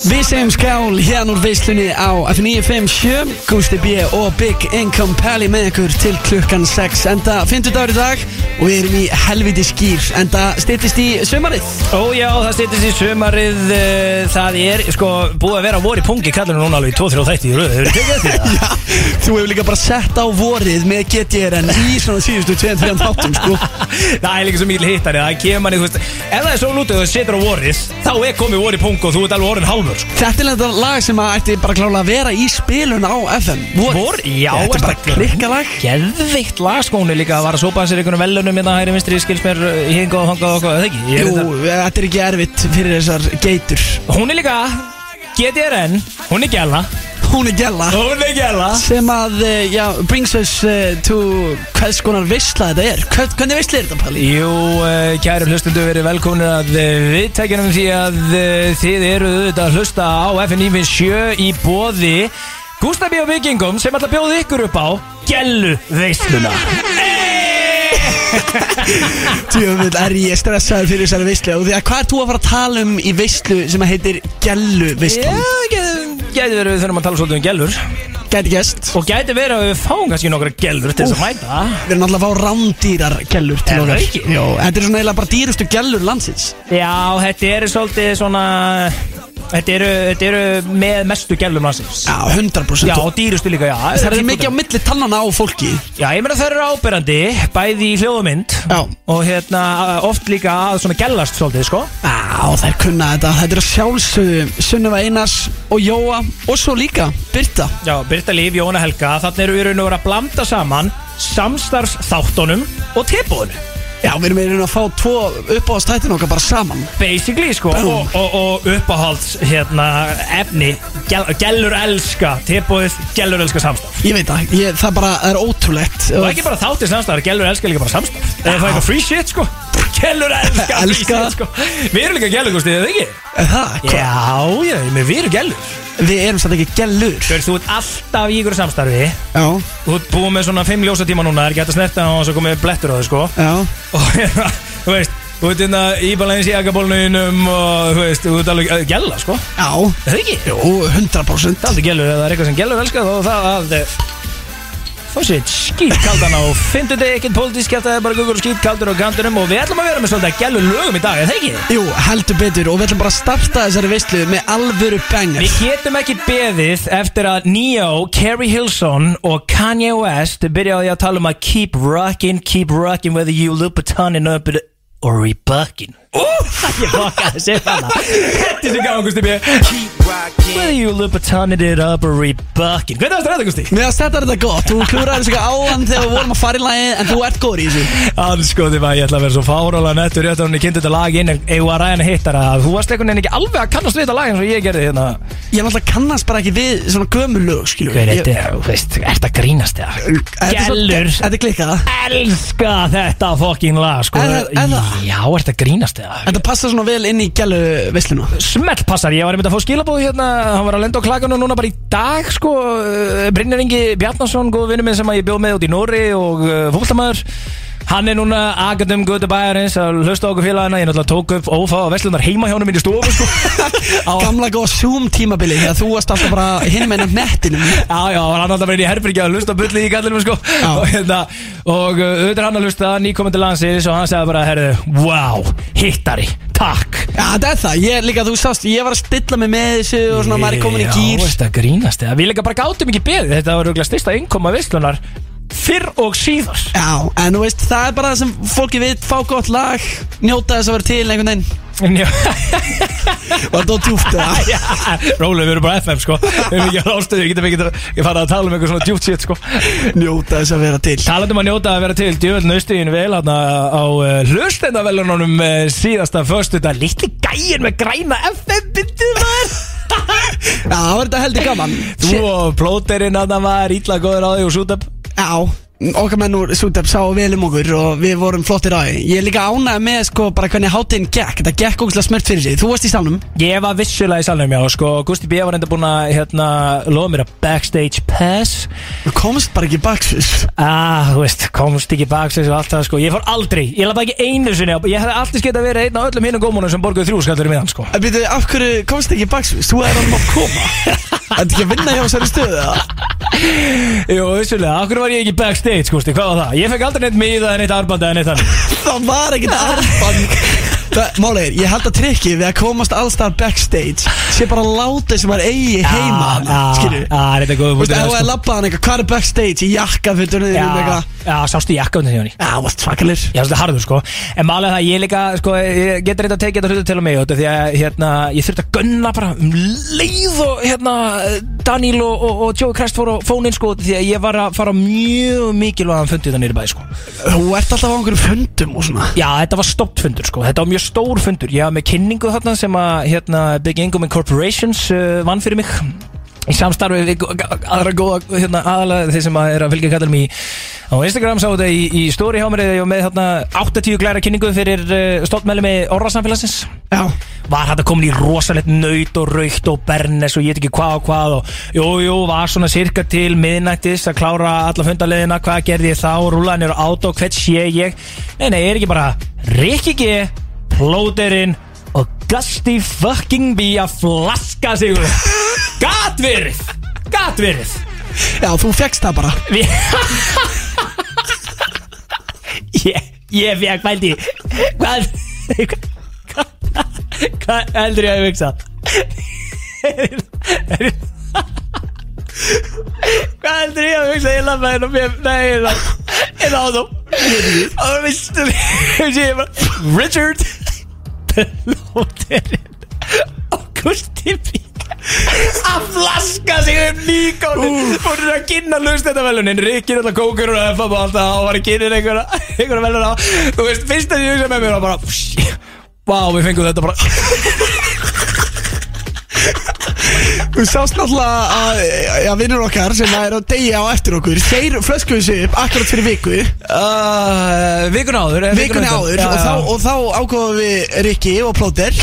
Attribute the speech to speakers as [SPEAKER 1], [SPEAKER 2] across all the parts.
[SPEAKER 1] Við segjum skál hérna úr veislunni á F957 Gusti B og Big Income Pally með ykkur til klukkan 6 enda 50 dagur í dag og við erum í helviti skýr enda styrtist í sömarið
[SPEAKER 2] Ójá, það stýttist í sömarið eh, Það er, sko, búið að vera vor í pungi Kallar núna alveg í 2-3 þætti í röðu Hefur tekið eftir það?
[SPEAKER 1] Já, þú hefur líka bara sett á vorið með GTR en í svona síðustu 2-3 þáttum sko
[SPEAKER 2] það er líka svo mikil hittari Það kemur manni, þú veist Ef það er svo lútið og það setur á vorið Þá er komið vor í pungi og þú ert alveg orðin hálfur sko.
[SPEAKER 1] Þetta er þetta lag sem að ætti bara klála að vera í spilun á FM
[SPEAKER 2] Vor, já,
[SPEAKER 1] Þetta
[SPEAKER 2] ertu
[SPEAKER 1] er bara
[SPEAKER 2] að gleyma?
[SPEAKER 1] klikkalag
[SPEAKER 2] Geðveikt lag, sko Hún er líka að vara að sopa að sér einhvern velunum Minna hægri vinstri, eh, skils mér, hinga og hanga og okkur Það ekki, ég
[SPEAKER 1] Jú,
[SPEAKER 2] veit það
[SPEAKER 1] þetta er ekki erfitt fyrir þessar geitur
[SPEAKER 2] Hún er líka GTRN, hún er gæla
[SPEAKER 1] Hún er gæla
[SPEAKER 2] Hún er gæla
[SPEAKER 1] sem að, eh, já, brings us eh, to hvers konar veisla þetta er Hvern, hvernig veisla er þetta, Palli?
[SPEAKER 2] Jú, eh, kæru hlustundu verið velkomin að viðtækjanum því að eh, þið eru auðvitað að hlusta á FNÍFIN 7 í bóði Gústafi og Vikingum sem ætla að bjóða ykkur upp á Gjellu veisluna
[SPEAKER 1] Tjóðvill er ég stressaður fyrir þessari veislu og því að hvað er þú að fara að tala um í veislu sem að heitir gellu
[SPEAKER 2] Já,
[SPEAKER 1] veislan?
[SPEAKER 2] gæti verið við þurfum að tala svolítið um gellur
[SPEAKER 1] Gæti gæst
[SPEAKER 2] Og gæti verið að við fáum kannski nokkra gellur til þess að mæta
[SPEAKER 1] Við erum alltaf að fá rándýrar gellur til
[SPEAKER 2] Er það
[SPEAKER 1] okkar
[SPEAKER 2] ekki?
[SPEAKER 1] Jó, þetta er svona eiginlega bara dýrustu gellur landsins
[SPEAKER 2] Já, þetta eru svolítið svona Þetta eru, þetta eru með mestu gellum landsins
[SPEAKER 1] Já, 100%
[SPEAKER 2] Já, og dýrustu líka, já
[SPEAKER 1] Það er
[SPEAKER 2] 10%.
[SPEAKER 1] mikið á milli tannana á fólki
[SPEAKER 2] Já, ég meina það eru áberandi, bæði í hljóðmynd
[SPEAKER 1] Já.
[SPEAKER 2] og hérna oft líka að svona gellast svolítið, sko
[SPEAKER 1] Já, þær kunna þetta Þetta er að sjálfsögðu Sunnuva Einars og Jóa og svo líka Birta
[SPEAKER 2] Já, Birta Líf, Jóna Helga, þannig eru við raun og vera að blanda saman samstarfsþáttunum og tilbúðunum
[SPEAKER 1] Já, við erum einhvern veginn að fá tvo uppáðastættin okkar bara saman
[SPEAKER 2] Basically, sko,
[SPEAKER 1] Búm.
[SPEAKER 2] og, og, og uppáhalds hérna efni, gel, gellur elska tilbúðið, gellur elska samstarf
[SPEAKER 1] Ég veit það, ég, það bara er ótrúlegt
[SPEAKER 2] Og ekki bara þáttið samstarf, gellur elska líka bara samstarf Eða það er eitthvað free shit, sko Gellur elska, free
[SPEAKER 1] Elska.
[SPEAKER 2] shit, sko Við erum líka gellur, gústið, eða ekki?
[SPEAKER 1] Er Það, hvað?
[SPEAKER 2] Já, já, ég meina, við erum gellur
[SPEAKER 1] Við erum satt ekki gellur
[SPEAKER 2] Þú veist, þú ert alltaf í ykkur samstarfi
[SPEAKER 1] Já,
[SPEAKER 2] Þú ert búið með svona 5 ljósatíma núna Það er ekki hægt að snerta á þess að komið blettur á þau sko
[SPEAKER 1] já
[SPEAKER 2] Og hérna, þú veist Þú ert hérna í balans í agabólnunum Og þú veist, þú ert alveg að gæla sko Er
[SPEAKER 1] Já,
[SPEAKER 2] Það er ekki Það
[SPEAKER 1] jú, 100%
[SPEAKER 2] er aldrei gælur, ef það er eitthvað sem gælur elska Þá það að eh, Þá sétt skýt kaldan á Fynduði ekkert pólitísk Þetta er bara gugur og skýt kaldur á kantinum Og við ætlum að vera með svolítið að gælur lögum í dag er Það ekki
[SPEAKER 1] Jú, heldur betur og við ætlum bara að starta þessari veistlu með alvöru banger
[SPEAKER 2] Við getum ekki beðið eftir að Neo, Carrie Hilson og Kanye West byrjaði að tala um að keep rockin', keep rockin' whether you Louboutonin up it or rebuckin' Ég bakaði sér hana Þetta er svo gaman, Gusti B Whether you Louboutonin it up or rebuckin' Hvernig varst þetta, Gusti?
[SPEAKER 1] Mér að þetta er þetta gott, þú klúraði þessu áðan þegar við vorum að fara í lagið en þú ert góður í þessu
[SPEAKER 2] Anskoði maður, ég ætla að vera svo fáróla nettur Rétt að hún er kynnt þetta lag inn En eigum að ræðina hittara Þú varst einhvern veginn ekki alveg að kannast við þetta lag eins og ég gerði hérna
[SPEAKER 1] Ég náttúrulega kannast bara ekki við svona gömul lög, skilur
[SPEAKER 2] Hver
[SPEAKER 1] Ég-
[SPEAKER 2] þetta er, þú veist, ert að grínast það?
[SPEAKER 1] Þetta er svo-
[SPEAKER 2] Gellur
[SPEAKER 1] Þetta er klikkað
[SPEAKER 2] elska þetta fokkin lag sko.
[SPEAKER 1] Er það- er það?
[SPEAKER 2] Já, ert að grínast það
[SPEAKER 1] Þetta passar svona vel inn í gælu veisluna
[SPEAKER 2] Smell passar, ég var einmitt að fá skilabóð hérna Hann var að lenda á klakanu núna bara í dag sko. Eh, Brynjar Ingi Bjarnason, góð vinnum minn sem að ég bjóð með út í Nóri og uh, fólktamæður Hann er núna Agadum Götabæjarins að hlusta á okkur félagina Ég náttúrulega tók upp ófá að veslunar heima hjá honum minni stofu sko. á,
[SPEAKER 1] Gamla góð Zoom tímabili þegar þú varst alltaf bara hinum enn af nettinum
[SPEAKER 2] Já, já, hann er alltaf verið í herbyggja að hlusta á bulli í gallinum sko.
[SPEAKER 1] Já.
[SPEAKER 2] og, hérna, og uh, auðvitað er hann að hlusta nýkomandi landsins og hann segði bara, herðu, wow, hittari, takk
[SPEAKER 1] Já, þetta er það, ég líka, þú sást, ég var að stilla mig með þessu og svona maður er komin í gýr
[SPEAKER 2] Já, þetta grínast eða Við líka bara gátum ekki beðið Þetta var röglega styrsta innkoma veistlunar Fyrr og síðar
[SPEAKER 1] Já, en þú veist, það er bara það sem fólki veit, fá gott lag, njóta þess að vera til einhvern veginn
[SPEAKER 2] En já,
[SPEAKER 1] Var þetta á djúpt eða?
[SPEAKER 2] já, Rólega, við erum bara FM sko Við erum ekki á ráðstöðu Við getum ekki að fara að tala um eitthvað svona djúpt sétt sko
[SPEAKER 1] Njóta þess að vera til
[SPEAKER 2] Talandi um að njóta að vera til Djöfell nöstuðin vel Hanna á uh, hlustendavelunum uh, Síðasta föstu Þetta litli gæin með græna FM Bindu maður
[SPEAKER 1] Já, það var þetta heldur gaman
[SPEAKER 2] Þú og plóterinn að það var Ítla góður á því og sútab
[SPEAKER 1] Já, okkar menn úr Sútab sá vel um okkur og við vorum flottir á því Ég er líka ánægð með sko bara hvernig hátinn gekk Þetta gekk ógustlega smert fyrir sig, þú varst í salnum
[SPEAKER 2] Ég var vissulega í salnum, já, sko, Gusti B. var enda búinn að, hérna, lofa mér að backstage pass
[SPEAKER 1] Þú komst bara ekki baksins
[SPEAKER 2] Ah, þú veist, komst ekki baksins og allt það, sko Ég fór aldrei, ég lafa ekki einu sinni á- Ég hefði alltaf skeitt að vera einn á öllum hinum gómunum sem borguðu þrjú skallir í miðan, sko
[SPEAKER 1] En býtu, af hverju komst ekki baksins? Þú er alveg að koma Þetta er ekki að vinna hjá þessari stöðu eða?
[SPEAKER 2] Jú, vissulega, akkur var ég ekki backstage, Gusti, hvað var það? Ég fekk aldrei neitt miða, neitt arbanda, neitt þannig
[SPEAKER 1] Það var ekkert armband Málegir, ég held að trikki við að komast allstar backstage sé bara að láta sem maður eigi heima
[SPEAKER 2] ah,
[SPEAKER 1] skilju
[SPEAKER 2] ah, ah, þetta er góð
[SPEAKER 1] Þú veist,
[SPEAKER 2] punktur,
[SPEAKER 1] ef þú
[SPEAKER 2] sko.
[SPEAKER 1] er labbaðan eitthvað, hvað er backstage í jakka fyrir dörnum
[SPEAKER 2] Já,
[SPEAKER 1] eitthvað
[SPEAKER 2] já, sástu jakka undir því hann
[SPEAKER 1] Já, það var svakalir
[SPEAKER 2] Já, þetta er harður sko En málega það, ég líka, sko, ég getur reynda að tekið þetta hlutu til og mig Því að, hérna, ég þurfti að gunna bara um leið og, hérna, Daniel og, og, og Joey Crest fóru á fónin, sko Því að ég var að fara á mjög mikilvæðan fundið þannig í bæ, sko
[SPEAKER 1] Þú ert alltaf á einhverjum fundum og svona
[SPEAKER 2] Já, þetta var stórt fundur, sko Þetta var mjög stór fundur Ég var með kynningu þarna sem að, hérna, Big Income Incorporations uh, vann fyrir mig Í samstarfi við gó- aðra góða, hérna, aðalega þeir sem að er að fylgja kallum í á Instagram sá þetta í, í stóri hjá mér eða ég var með þarna 80 glæra kynningu fyrir uh, stoltmæli með orðarsamfélagsins
[SPEAKER 1] Já,
[SPEAKER 2] var þetta komin í rosalegt nöyt og raukt og bernes og ég veit ekki hvað og hvað og jú, jú, var svona cirka til miðnættis að klára alla fundarleðina hvað gerði ég þá, rúlaðan eru át og hvert sé ég nei, nei, ég er ekki bara Rikki G, plóterinn og Gusti fucking B að flaska sig upp gat verið, gat verið
[SPEAKER 1] já, þú fegst það bara
[SPEAKER 2] Við- Ég, ég fekk fældi Hvað Hvað Hvað heldur ég að ég hugsa Hvað heldur ég að hugsa Ég lafa hérna og mér Nei, ég lafa Ég lafa þú Og það visstu Ég bara Richard Plóterinn Og Gusti B að flaska sig um nýkónin og er að kynna laust þetta velunin Rikki er alltaf kókur og FM og allt það og var að kynna einhverja, einhverja velun á þú veist, fyrst að ég hugsa með mér var bara "Shit, vá, við fengum þetta bara
[SPEAKER 1] Þú sást náttúrulega að, að vinnur okkar sem er að deyja á eftir okkur Þeir flöskuðu sig upp akkurat fyrir viku
[SPEAKER 2] uh, vikun áður eh,
[SPEAKER 1] vikunni áður
[SPEAKER 2] Já,
[SPEAKER 1] og
[SPEAKER 2] já.
[SPEAKER 1] þá, og þá ákofum við Rikki og Plóter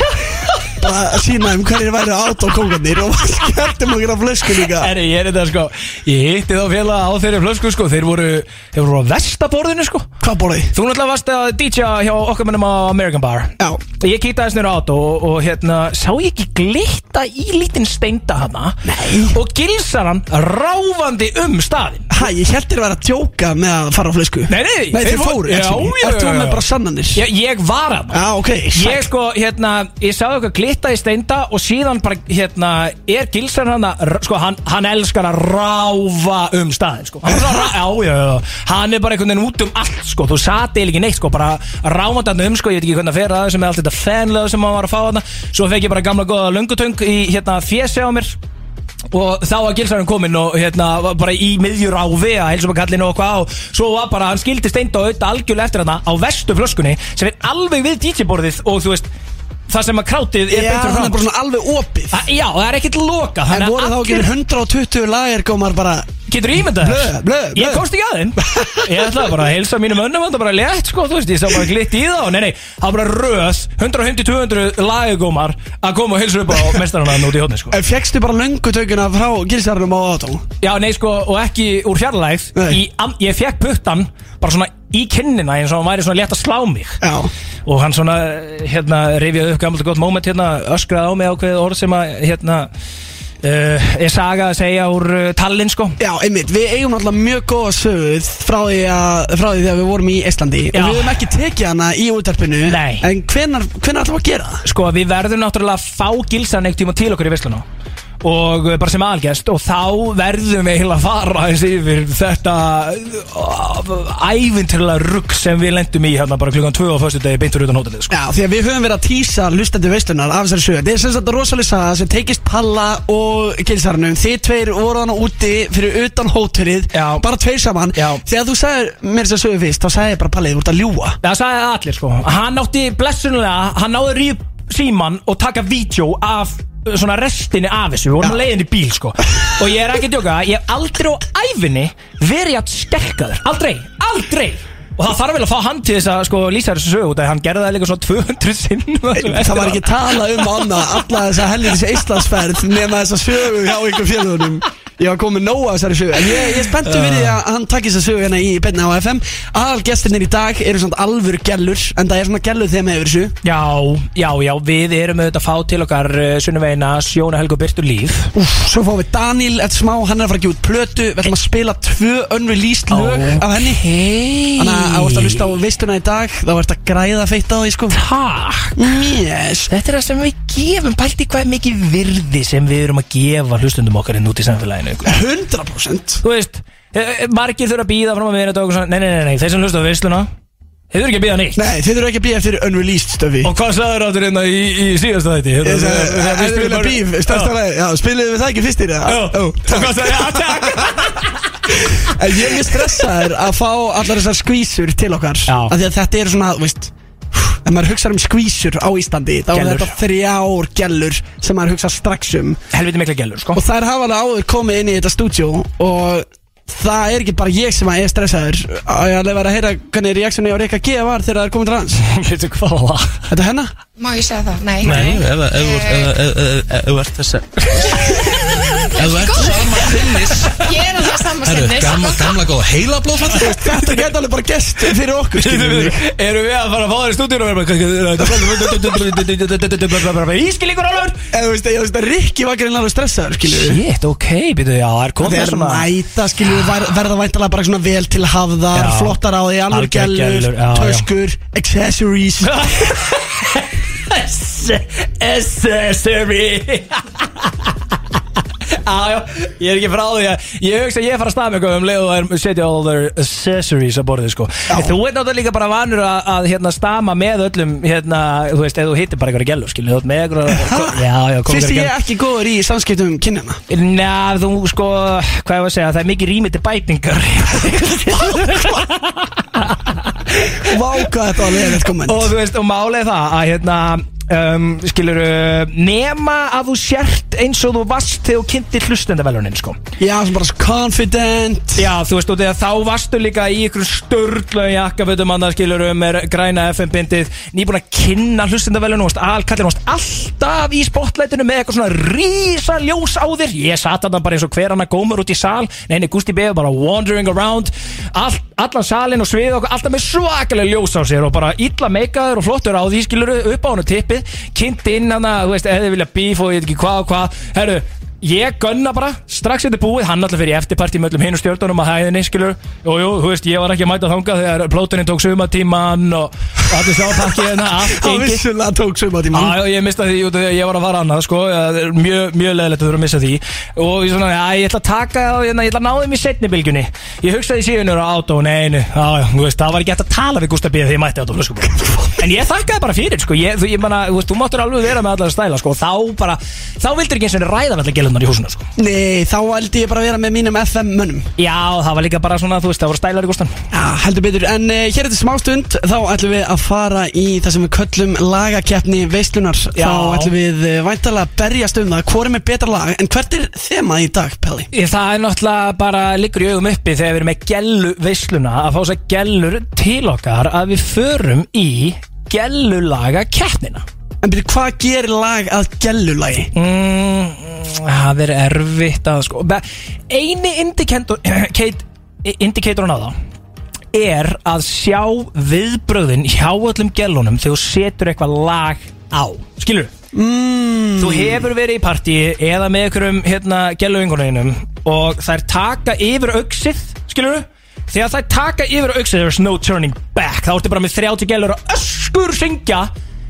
[SPEAKER 1] bara að sína um hverjir væri át á kókanir og skjartum okkur á flösku líka
[SPEAKER 2] Herri, ég er þetta sko Ég hitti þá félaga á þeirri flösku sko Þeir voru, þeir voru á vestaborðinu sko
[SPEAKER 1] Hvað borðið?
[SPEAKER 2] Þú náttúrulega varst að DJ hjá okkur mennum á American Bar
[SPEAKER 1] Já,
[SPEAKER 2] Ég kýtaði snur át og, og hérna Sá ég ekki glitta í lítinn steinda hana
[SPEAKER 1] Nei.
[SPEAKER 2] Og gilsar hann ráfandi um staðinn
[SPEAKER 1] hæ, ég held þér að vera að djóka með að fara á flösku
[SPEAKER 2] Nei, nei,
[SPEAKER 1] Nei, þeir fóru,
[SPEAKER 2] Já,
[SPEAKER 1] actually.
[SPEAKER 2] já,
[SPEAKER 1] Ert þú
[SPEAKER 2] já,
[SPEAKER 1] með
[SPEAKER 2] já.
[SPEAKER 1] bara sannanir?
[SPEAKER 2] Ég, ég var hann
[SPEAKER 1] Já, ok,
[SPEAKER 2] Ég sko, hérna, ég sáði eitthvað glitta í steinda Og síðan bara, hérna, er gilsar hann að Sko, hann, hann elskar að ráfa um staðinn sko. Hann er bara, rá- já, já, já Hann er bara einhvern veginn út um allt, sko Þú sati eiginlega ekki neitt, sko, bara ráfandi hann um, sko Ég veit ekki hvernig að fyrir það sem er allt þetta fanlega sem hann var að fá hann Svo fekk ég bara gamla góða löngutöng í, hérna, fjessi á mér og þá var gilsarinn kominn og hérna var bara í miðjur á við að heilsum að kallinu og hvað og svo var bara hann skildi steind og auðvitað algjörlega eftir hann á vestu flöskunni sem er alveg við DJ-borðið og þú veist það sem að krátið er
[SPEAKER 1] Já,
[SPEAKER 2] betur
[SPEAKER 1] hann er
[SPEAKER 2] fram
[SPEAKER 1] bara svona alveg opið
[SPEAKER 2] Þa- Já, það er ekkert lokað
[SPEAKER 1] En
[SPEAKER 2] þannig að
[SPEAKER 1] voru þá ekki
[SPEAKER 2] allir-
[SPEAKER 1] 120 lager gómar bara
[SPEAKER 2] Getur ímyndað þér?
[SPEAKER 1] Blö, blö, blö.
[SPEAKER 2] Ég komst ekki að þeim Ég ætlaði bara að heilsa mínum önnum Það bara létt sko, þú veist, ég sá bara glitt í þá Nei, nei, það var bara röð 150-200 lagugómar Að koma og heilsa upp á mestarana út í hóðni sko
[SPEAKER 1] En fjekkstu bara löngu tökuna frá gilsarunum á átón?
[SPEAKER 2] Já, nei, sko, og ekki úr fjarlægð
[SPEAKER 1] Nei.
[SPEAKER 2] í, am, Ég fekk puttan bara svona í kinnina eins og hann væri svona létt að slá mig
[SPEAKER 1] Já,
[SPEAKER 2] og hann svona, hérna, rifjaði upp gamalt og gott moment hérna, öskraði á mig ákveðið orð sem að, hérna uh, ég saga að segja úr uh, tallinn, sko
[SPEAKER 1] Já, einmitt, við eigum náttúrulega mjög góða söguð frá því, að, frá því þegar við vorum í Íslandi
[SPEAKER 2] Já.
[SPEAKER 1] og við höfum ekki tekið hana í útarpinu
[SPEAKER 2] Nei.
[SPEAKER 1] En hvenar, hvenar ætlum við að gera það?
[SPEAKER 2] Sko, við verðum náttúrulega að fá gilsan eitt tíma til okkur í Vesluna og eh, bara sem algjast og þá verðum við heila að fara eins yfir þetta ævinturlega rugg sem við lendum í hérna bara klukkan 2 á föstu degi beintur utan hótelið sko.
[SPEAKER 1] Já, því að við höfum verið að týsa lustandi veislunar af þessari sögur. Þetta er sem sagt rosalega saga sem teikist Palla og Gilsarnum. Þið tveir voru hann úti fyrir utan hótelið,
[SPEAKER 2] Já.
[SPEAKER 1] bara tveir saman.
[SPEAKER 2] Já.
[SPEAKER 1] Þegar þú sagði mér þessar sögur fyrst, þá sagði ég bara Palli, þú ert að ljúa.
[SPEAKER 2] Það sagði allir sko Hann átti blessunulega Hann náði rýp síman og taka vídeo af svona restinni af þessu Við vorum
[SPEAKER 1] Já.
[SPEAKER 2] að leiðin í bíl sko Og ég er ekki að djóka, ég hef aldrei á æfinni verið að skelkaður Aldrei, aldrei Og það þarf vel að fá hann til þess að sko lýsa þessu sögu út af því Hann gerði það líka svona 200 sinn
[SPEAKER 1] Það var ekki tala um annað alla þessa helvitis eistlandsferð nema þessa sögu hjá ykkur fjölugunum Ég var komið nóg af þessari sögu En ég, ég spenntu fyrir því að hann takki þessa sögu hérna í beinna á FM Aðalgestirnir í dag eru svona alvöru gellur En það er svona gellur þeim hefur þessu
[SPEAKER 2] Já, já, já, við erum auðvitað að fá til okkar uh, Sunnveina, Sjóna Helgu Byrtu Líf
[SPEAKER 1] Úf, Svo fáum við Daniel eftir smá Hann er að fara að gefa út plötu Við ætlum að spila tvö unreleased lög af henni
[SPEAKER 2] Hei
[SPEAKER 1] Þannig að þú ert að hlusta á veistuna í dag Þá ert að græða feitt á því sko
[SPEAKER 2] Takk
[SPEAKER 1] Yes
[SPEAKER 2] Þetta er það sem við gefum Pælti hvað er mikið virði sem við erum að gefa hlustundum okkar inn út í samfélaginu
[SPEAKER 1] 100%
[SPEAKER 2] Þú veist, eh, eh, margir þurfa að býða fram að við erum svona, nei, nei, nei, nei, þeir sem hlusta á veisluna Þeir þurfa ekki að býða neitt
[SPEAKER 1] Nei, þið þurfum ekki að býja eftir unreleased stöfi
[SPEAKER 2] Og hvað sagður áttur hérna í, í síðasta þætti? Hérna,
[SPEAKER 1] Ég sagði,
[SPEAKER 2] þegar við
[SPEAKER 1] "Erfiðlega
[SPEAKER 2] spilum bara-
[SPEAKER 1] Eh, bíf, stærsta lagi Já, spiluðum við það ekki fyrstir
[SPEAKER 2] Já, já,
[SPEAKER 1] eða? Ó,
[SPEAKER 2] og
[SPEAKER 1] takk.
[SPEAKER 2] hvað sagði ég? Takk
[SPEAKER 1] En Ég er mjög stressaður að fá allar þessar skvísur til okkar
[SPEAKER 2] Já.
[SPEAKER 1] Af Því að þetta eru svona, þú veist En maður hugsaður um skvísur á Íslandi Þá er
[SPEAKER 2] Gellur.
[SPEAKER 1] þetta þrjár gellur sem maður hugsa strax um
[SPEAKER 2] Helviti mikla gælur, sko
[SPEAKER 1] Og þær hafa alveg áður komið inn í þetta stúdjó Og það er ekki bara ég sem að er stressaður Á Ég alveg var að heyra hvernig reaksjónu á Rikka G var þegar það er komið til hans
[SPEAKER 2] Veitu hvað var það?
[SPEAKER 1] Þetta er hennar?
[SPEAKER 3] Má ég segja það? Nei.
[SPEAKER 2] Nei.
[SPEAKER 4] Ef ef- ef þú ert- ef- ef- ef- ef þú ert þess að Ef þú ert sama sinnis
[SPEAKER 3] Ég er alveg saman
[SPEAKER 4] Herru,
[SPEAKER 3] sinni.
[SPEAKER 4] gamla, gamla góða heila blóðfall
[SPEAKER 1] Þetta geta alveg bara gest fyrir okkur skilur við
[SPEAKER 2] Erum við að fara að fá þér í stúdíun og vera bara Ískilíkur alveg
[SPEAKER 1] En þú veist, ég- þú veist að Rikki var greinlega alveg stressaður skilur við
[SPEAKER 2] Shit, ok, býtu, já, það er komið
[SPEAKER 1] Þeir
[SPEAKER 2] svona
[SPEAKER 1] mæta, skilju, verða væntalega bara svona vel til hafðar,
[SPEAKER 2] Já.
[SPEAKER 1] flottar á því, alveg
[SPEAKER 2] Algjör
[SPEAKER 1] gælur,
[SPEAKER 2] gælur, já, já.
[SPEAKER 1] töskur, accessories
[SPEAKER 2] Accessory Já, já, ég er ekki frá því að Ég hugsa að ég er að fara að staða með eitthvað um leið og að setja all their accessories að borðið sko En Þú ert náttúrulega líka bara vanur að, að hérna, stama með öllum hérna, þú veist, ef þú hittir bara eitthvað gælu, skilur þú ert með eitthvað Já, já, kom
[SPEAKER 1] Fyrst
[SPEAKER 2] einhverjar
[SPEAKER 1] ég
[SPEAKER 2] gellur.
[SPEAKER 1] er ekki góður í samskiptum kynjana
[SPEAKER 2] Nei, þú sko, hvað ég var að segja, það er mikið rými til bætingar
[SPEAKER 1] Vá hvað þetta var leiðilegt komment
[SPEAKER 2] Og þú veist, og málið er það að hérna, um, skilur, nema að þú sért eins og þú varst þegar þú kynntir hlustendavelunin, sko
[SPEAKER 1] Já, sem bara svo confident
[SPEAKER 2] Já, þú veist, og þegar þá varstu líka í ykkur störtlaun jakkafötum annað skilur um er græna FM-bindið nýbúin að kynna hlustendavelun og varst alkallir og varst alltaf í spotlightinu með eitthvað svona rísa ljós á þér ég satt hann bara eins og hver hann að gómur út í sal neini, Gusti B. var bara wandering around all, allan salin og sviðið okkur alltaf með svakalega ljós á sér og bara illa meikaður og flottur á því skilur upp á hann tippið kynnt inn hann að, þú veist, eða vilja bíf og ég veit ekki hvað og hvað herru, Ég gunna bara, strax þetta er búið, hann alltaf fyrir eftirparti með öllum hinn og stjórnunum að hæðinni, skilur Jú, jú, þú veist, ég var ekki að mæta þangað þegar plótuninn tók sumatíman og og allir sá pakkið hérna, allt
[SPEAKER 1] Það
[SPEAKER 2] gengi
[SPEAKER 1] vissulega tók suma tíma
[SPEAKER 2] Já, já, ég mista því út af því að ég var að fara annað, sko Það er Mjög, mjög leðilegt að þú eru að missa því Og ég svona, já, ég ætla að taka það, hérna, ég ætla að náða þeim í setni bylgjunni Ég hugsaði síðan úr á átó, neinu, já, já, þú veist, það var ekki hægt að tala við Gústa B. þegar ég mætti átó flöskubúr En ég þakkaði bara fyrir, sko, ég, þú, ég manna, þú veist, þú máttur alveg vera með allar stæla, sko og Þá bara, þá vildur ekki eins og henni ræða allar gelunar í húsinu, sko
[SPEAKER 1] Nei, þá held ég bara að vera með mínum FM mönnum
[SPEAKER 2] Já, það var líka bara svona, þú veist, það voru stælar í Gústan
[SPEAKER 1] Já, heldur betur En uh, hér eftir smástund Þá ætlum við að fara í það sem við köllum lagakeppni veislunar
[SPEAKER 2] Já.
[SPEAKER 1] Þá ætlum við uh, væntalega að berjast um það Hvor er með betra lag En hvert er þemað í dag, Pelli?
[SPEAKER 2] Ég- Það er náttúrulega bara liggur í augum uppi þegar við erum með gellu veisluna að fá þess að gellur til okkar að við förum í gellulaga keppnina
[SPEAKER 1] En byrju, hvað gerir lag að gellulagi?
[SPEAKER 2] mm, Það er erfitt að sko Be- Eini indikator, keit- indikatorun á það er að sjá viðbröðin hjá öllum gellunum þegar þú setur eitthvað lag á Skilur? Mm. Þú hefur verið í partíi eða með einhverjum hérna, gelluvingunum og þær taka yfir auksið Skilur? Þegar þær taka yfir auksið there's no turning back þá ertu bara með 30 gellur að öskur syngja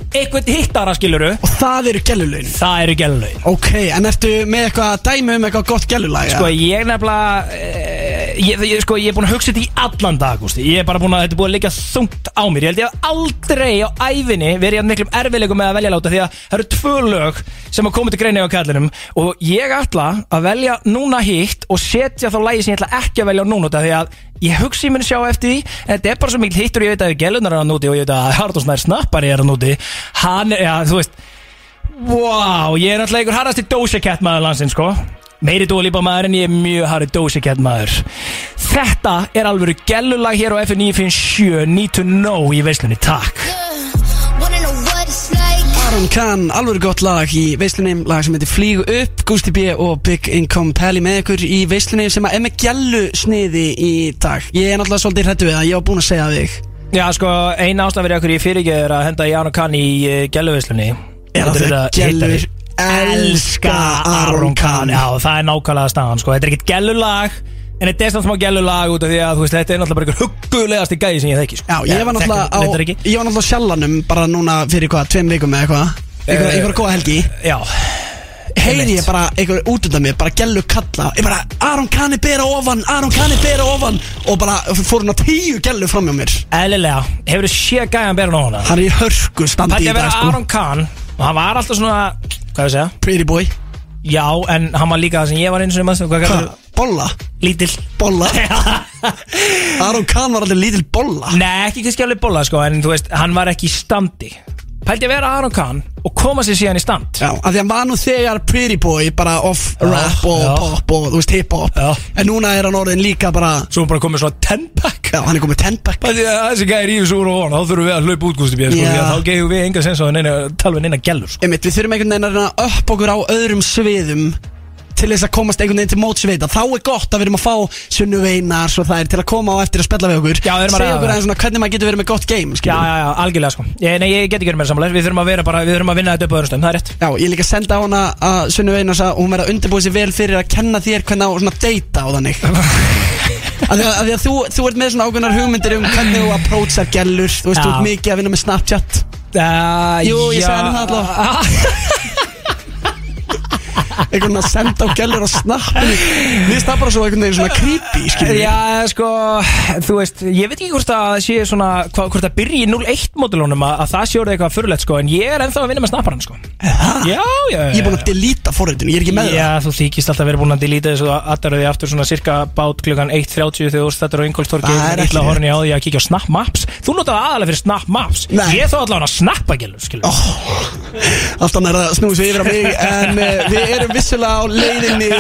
[SPEAKER 2] eitthvað hittara skiluru
[SPEAKER 1] Og það eru gellulögin
[SPEAKER 2] það eru gellulögin
[SPEAKER 1] Ok, en ertu með eitthvað dæmi um eitthvað gott gellulag?
[SPEAKER 2] Sko ég nefnilega eh, ég, ég, sko, ég er búin að hugsa þetta í allan dag Gústi. Ég er bara búin að þetta er búin að liggja þungt á mér Ég held ég hef aldrei á æfinni verið að miklum erfiðleikum með að velja láta Því að það eru tvö lög sem að koma til greinu á kallinum Og ég ætla að velja núna hitt Og setja þá lægi sem ég ætla ekki að velja núna út af Því að ég hugsa ég mun sjá eftir því En þetta er bara svo mikil hittur og ég veit að við gelunar er að núti Og ég veit að Hardosnær snappari er að núti Hann, ja, þú veist Vá, ég er náttúrulega ykkur harrasti dósakett maður landsinn sko Meiri dólípa maður en ég er mjög harri dósakett maður Þetta er alvöru gellulag hér á F957 Need to know í veislunni, takk
[SPEAKER 5] Wanna know what it's like?
[SPEAKER 1] Aron Kahn, alveg gott lag í veislunum lag sem heitir Flýgu upp, Gusti B og Big Income Pally með ykkur í veislunum sem að er með gælu sniði í dag ég er náttúrulega svolítið hrættu við það, ég var búinn að segja það við þig
[SPEAKER 2] Já sko, eina ástæð fyrir okkur ég fyrirgeð er að henda Ján og Kann í uh, gelluveislunni
[SPEAKER 1] er að þeirra gælur elska Aron Kahn
[SPEAKER 2] Já, það er nákvæmlega staðan sko Þetta er ekkert gellulag En þetta er samt smá gellulag út af því að þú veist, þetta er náttúrulega bara ykkur huggulegasti gæði sem ég þekki sko.
[SPEAKER 1] Já, ég var
[SPEAKER 2] þekki
[SPEAKER 1] náttúrulega á,
[SPEAKER 2] reyndar ekki.
[SPEAKER 1] ég var náttúrulega á sjallanum bara núna fyrir hvað, tveim vikum eða eitthvað einhver,
[SPEAKER 2] Eh,
[SPEAKER 1] einhver góða helgi,
[SPEAKER 2] Já,
[SPEAKER 1] heyri
[SPEAKER 2] einmitt.
[SPEAKER 1] ég bara einhver út undan mér, bara gælu kalla ég bara, Aron Kahn er bera ofan, Aron Kahn er bera ofan og bara fór hann á tíu gælu fram hjá mér
[SPEAKER 2] eðlilega Hefur þú séð gæðan bera nóna?
[SPEAKER 1] hann er í hörku
[SPEAKER 2] Hann
[SPEAKER 1] standi
[SPEAKER 2] hætti
[SPEAKER 1] í
[SPEAKER 2] að
[SPEAKER 1] dag
[SPEAKER 2] vera
[SPEAKER 1] sko,
[SPEAKER 2] Aron Kahn og hann var alltaf svona, hvað er að segja
[SPEAKER 1] pretty boy
[SPEAKER 2] Já, en hann var líka það sem ég var eins og maður, sko. hvað kallar
[SPEAKER 1] Hva?
[SPEAKER 2] það?
[SPEAKER 1] bolla,
[SPEAKER 2] Lítill
[SPEAKER 1] bolla Aron Kahn var allir lítil bolla
[SPEAKER 2] Nei, ekki kannski alveg bolla sko, en þú veist, hann var ekki í standi Pældi að vera Aron Kahn og koma sér síðan í stand
[SPEAKER 1] Já, af því hann var nú þegar pretty boy bara off rap og
[SPEAKER 2] já.
[SPEAKER 1] pop og þú veist hip hop
[SPEAKER 2] Já.
[SPEAKER 1] en núna er hann orðin líka bara
[SPEAKER 2] Svo hann bara komið svona 10 pack
[SPEAKER 1] já, hann er komið 10 pack
[SPEAKER 2] Pældi að þessi gæði rífis úr og von þá þurfum við að hlaupa út gústi bíða sko,
[SPEAKER 1] Já.
[SPEAKER 2] því að þá gefum við enga sens á neina, tala við neina gælur sko.
[SPEAKER 1] Einmitt, við þurfum einhvern veginn að reyna að upp okkur á öðrum sviðum til þess að komast einhvern veginn til mótsveita þá er gott að við erum að fá sunnu veinar svo það er til að koma á eftir að spella við okkur
[SPEAKER 2] Já, við erum að
[SPEAKER 1] segja
[SPEAKER 2] ræða
[SPEAKER 1] okkur
[SPEAKER 2] það.
[SPEAKER 1] aðeins svona hvernig maður getur verið með gott game
[SPEAKER 2] Já,
[SPEAKER 1] já, já.
[SPEAKER 2] já, já, algjörlega sko ég, Nei, ég get ekki verið meira samanlega, við þurfum að vera bara, við þurfum að vinna þetta upp á öðrum stöðum, það er rétt
[SPEAKER 1] já, ég líka að senda á hana að sunnu veinar að hún verið að undirbúið sér vel fyrir að kenna þér hvernig á svona deyta á þannig af því að, af því að þú, þú ert með svona ákveðnar hugmyndir um hvernig þú approachar gellur þú veist, þú
[SPEAKER 2] Já.
[SPEAKER 1] ert mikið að vinna með Snapchat
[SPEAKER 2] uh,
[SPEAKER 1] Jú, ég sagði henni það allavega. einhvern veginn að senda á gellur á snappinu Mér finnst það bara svo einhvern veginn svona creepy skilur.
[SPEAKER 2] Já, sko, þú veist, ég veit ekki hvort að það sé svona, hva, hvort að byrja í 01 módulónum að, að það sé orðið eitthvað fyrirlegt, sko, en ég er ennþá að vinna með snapparann, sko. Já, já, já.
[SPEAKER 1] Ég er búinn að delita forritinu, ég er ekki með
[SPEAKER 2] Já, þú þykist alltaf verið búin að delita þessu aðdaröði aftur svona cirka bát klukkan 1.30 þegar þú stættur á Ingolstorgi
[SPEAKER 1] Það er ekki
[SPEAKER 2] illa
[SPEAKER 1] rétt.
[SPEAKER 2] horni á því að kíkja á Snap Maps Þú notaði aðalega fyrir Snap Maps
[SPEAKER 1] Nei.
[SPEAKER 2] Ég þá allavega að snappa gælu, skilur oh.
[SPEAKER 1] það Allt annað er að snúi sig yfir á mig En uh, við erum vissulega á leiðinni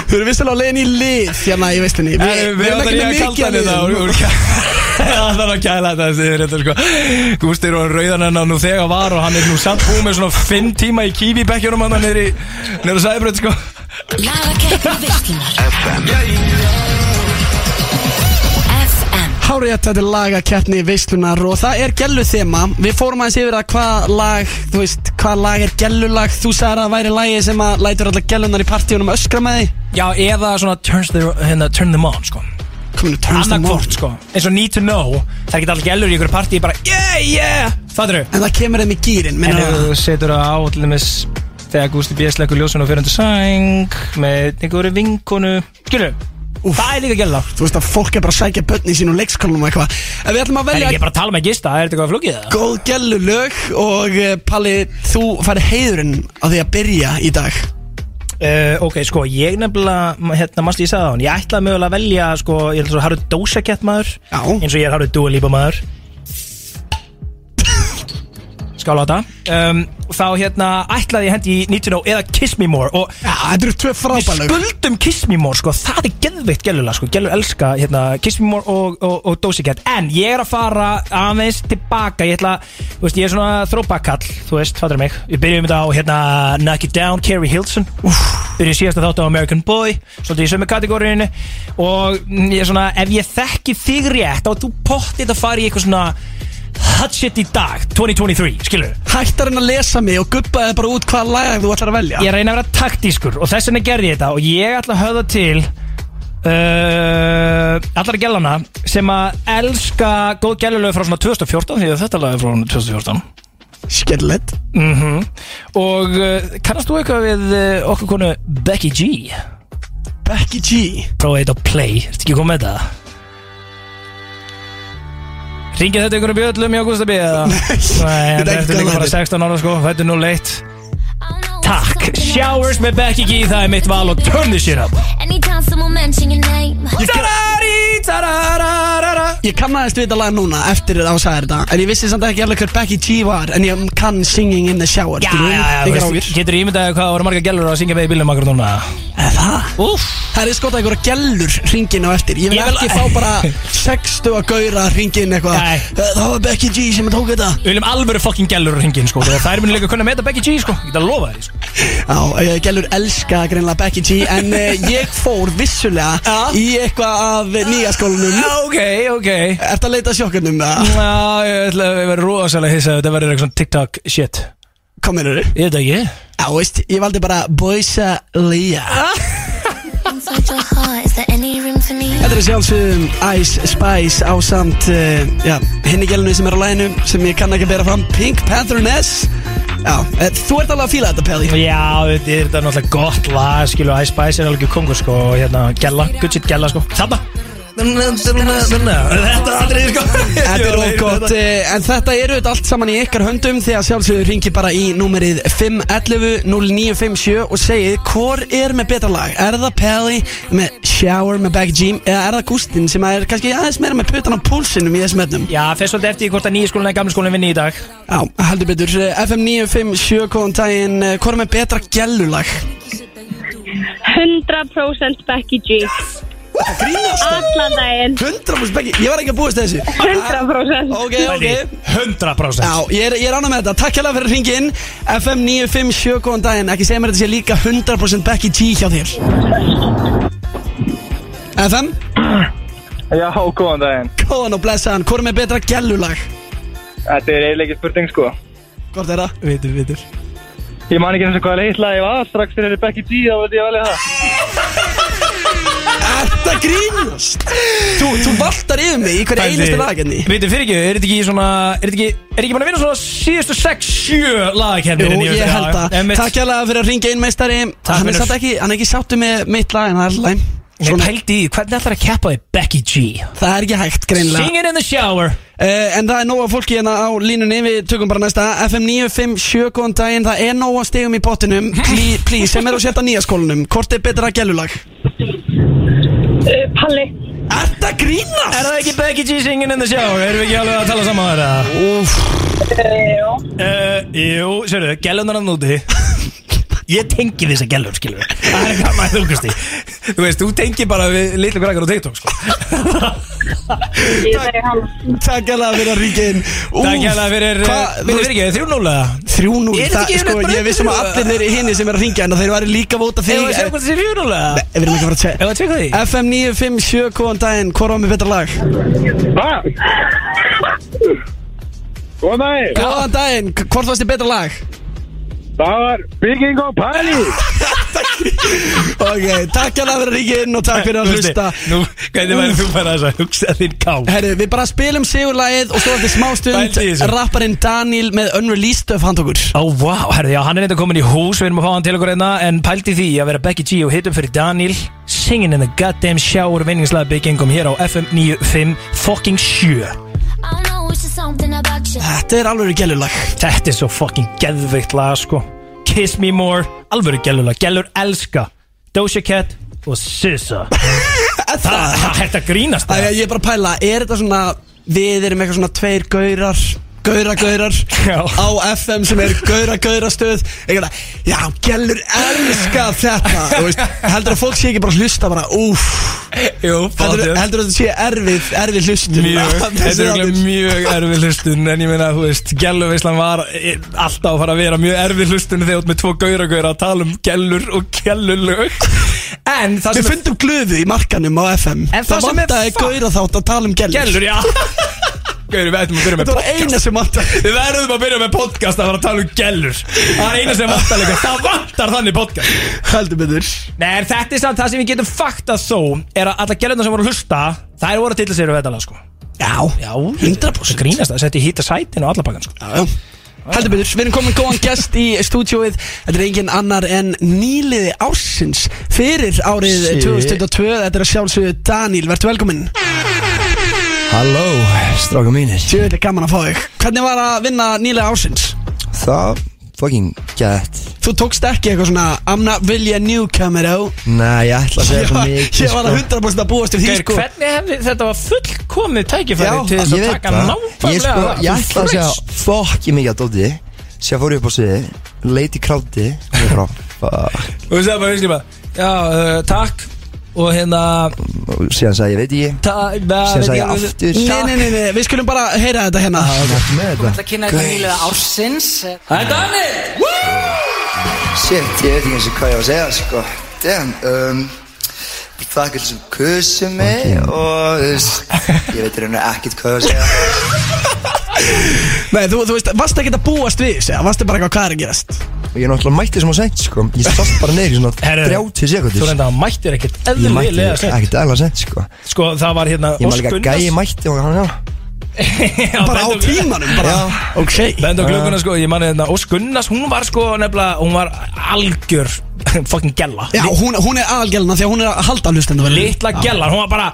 [SPEAKER 1] Við erum vissulega á leiðinni í lið Hérna í veislinni Við, við erum ekki með mikið að liðum
[SPEAKER 2] hérna, Það var kæla þetta þessi reynda sko Gústi er á rauðan hennar nú þegar var og hann er nú samt búið með svona 5 tíma í kífi bekkjunum hann niður í niður á sæbröð sko
[SPEAKER 6] Lagakeppni veislunar FM
[SPEAKER 1] Hárétt, þetta er lagakeppni veislunar og það er gellu þema Við fórum aðeins yfir að hvað lag, þú veist, hvað lag er gellulag Þú sagðir að það væri lagi sem að lætur alla gellunar í partíunum öskra með því
[SPEAKER 2] Já, eða svona turns their, hérna, turn them on sko
[SPEAKER 1] Kominu, turns
[SPEAKER 2] Anna
[SPEAKER 1] them on
[SPEAKER 2] hvort sko eins og need to know Það er ekki allir gælur í ykkur partí bara yeah yeah Hérna. Fattur þau?
[SPEAKER 1] En það kemur þeim í gýrin
[SPEAKER 2] En
[SPEAKER 1] meina-
[SPEAKER 2] ef þú setur það á allir með þegar Gústi B. slekkur ljósun og fyrir undir sæng með einhverju vinkonu Skilur
[SPEAKER 1] Úff.
[SPEAKER 2] eh, Það er líka gæla
[SPEAKER 1] Þú veist að fólk er bara að sækja börn í sínum leikskólum og eitthvað En við ætlum að
[SPEAKER 2] Það er
[SPEAKER 1] velja
[SPEAKER 2] ekki bara að tala með gista, er þetta eitthvað flókið það?
[SPEAKER 1] góð gellulög Og eh, Palli, þú færi heiðurinn á því að byrja í dag
[SPEAKER 2] Uh, ok, sko, ég nefnilega, m- hérna, mannst ég sagði á hann Ég ætlaði mögulega að velja, sko, ég ætla svo harður dósakett maður
[SPEAKER 1] Já.
[SPEAKER 2] Eins og ég er harður dúalípa maður Skála á þetta um, Þá, hérna, ætlaði ég hendi í Need to Know eða Kiss Me More Og
[SPEAKER 1] Já, þetta eru tvö
[SPEAKER 2] við
[SPEAKER 1] frábælög
[SPEAKER 2] skuldum Kiss Me More, sko, það er geðveitt gælulega, sko Gælur elska, hérna, Kiss Me More og, og, og dósakett En ég er að fara aðeins tilbaka Ég ætla, þú veist, ég er svona þrópakall, þú veist, fattur mig Við byrjum þetta á, hérna, Knock It Down, Carrie Hilson byrja síðast að þáttu á American Boy svolítið í sömu kategóriðinu og mm, ég er svona, ef ég þekki þig rétt þá ert þú pottið að fara í eitthvað svona hot shit í dag 2023, skilur
[SPEAKER 1] Hættar hann að lesa mig og guppaði bara út hvaða lag þú ætlar að velja
[SPEAKER 2] ég reyna að vera taktískur og þess vegna gerði ég þetta og ég ætla að höfða til uh, allar gælana sem að elska góð gælulegu frá svona 2014 því að þetta lag er frá svona 2014
[SPEAKER 1] Skellett
[SPEAKER 2] mm og uh, kannast þú eitthvað við uh, okkur konu Becky G
[SPEAKER 1] Becky G
[SPEAKER 2] prófa eitt á play, ertu ekki komið með þetta? Ringið þetta einhverjum bjöllum í Ágústabí eða? Nei,
[SPEAKER 1] þetta
[SPEAKER 2] þetta
[SPEAKER 1] er
[SPEAKER 2] er
[SPEAKER 1] ekki
[SPEAKER 2] líka bara
[SPEAKER 1] gaman.
[SPEAKER 2] 16 ára sko, þetta er 01 Takk, Showers með Becky G, það er mitt val og turn this shit up
[SPEAKER 6] Anytime someone mention your name
[SPEAKER 2] Þetta er í Tarararara.
[SPEAKER 1] Ég kannaðist við þetta lag núna eftir að það sagði þetta En ég vissi samt ekki alveg hver Becky G var En ég kann singing in the shower
[SPEAKER 2] Já,
[SPEAKER 1] skilurðu?
[SPEAKER 2] já, já,
[SPEAKER 1] Engar
[SPEAKER 2] veist,
[SPEAKER 1] áhyggjur.
[SPEAKER 2] getur ímyndaði hvað voru marga gælur að syngja með í bílum akkur núna
[SPEAKER 1] Er Það
[SPEAKER 2] Úff,
[SPEAKER 1] Það er skotað einhverja gellur ringin á eftir Ég vil
[SPEAKER 2] Ég vil-
[SPEAKER 1] ekki fá bara 60 að gauðra ringin eitthvað
[SPEAKER 2] Nei.
[SPEAKER 1] Eh, Það var Becky G sem tók þetta
[SPEAKER 2] við viljum alvöru fokkin gælur hringin sko, þegar þær muni líka kunna meta Becky G sko, ég get að lofa þér sko
[SPEAKER 1] Já, eh, gellur elska greinlega Becky G En eh, ég fór vissulega
[SPEAKER 2] Já.
[SPEAKER 1] í eitthvað af nýja skólanum
[SPEAKER 2] Já, Ok, ok
[SPEAKER 1] Ertu að leita að sjokkarnum? eða?
[SPEAKER 2] Já, ég ætla að vera rosalega hissa þetta verður eitthvað svona TikTok shit
[SPEAKER 1] Kom hérna þau
[SPEAKER 2] Ég veit ekki
[SPEAKER 1] Já, veist, ég valdi bara Boysa Lía
[SPEAKER 2] Ah.
[SPEAKER 5] Inside your heart, is there any room for me?
[SPEAKER 1] Þetta er að sjálfsögum Ice Spice ásamt uh, já, henni gælunni sem er á læginu sem ég kann ekki að bera fram Pink Panther Ness Já, eh, þú ert alveg að fíla þetta Pelli
[SPEAKER 2] Já, þetta er þetta náttúrulega gott lag, skilu, Ice Spice er alveg kongur sko, og hérna, gæla, good shit gæla sko Þarna Þetta atrið sko
[SPEAKER 1] Þetta er ógótt,
[SPEAKER 2] Þetta-
[SPEAKER 1] en þetta eru þetta allt saman í ykkar höndum því að sjálfsögur ringi bara í númerið 511-0957 og segið hvor er með betra lag? Er það Pelli með Shower með Baggy Jean eða er það Gustin sem er kannski aðeins meira með putan á púlsinum í þessum öllum?
[SPEAKER 2] Já, fyrst svolítið eftir því hvort að nýja skólinn eða gamla skólinn vinni í dag
[SPEAKER 1] Já, heldur betur Eh, FM 957, góðan daginn Eh, Hvor er með betra gælulag?
[SPEAKER 7] 100% Becky G
[SPEAKER 1] Grínast það?
[SPEAKER 7] Allan daginn
[SPEAKER 1] 100% Becky, ég var ekki að búast að þessu
[SPEAKER 2] Ah,
[SPEAKER 7] 100%
[SPEAKER 1] Ok, ok
[SPEAKER 2] 100%
[SPEAKER 1] Já, ég er, ég er ánað með þetta, takk hérlega fyrir hringin FM 957, góðan daginn Ekki segja mér að þetta sé líka 100% Becky G hjá þér FM,
[SPEAKER 8] Já, góðan daginn.
[SPEAKER 1] góðan og blessaðan Hvor er með betra gælulag?
[SPEAKER 8] Þetta er eiginlega ekki spurning, sko.
[SPEAKER 1] Hvort er það?
[SPEAKER 2] Vitur, vitur
[SPEAKER 8] Ég man ekki eins og hvað leitt lag ég var strax fyrir Becky G, þá veit ég velja það.
[SPEAKER 1] Þetta grínast Þú, þú valtar yfir mig í hverju einasta lagenni
[SPEAKER 2] Vitur, fyrir ekki, er þetta ekki svona Er þetta ekki, er þetta ekki mann að vinna svona síðustu 6-7 lagakefnir
[SPEAKER 1] Jú, ég held að Takk hérna, hérlega fyrir að ringa inn meistari
[SPEAKER 2] Takk,
[SPEAKER 1] Hann er
[SPEAKER 2] vinur.
[SPEAKER 1] satt ekki, hann er ekki sáttu með mitt lag En það er allæg
[SPEAKER 2] Ég
[SPEAKER 1] Svona,
[SPEAKER 2] pældi í, því, hvernig ætlar að keppa þig Becky G
[SPEAKER 1] það er ekki hægt greinlega
[SPEAKER 2] Singing in the shower
[SPEAKER 1] uh, En það er nóga fólki hérna á línunni Við tökum bara næsta FM 957 góðan daginn Það er nóga stegum í bottinum Please, please sem er á sérta nýja skólanum Hvort er betra gælulag?
[SPEAKER 7] Uh, Palli
[SPEAKER 1] Er það grínast?
[SPEAKER 2] Er það ekki Becky G singing in the shower? Erum við ekki alveg að tala saman það?
[SPEAKER 1] Úff,
[SPEAKER 2] Uh, jú, sérðu, gælunar að núti Ég tengi þess að gælum, skilur við Það er hvað maður þúkast í Þú veist, þú tengi bara við litlu grækar og TikTok, sko
[SPEAKER 7] Ég segi hann
[SPEAKER 1] Takk hérlega fyrir að ringa inn
[SPEAKER 2] Takk hérlega fyrir, eh,
[SPEAKER 1] Hvað, þú
[SPEAKER 2] fyrir,
[SPEAKER 1] veist-
[SPEAKER 2] fyrir ekki, þrjú núlega
[SPEAKER 1] Þrjú nú,
[SPEAKER 2] Er þetta
[SPEAKER 1] það,
[SPEAKER 2] ekki
[SPEAKER 1] sko,
[SPEAKER 2] bara
[SPEAKER 1] ég vissum að
[SPEAKER 2] undir-
[SPEAKER 1] allir þeirri hinni sem er að ringja en þeir væri líka að vóta þig
[SPEAKER 2] Eða að sjá
[SPEAKER 1] Eh,
[SPEAKER 2] hvort það sé þrjú núlega
[SPEAKER 1] Við erum ekki að fara að segja
[SPEAKER 2] Eða að tjekka því
[SPEAKER 1] FM 957, góðan daginn, hvað var með betra lag?
[SPEAKER 8] Hva? Góðan daginn.
[SPEAKER 1] Góðan daginn, k- hvort varst þið betra lag?
[SPEAKER 8] Það var Bygging og Pæli.
[SPEAKER 1] Ok, takk alveg fyrir ríkinn og takk fyrir að
[SPEAKER 2] Nú,
[SPEAKER 1] hlusta
[SPEAKER 2] Nú, hvernig væri þú bara þess að hugsa þinn kál
[SPEAKER 1] Herru, við bara spilum sigurlagið og svo eftir smástund
[SPEAKER 2] Pældi í þessu.
[SPEAKER 1] rapparinn Daniel með unreleased stuff hand okkur
[SPEAKER 2] Ó, vá, herðu, já, hann er eitthvað komin í hús Við erum að fá hann til okkur einna En pældi því að vera Becky G og hitum fyrir Daniel Singing in the goddamn shower Vinningslega byggingum hér á FM 95 Fucking 7
[SPEAKER 5] I don't know, it's just something about you.
[SPEAKER 1] Þetta er alveg gælulag
[SPEAKER 2] Þetta er svo fucking geðveikt lag, sko Kiss me more Alvöru gælulega, gælur elska Doja Cat og SZA Það, þetta grínast
[SPEAKER 1] Æja,
[SPEAKER 2] það
[SPEAKER 1] ég er bara að pæla, er þetta svona Við erum eitthvað svona tveir gaurar Gaura gaurar
[SPEAKER 2] Já.
[SPEAKER 1] Á FM sem er gaura gaura stöð Eitthvað, já, gælur elska þetta Þú veist, heldur að fólk sé ekki bara að hlusta bara, úff
[SPEAKER 2] Jú,
[SPEAKER 1] Heldur,
[SPEAKER 2] fattu.
[SPEAKER 1] heldur að þetta sé erfið, erfið hlustun
[SPEAKER 2] Mjög, þetta er örugglega mjög erfið hlustun En ég meina, þú veist, gæluveislan var eh, Alltaf að fara að vera mjög erfið hlustun Þegar þú ert með tvo gaura gaura að tala um gælur Og gælulög En
[SPEAKER 1] Við
[SPEAKER 2] það sem er
[SPEAKER 1] fundum glöðu í markanum á FM
[SPEAKER 2] En það sem er
[SPEAKER 1] vantaði
[SPEAKER 2] fuck-
[SPEAKER 1] gaura þátt að tala um gælur
[SPEAKER 2] gælur, já Gauri, við ætlum að byrja með
[SPEAKER 1] Þetta var eina sem vantaði
[SPEAKER 2] Við verðum að byrja með podcast að fara að tala um gælur Það er eina sem vantar líka Það vantar þannig podcast
[SPEAKER 1] Heldur betur
[SPEAKER 2] Nei, en þetta er samt það sem við getum faktað þó Er að alla gælurna sem voru að hlusta Þær voru að tilla sér við þetta lag, sko
[SPEAKER 1] Já,
[SPEAKER 2] Já,
[SPEAKER 1] 100%
[SPEAKER 2] Grínast það, setti hýta sætin og alla pakkan, sko
[SPEAKER 1] Já, já. Heldur betur, við erum komin góðan gest í stúdíóið Þetta er engin annar en nýliði ársins Fyrir árið 2022 Þetta er að sjálfsögðu Daniel, vertu velkominn
[SPEAKER 9] Halló, stráka mínir
[SPEAKER 1] Sjöðu, þetta er gaman að fá þig Hvernig var að vinna nýliði ársins?
[SPEAKER 9] Það fucking gett
[SPEAKER 1] Þú tókst ekki eitthvað svona I'm not really a newcomer á
[SPEAKER 9] Nei, ég ætla að segja
[SPEAKER 1] Ég
[SPEAKER 9] það
[SPEAKER 1] var-
[SPEAKER 9] mikið
[SPEAKER 1] ég var að
[SPEAKER 9] sko.
[SPEAKER 1] 100% að búast til því
[SPEAKER 2] Geir,
[SPEAKER 1] sko
[SPEAKER 2] hvernig hefði þetta var fullkomið tækifæri
[SPEAKER 1] Já,
[SPEAKER 2] til þess
[SPEAKER 9] Ég
[SPEAKER 2] að
[SPEAKER 9] veit
[SPEAKER 2] taka
[SPEAKER 9] það. Ég,
[SPEAKER 2] nákvæmlega
[SPEAKER 9] sko, ég ætla að segja
[SPEAKER 2] Christ.
[SPEAKER 9] fucking mikið að Dóti Sér fór ég upp á sviði Leit í kráti Og ég bara fuck
[SPEAKER 2] og við segja bara, við skiljum bara, já, uh, takk og hérna
[SPEAKER 9] Og síðan sagði ég, veit ég
[SPEAKER 2] ta- na,
[SPEAKER 9] Síðan
[SPEAKER 2] veit
[SPEAKER 9] sagði ég
[SPEAKER 2] ég-
[SPEAKER 9] aftur
[SPEAKER 1] Nei, nei, nei, nei, við skulum bara heyra þetta hérna
[SPEAKER 9] Takk með þetta
[SPEAKER 10] kynna þetta nýlega ársins
[SPEAKER 2] Það er Danir
[SPEAKER 9] Shit, ég veit ekki eins og hvað ég á að segja sko Damn um, Takk allir sem kusu mig Og þú veist, ég veit reyna ekkert hvað ég á að segja
[SPEAKER 1] Nei, þú, þú veist, varst ekki að búast við þessu, eða varstu bara eitthvað hvað er að gerast
[SPEAKER 9] Og ég náttúrulega mætti sem á sent sko Ég satt bara neyri svona 30
[SPEAKER 2] Þú
[SPEAKER 9] sekundir
[SPEAKER 2] reynda að mættir ekkert
[SPEAKER 9] Ég mætti
[SPEAKER 2] eðlilega sent
[SPEAKER 9] ekkert eðla sent sko
[SPEAKER 2] Sko, það var hérna
[SPEAKER 9] Ég maður líka
[SPEAKER 2] Ósk
[SPEAKER 9] gæi
[SPEAKER 2] Gunnars-
[SPEAKER 9] mætti og hann já
[SPEAKER 2] Já,
[SPEAKER 1] Bara á
[SPEAKER 2] bend og-
[SPEAKER 1] tímanum, bara Ok
[SPEAKER 2] Bend og glögguna sko, ég mani hérna Ósk Gunnars, hún var sko nefnilega, hún var algjör fucking gella
[SPEAKER 1] Já, hún, hún er aðalgjálna því að hún er að halda hlustenda
[SPEAKER 2] litla gellan, hún var bara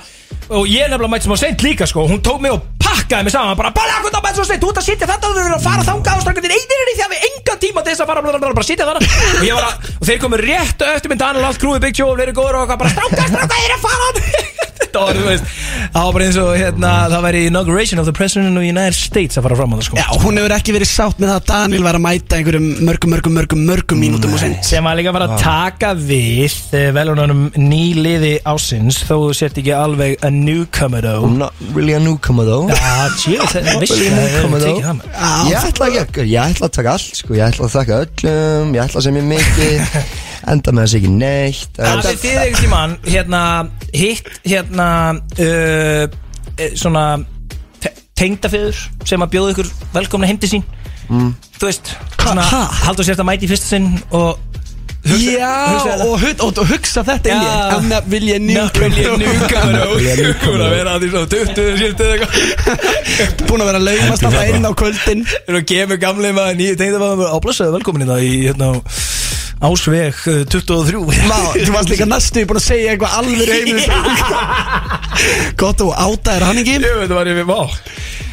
[SPEAKER 2] og ég er nefnilega mætt sem á seint líka sko hún tók mig og pakkaði mig saman bara bara hvernig að mætt sem á seint, þú ert að sitja þetta þú ert að fara þangað og strakka þér einir í því að við engan tíma til þess að fara bara, bara, bara sitja þannig og ég var að, og þeir komu rétt á eftir minn Daniel allt krúið Big Joe og verið góður og okkar bara stráka, stráka, ég er að fara þetta var, þú veist, það var bara eins og hérna, það væri inauguration of the president of the United States að fara fram á það sko
[SPEAKER 1] Já, hún hefur ekki verið sátt með það að Daniel var að mæta einhverjum mörgum, mörgum, mörgum, mörgum mínútum og sent
[SPEAKER 2] sem var líka bara að taka við velunanum nýliði ásins þó þú sért ekki alveg a newcomer though
[SPEAKER 9] I'm not really a newcomer though
[SPEAKER 2] Já, tjóðis, það
[SPEAKER 9] Not
[SPEAKER 2] vissi ég
[SPEAKER 9] really a
[SPEAKER 2] að það
[SPEAKER 9] newcomer
[SPEAKER 2] hefur tekið
[SPEAKER 9] though
[SPEAKER 2] það með
[SPEAKER 9] Ég ætla að gekka, ég ætla að taka allt sko Ég ætla að þakka öllum, ég ætla að segja mér mikið Enda með þess ekki neitt Það
[SPEAKER 2] Hafið
[SPEAKER 9] er-
[SPEAKER 2] þið einhvern tímann, hérna, hitt, hérna, uh, eh, svona te- tengdafeður sem að bjóða ykkur velkomna heim til sín Þú veist, svona,
[SPEAKER 1] ha?
[SPEAKER 2] haldur sérst að mæti í fyrsta sinn og hugsa
[SPEAKER 1] Já,
[SPEAKER 2] þetta.
[SPEAKER 1] og, hug, og, og hugsa þetta inn í
[SPEAKER 2] Já.
[SPEAKER 1] I'm not really a
[SPEAKER 2] Nákvæmlega
[SPEAKER 1] newcomer
[SPEAKER 2] njúkamera og ykkur að vera að því svona 20 sérst eða eitthvað
[SPEAKER 1] Búin að vera að laumast alltaf inn á kvöldin
[SPEAKER 2] Þeir eru að gefa gamlega maður nýju tengdafeður á blessaðu velkominni það í, hérna, Ásveg eh, 23
[SPEAKER 1] Má, þú varst líka næstu búin að segja eitthvað alveg heimil Gott og átaðir hann ekki
[SPEAKER 2] Ég veit það var ég við má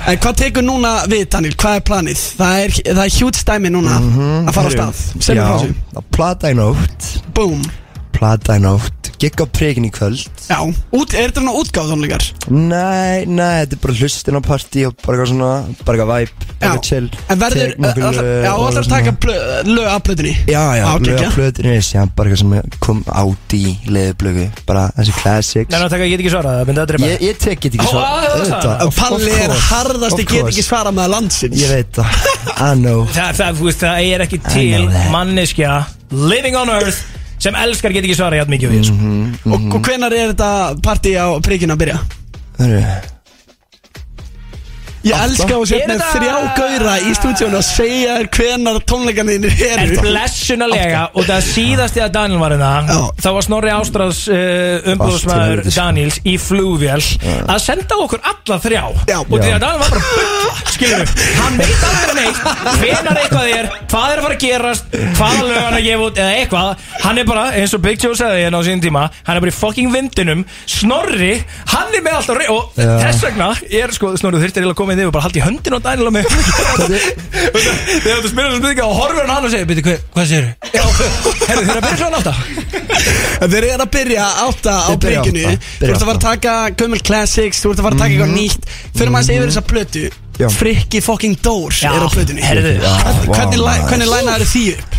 [SPEAKER 1] En hvað tekur núna við Daniel, hvað er planið? Það er, það er hjút stæmi núna
[SPEAKER 2] Mhm,
[SPEAKER 1] að fara á stað Sem er
[SPEAKER 9] Já,
[SPEAKER 1] þessu
[SPEAKER 9] að plata í nótt
[SPEAKER 1] Boom
[SPEAKER 9] Plata í nótt, gekk á prikin í kvöld
[SPEAKER 1] Já, Út, er þetta svona útgáðunleikar?
[SPEAKER 9] Nei, nei, þetta er bara hlustin á partí og bara eitthvað svona, bara eitthvað væp
[SPEAKER 1] Já,
[SPEAKER 9] eitthvað chill
[SPEAKER 1] en verður,
[SPEAKER 9] tek nokkur
[SPEAKER 1] alltaf,
[SPEAKER 9] lög
[SPEAKER 1] já, alltaf
[SPEAKER 9] og
[SPEAKER 1] að
[SPEAKER 9] svona.
[SPEAKER 1] taka plö- lög af plötunni
[SPEAKER 9] uh, hérna. Já, já,
[SPEAKER 1] Á,
[SPEAKER 9] lög
[SPEAKER 1] gekkja.
[SPEAKER 9] á plötunni, síðan bara eitthvað sem kom át í leðublögu, bara þessi classics
[SPEAKER 2] Nei, ná, taka, ég get ekki svarað, það myndi að drepa
[SPEAKER 9] Ég, ég tek get ekki
[SPEAKER 2] Ó, á, á, á,
[SPEAKER 9] svara
[SPEAKER 2] á,
[SPEAKER 9] Auðvitað, of- of
[SPEAKER 1] Palli er
[SPEAKER 9] course,
[SPEAKER 1] harðasti
[SPEAKER 9] of
[SPEAKER 1] get
[SPEAKER 9] course.
[SPEAKER 1] ekki svara með landsins
[SPEAKER 9] Ég veit það, I know
[SPEAKER 2] það, það, þú veist, það er ekki
[SPEAKER 9] I
[SPEAKER 2] til
[SPEAKER 9] know that.
[SPEAKER 2] manneskja living on earth sem elskar get ekki svara hjátt mikið við mm -hmm.
[SPEAKER 1] og,
[SPEAKER 9] Mhm.
[SPEAKER 1] og hvenar er þetta partí á prikinu að byrja?
[SPEAKER 9] Hörru,
[SPEAKER 1] Ég elska að setja
[SPEAKER 2] Er
[SPEAKER 1] með
[SPEAKER 2] þetta-
[SPEAKER 1] þrjá gauðra í stúdíónu og segja þér hvenar tónleikarnir
[SPEAKER 2] en
[SPEAKER 1] eru
[SPEAKER 2] blessunalega og það síðasti að Daniel var hérna
[SPEAKER 1] Já.
[SPEAKER 2] þá var Snorri Ástráðs uh, umbúðsmaður
[SPEAKER 9] helviti, sko.
[SPEAKER 2] Daniels í flugvél að senda okkur alla þrjá
[SPEAKER 1] Já.
[SPEAKER 2] og því að Daniel var bara að bulla, skilur við, hann veit aldrei neitt hvenar eitthvað er, hvað er að fara að gerast hvaða lög hann er að gefa út eða eitthvað hann er bara, eins og Big Joe sagði hérna á sín tíma hann er bara í fucking vindinum Snorri, hann er með alltaf rey og
[SPEAKER 9] Já.
[SPEAKER 2] þess vegna er sko, Snorri þurftir eiginlega að koma inn yfir og bara haldi í höndin á Daniel og mig þegar þú spyrir þessu spurninga og horfur hann á hann og segir "Bíddu, hva- hvað séru? herru, þeir eru að byrja svona átta
[SPEAKER 1] En Þeir eru að byrja átta á
[SPEAKER 9] Þeir byrja
[SPEAKER 1] prikinu
[SPEAKER 9] átta,
[SPEAKER 1] Þú
[SPEAKER 9] byrja
[SPEAKER 1] ert að fara að
[SPEAKER 9] átta.
[SPEAKER 1] taka Gömul Classics, þú ert að fara að taka
[SPEAKER 2] Mhm.
[SPEAKER 1] eitthvað nýtt Fyrir maður að segja yfir þessa plötu
[SPEAKER 9] Já.
[SPEAKER 1] Frikki fucking Doors
[SPEAKER 2] Já,
[SPEAKER 1] er á plötunni
[SPEAKER 2] herðu. Ah,
[SPEAKER 1] Hvernig-
[SPEAKER 9] Já,
[SPEAKER 1] Hvernig,
[SPEAKER 9] vá,
[SPEAKER 1] læ-
[SPEAKER 9] maður.
[SPEAKER 1] hvernig lænaður því upp?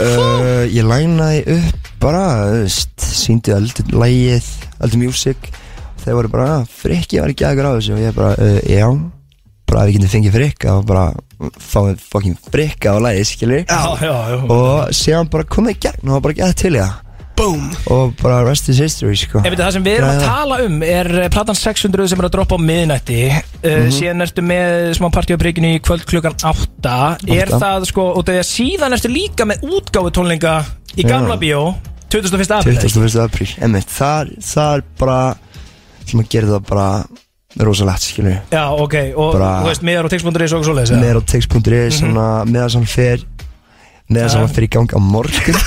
[SPEAKER 9] uh, ég lænaði upp bara, þú veist, síndi öldur lægið, öldur music Þeir voru bara, frikki var ekki aðgur á þessu og ég bara, uh, já bara ef ég geti fengið frikka og bara fáið fucking frikka á lægið, skilur
[SPEAKER 2] já, já, já
[SPEAKER 9] og síðan bara komið í gegn og bara gett til í það
[SPEAKER 1] Boom
[SPEAKER 9] og bara rest is history, sko
[SPEAKER 2] Ég veit að það sem við erum að tala um er eh, platan 600 sem er að droppa á miðnætti uh, síðan ertu með smá partíabrikinu í kvöld klukkan 8 er
[SPEAKER 9] Átta.
[SPEAKER 2] það sko, og þegar síðan ertu líka með útgáfu tónlinga í gamla
[SPEAKER 9] Já.
[SPEAKER 2] bíó 2001. apríl
[SPEAKER 9] 21. apríl Einmitt, þar, þar bara sem að gera það bara rosalegt skilur
[SPEAKER 2] Já, ok, og
[SPEAKER 9] Bra.
[SPEAKER 2] þú veist, miðar og textbúndur og svo leis
[SPEAKER 9] meðar á
[SPEAKER 2] Mhm.
[SPEAKER 9] text.is mm -hmm. meðar sem fer meðar sem að fer í gang á morgun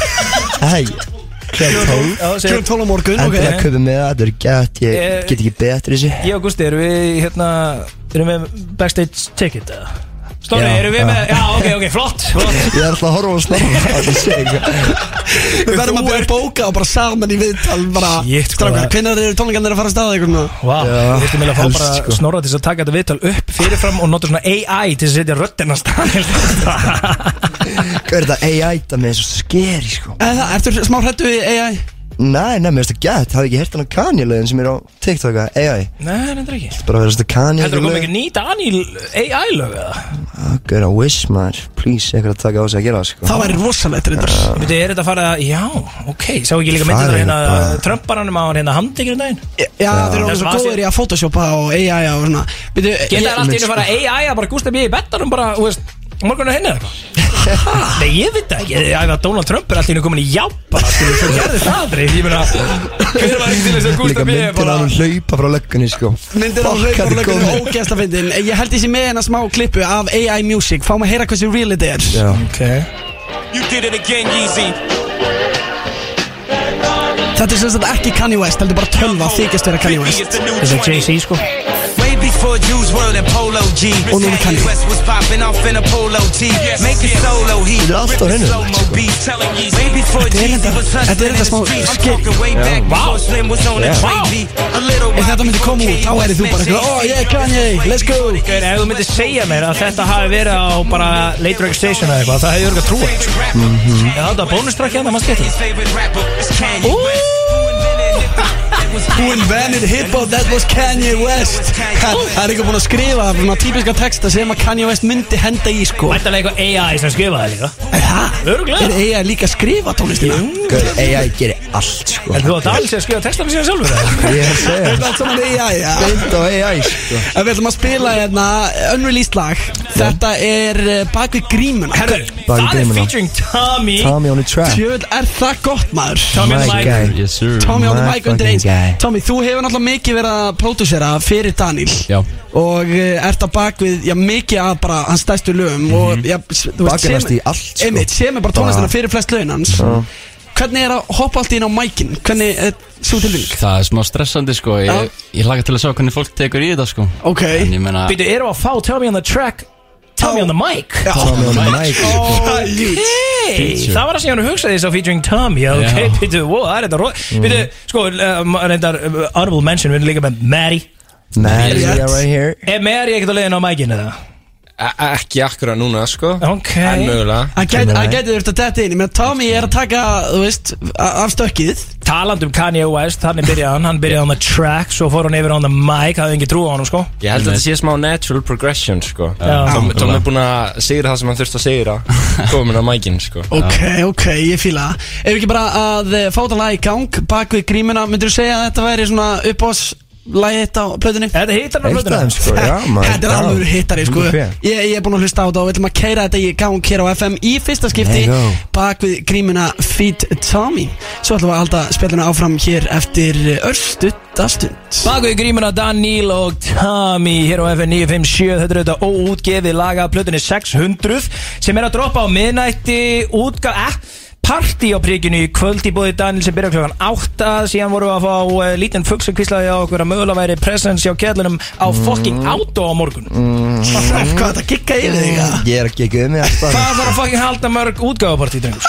[SPEAKER 9] hei kljóðan tólf
[SPEAKER 1] Kljóðum 12
[SPEAKER 2] Ég
[SPEAKER 1] á morgun, ok
[SPEAKER 9] endur að kaupa með það, þetta er gett ég
[SPEAKER 2] Eh,
[SPEAKER 9] get ekki betri þessu
[SPEAKER 2] og Gusti, erum við hérna, erum við backstage ticket eða? Stóri,
[SPEAKER 9] Já,
[SPEAKER 2] eru við
[SPEAKER 9] já.
[SPEAKER 2] með Já, ok, ok, flott, flott.
[SPEAKER 9] Ég er alltaf að horfa á snorra að sé eitthvað
[SPEAKER 1] Við verðum að byrja að bóka og bara saman í viðtal bara,
[SPEAKER 2] Shit, hvað-
[SPEAKER 1] strákar, hvenær eru tónleikarnir að fara að staða einhvern veginn?
[SPEAKER 2] Vá,
[SPEAKER 9] Já,
[SPEAKER 2] við þurfum eiginlega að fá
[SPEAKER 9] helst,
[SPEAKER 2] bara
[SPEAKER 9] sko.
[SPEAKER 2] snorra til þess að taka þetta viðtal upp fyrirfram og nota svona AI til að setja röddina stannir
[SPEAKER 9] Hvað er þetta AI það með þessu skeri sko
[SPEAKER 1] Eða það, ertu smá hrættu við AI?
[SPEAKER 9] Nei, nei, mér finnst það gett, hafði ekki hert hann á kanjulegin sem er á TikTok að AI
[SPEAKER 2] Nei, nefndir ekki
[SPEAKER 9] Bara verið þetta
[SPEAKER 2] Heldur þú komið
[SPEAKER 9] kanjulegin
[SPEAKER 2] ekki nýta Daniel AI lög eða?
[SPEAKER 9] Hvað er að wish maður, please, eitthvað að taka á sig að gera sko
[SPEAKER 1] Það væri rosalegt reyndar
[SPEAKER 2] Veitu, er þetta að fara, já, ok Sá ekki líka myndir
[SPEAKER 9] Það
[SPEAKER 2] það
[SPEAKER 9] er
[SPEAKER 2] hérna
[SPEAKER 9] bara-
[SPEAKER 2] Trömbaranum á hann hérna handtekir daginn
[SPEAKER 1] Já, þeir eru
[SPEAKER 2] Já.
[SPEAKER 1] alveg svo góðir í að photoshopa og AI og svona Býtu,
[SPEAKER 2] Geta það allt í einu
[SPEAKER 9] sko.
[SPEAKER 2] fara AI að bara gústa mér í bettanum bara, þú veist, morgun er henni eða eitthvað Nei, ég veit það ekki, ég æfði að Donald Trump er allt í einu komin í jápa Skilur, svo gerði það aldrei, ég meina Hver var ekki til þess að
[SPEAKER 9] Líka
[SPEAKER 2] gústa mér
[SPEAKER 9] myndir
[SPEAKER 2] bara
[SPEAKER 9] að hann hlaupa frá löggunni sko
[SPEAKER 1] Myndir á
[SPEAKER 9] Fuck,
[SPEAKER 1] hlaupar
[SPEAKER 9] hann er
[SPEAKER 1] lögum
[SPEAKER 9] góður.
[SPEAKER 1] ógæsta fyndin Ég held ég sé með hérna smá klippu af AI Music Fáum að heyra hversu real þetta er
[SPEAKER 9] Já,
[SPEAKER 2] Ok,
[SPEAKER 1] Þetta er sem sagt ekki Kanye West, heldur bara tölva þykist vera Kanye West
[SPEAKER 2] þess að Jay-Z sko
[SPEAKER 10] Way before Juice WRLD and Polo G.
[SPEAKER 1] Og núna Kanye.
[SPEAKER 10] West was popping off in a polo tee. Make it solo heat.
[SPEAKER 9] Þetta er alltaf reynilegt sko
[SPEAKER 10] Way before
[SPEAKER 1] Þetta er
[SPEAKER 10] Jeezy
[SPEAKER 1] enda-
[SPEAKER 10] was
[SPEAKER 1] þetta er
[SPEAKER 10] hustling in
[SPEAKER 1] enda
[SPEAKER 10] the
[SPEAKER 1] smá
[SPEAKER 10] streets. I'm
[SPEAKER 1] skeri.
[SPEAKER 10] talking way back before Slim was on the
[SPEAKER 9] Yeah.
[SPEAKER 10] train beat. A little
[SPEAKER 1] Ef þetta myndi koma út, þá væri þú bara eitthvað Oh yeah, Kanye, let's go
[SPEAKER 2] Hver, ef þú myndir segja mér að þetta hafi verið á bara late rock station eða eitthvað, það hefði örg að trúa þessu. sko.
[SPEAKER 1] Mhm.
[SPEAKER 2] Já, þetta var bónustrakk hérna, maður skemmt
[SPEAKER 1] Who invented hip-hop, that was Kanye West Ha, Það er eitthvað búin að skrifa svona típiska texta sem að Kanye West myndi henda í sko
[SPEAKER 2] Mættalega eitthvað AI sem skrifaði líka
[SPEAKER 1] Er það?
[SPEAKER 2] Örugglega.
[SPEAKER 1] Er AI líka að skrifa tónlistina?
[SPEAKER 9] Gaur, AI gerir allt sko
[SPEAKER 2] En þú átt alls að skrifa textanum síðan sjálfur eða?
[SPEAKER 9] Ég er að segja
[SPEAKER 1] Er það allt saman AI, já
[SPEAKER 9] Mynd á AI sko
[SPEAKER 1] En við ætlum að spila hérna unreleased lag Þetta er eh, bak við grímuna
[SPEAKER 2] Herru,
[SPEAKER 9] Bara
[SPEAKER 2] það
[SPEAKER 9] í
[SPEAKER 2] er
[SPEAKER 9] geiminn á.
[SPEAKER 2] featuring Tommy
[SPEAKER 9] Tommy on the track
[SPEAKER 1] Tjöfull, er það gott maður?
[SPEAKER 2] Tommy
[SPEAKER 9] My
[SPEAKER 2] Mike
[SPEAKER 9] guy
[SPEAKER 4] Yes sir
[SPEAKER 1] Tommy on the
[SPEAKER 9] Mm, My
[SPEAKER 1] mic undir
[SPEAKER 9] fucking
[SPEAKER 1] eins
[SPEAKER 9] guy.
[SPEAKER 1] Tommy, þú hefur náttúrulega mikið verið að pródúsera fyrir Daniel
[SPEAKER 4] Já.
[SPEAKER 1] Og eh, ert að bak við, já, mikið að bara hans stærstu lögum Og, já, s- þú
[SPEAKER 9] Bakið
[SPEAKER 1] sem-
[SPEAKER 9] næst Mhm. í allt, sko.
[SPEAKER 1] Einmitt, sem er bara tónlistina
[SPEAKER 9] Bara-
[SPEAKER 1] fyrir flest lögin hans Hvernig er að hoppa allt inn á mækin? Hvernig er svo tilfinning?
[SPEAKER 4] Það er smá stressandi sko
[SPEAKER 1] Já.
[SPEAKER 4] Ég, ég laka til að sjá hvernig fólk tekur í þetta sko
[SPEAKER 1] Ok
[SPEAKER 4] En ég meina
[SPEAKER 2] Býtu, erum við að fá Tommy on the track Tommy on the mic
[SPEAKER 1] Já.
[SPEAKER 9] Tommy on the mic sko.
[SPEAKER 2] Oh. Hey,
[SPEAKER 4] Feature.
[SPEAKER 2] það var það sem ég hann hugsaði þess að featuring Tommy Já, ok,
[SPEAKER 4] Já.
[SPEAKER 2] býtu, wow, það er þetta róð Býtu, sko, uh, ma- reyndar uh, honorable mention, við erum líka með Maddie
[SPEAKER 9] Man, you are right here
[SPEAKER 2] Er Maddie ekkert að leiðin á mækinu það?
[SPEAKER 10] e- Ekki akkurat núna, sko.
[SPEAKER 2] Ok
[SPEAKER 1] Hann gæti þurft að detta inn Ég meina, Tommy er að taka, þú veist, a- af stökkið
[SPEAKER 2] Taland um Kanye West, þannig byrjaði hann Hann byrjaði on the track, svo fór hann yfir on the mic Hafði engin trú á hann, sko
[SPEAKER 10] Ég held að þetta sé smá natural progression, sko.
[SPEAKER 2] Já.
[SPEAKER 10] Tom Tom er búinn að sigra það sem hann þurfti að sigra. Komin á mækinn, sko.
[SPEAKER 1] Ok, ok, ég fíla það. Ef ekki bara að eh, fá þetta lag í gang Bak við grímuna, myndir þú segja að þetta væri svona uppbóðs Lagið þetta á plöðunni?
[SPEAKER 2] Þetta hittar hann á
[SPEAKER 9] Eitt af þeim
[SPEAKER 2] plötuna
[SPEAKER 9] sko, já maður
[SPEAKER 1] Þetta er
[SPEAKER 9] já.
[SPEAKER 1] alveg hittari sko
[SPEAKER 9] Hundruð
[SPEAKER 1] ég,
[SPEAKER 9] fe.
[SPEAKER 1] ég er búinn að hlusta á þetta og við ætlum að keira þetta í gang hér á FM í fyrsta skipti
[SPEAKER 9] There you go.
[SPEAKER 1] Bak við grímuna Feed Tommy Svo ætlum við að halda spiluna áfram hér eftir örstuttastund
[SPEAKER 2] Baku í grímuna Daniel og Tommy hér á FN 957 Þetta er auðvitað óútgefið laga af plötunni 600 sem er að droppa á miðnætti útgaf eh, partí á príkinu í kvöld í bóði Daniel sem byrja klokkan 8 síðan vorum við að fá uh, lítinn fugg sem kvislaði á okkur að mögulega væri presence hjá kjallunum á fucking auto á morgun
[SPEAKER 1] Hvað er þetta gikka yfir þig? eða?
[SPEAKER 9] Ég er að gegja um mig alltaf
[SPEAKER 2] Hvað þarf að fucking halda mörg útgáfapartí drengur?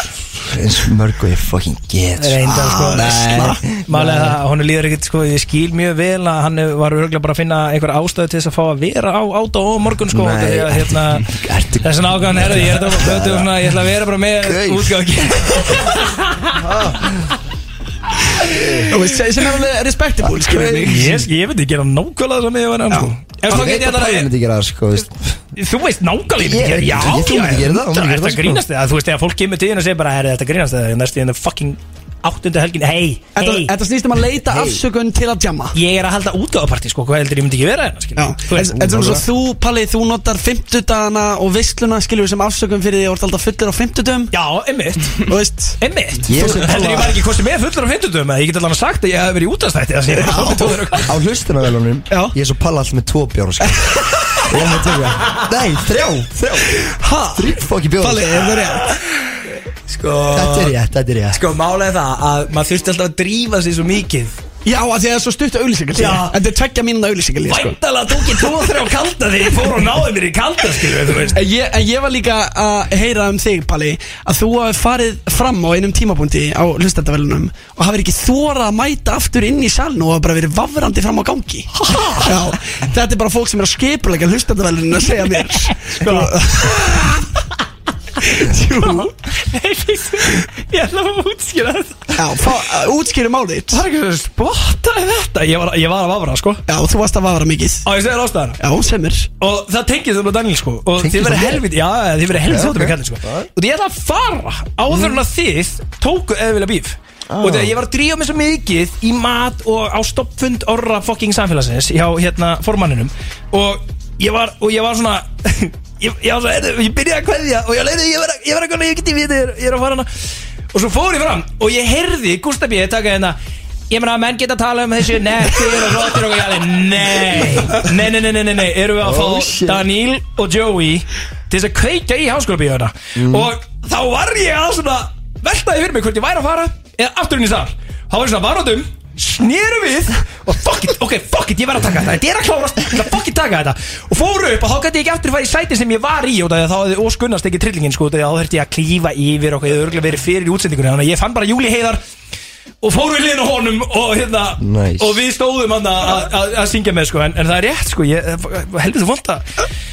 [SPEAKER 9] Eins mörg og ég fucking get sko.
[SPEAKER 2] Reyndar sko
[SPEAKER 9] Ah, nei.
[SPEAKER 2] Málega það, honum líður ekkert sko Ég skil mjög vel að hann var örgulega bara að finna einhver ástöðu til þess að fá að vera á áta og morgun sko
[SPEAKER 9] Nei,
[SPEAKER 2] Þegar, hérna,
[SPEAKER 9] ertu-
[SPEAKER 2] Þessan ágæðan herði, ég er þetta bara plötu og svona Ég ætla að vera bara með
[SPEAKER 9] Gaur.
[SPEAKER 2] útgáð
[SPEAKER 1] Þú veist, Sem er alveg respectable skilur mig
[SPEAKER 2] Ég, ég veit ekki gera nákvæmlega það með að vera hann sko En
[SPEAKER 9] Ég
[SPEAKER 2] svo
[SPEAKER 9] veit
[SPEAKER 2] get ég
[SPEAKER 9] að ég
[SPEAKER 2] þetta
[SPEAKER 9] myndi gera það sko veist.
[SPEAKER 2] Þú veist nákvæmlega ég
[SPEAKER 9] Ég-
[SPEAKER 2] myndi gera- Já,
[SPEAKER 9] ég- þú
[SPEAKER 2] já,
[SPEAKER 9] myndi gera það, hún myndi
[SPEAKER 2] já,
[SPEAKER 9] gera
[SPEAKER 2] þetta
[SPEAKER 9] það, sko.
[SPEAKER 2] grínast eða Þú veist, þegar fólk kemur til þín og segir bara "Herri, Þetta grínast eða, næstu þín fucking áttundu helgin Hei,
[SPEAKER 1] Þetta,
[SPEAKER 2] hei
[SPEAKER 1] þetta snýst um að leita afsökun til að jamma
[SPEAKER 2] Ég er að halda útgáfapartí sko, hvað heldur ég myndi ekki vera hérna
[SPEAKER 1] Já,
[SPEAKER 2] skilur?
[SPEAKER 1] en,
[SPEAKER 2] Þú veist,
[SPEAKER 1] en sem svo þú, Palli, þú notar 50 dagana og vissluna skilur sem afsökun fyrir því að þú ert alltaf fullur á 50 dagum
[SPEAKER 2] Já, einmitt
[SPEAKER 1] Þú veist,
[SPEAKER 2] Einmitt Þú-
[SPEAKER 9] Ég sem
[SPEAKER 2] Heldur
[SPEAKER 9] tala-
[SPEAKER 2] ég var ekki kostið með fullur á 50 dögum eða Ég get allan sagt að ég hef verið í útastætti Það sé ég komið tóður og
[SPEAKER 9] Á hlustunarvelunum
[SPEAKER 1] Já.
[SPEAKER 9] Ég er svo palla alltaf með tvo bjóra sko. Ég er með tvo bjóra Nei, þrjá, þrjá
[SPEAKER 1] ha,
[SPEAKER 9] Þrjú fokki bjóra
[SPEAKER 1] Palli, er það rétt?
[SPEAKER 2] Sko
[SPEAKER 9] Þetta er ég, þetta er ég
[SPEAKER 1] Sko,
[SPEAKER 9] Sko,
[SPEAKER 2] Sko málega það að maður þurfti alltaf að drífa sig svo mikið
[SPEAKER 1] Já, af því að það er svo stutt auðlýsingar
[SPEAKER 2] Já.
[SPEAKER 1] Þetta er tveggja mínuna auðlýsingar sko.
[SPEAKER 2] Væntalega tók ég tvo þrjá kalda þegar ég fór og náði mér í kalda skilur við, þú veist
[SPEAKER 1] En ég, en ég var líka að heyra um þig, Palli Að þú hafi farið fram á einum tímabúndi á hlustendavelunum Og hafið ekki þórað að mæta aftur inn í saln Og hafa bara verið vafrandi fram á gangi Já, þetta er bara fólk sem er að skipulega hlustendavelunum að segja mér Sko Jú,
[SPEAKER 2] Nei, fyrst, Ég ætla að útskýra þetta
[SPEAKER 1] já, fá- uh, útskýru málið
[SPEAKER 2] Það er ekki að spotta þetta Ég var, ég var að vafra sko
[SPEAKER 1] Já, þú varst að vafra mikið
[SPEAKER 2] Á ég segir ástæðana
[SPEAKER 1] Já, sem er
[SPEAKER 2] Og það tengið þú með Daniel sko Og
[SPEAKER 9] Tengist
[SPEAKER 2] þið verið
[SPEAKER 9] það mér?
[SPEAKER 2] helviti Já, þið verið helviti
[SPEAKER 9] Já,
[SPEAKER 2] þáttum
[SPEAKER 9] ok.
[SPEAKER 2] með kallin sko Og því ég ætla að fara Áður en að þið tóku eðvilega bíf
[SPEAKER 9] Oh.
[SPEAKER 2] Og þegar ég var að drífa mig svo mikið í mat og á stoppfund orra fokking samfélagsins hjá hérna formanninum og ég var, og ég var svona ég, ég, var svona, "Heyrðu," ég byrjaði að kveðja og ég leiði, ég verið, ég verið að kona, ég geti við þér ég er að fara hana og svo fór ég fram og ég heyrði Gustaf B. taka hérna ég meina að menn geta að tala um þessu nettir og rottir og ég alveg nei nei, nei, nei, nei, nei, nei, erum við að
[SPEAKER 9] Oh,
[SPEAKER 2] fá
[SPEAKER 9] shit.
[SPEAKER 2] Daniel og Joey til þess að kveika í háskólabíðuna og þá var ég að svona veltaði fyrir mig hvort ég væri að fara eða aftur inn í sal þá var ég svona varótum snéru við og fuck it, ok, fuck it, ég verð að taka þetta þetta er að klárast, ég verð að fuck it taka þetta og fóru upp og þá gæti ég ekki aftur að fara í sætin sem ég var í og það þá hefði óskunnast ekki trillingin sko, út af því að þá þurfti ég að klífa yfir og ég hefði örgulega verið fyrir í útsendingunni þannig að ég fann bara Júli Heiðar og fóru í liðinu á honum og, hérna,
[SPEAKER 9] Nice.
[SPEAKER 2] og við stóðum hann að- að að- að syngja með sko, en, en það er rétt sko, ég, helvita vond að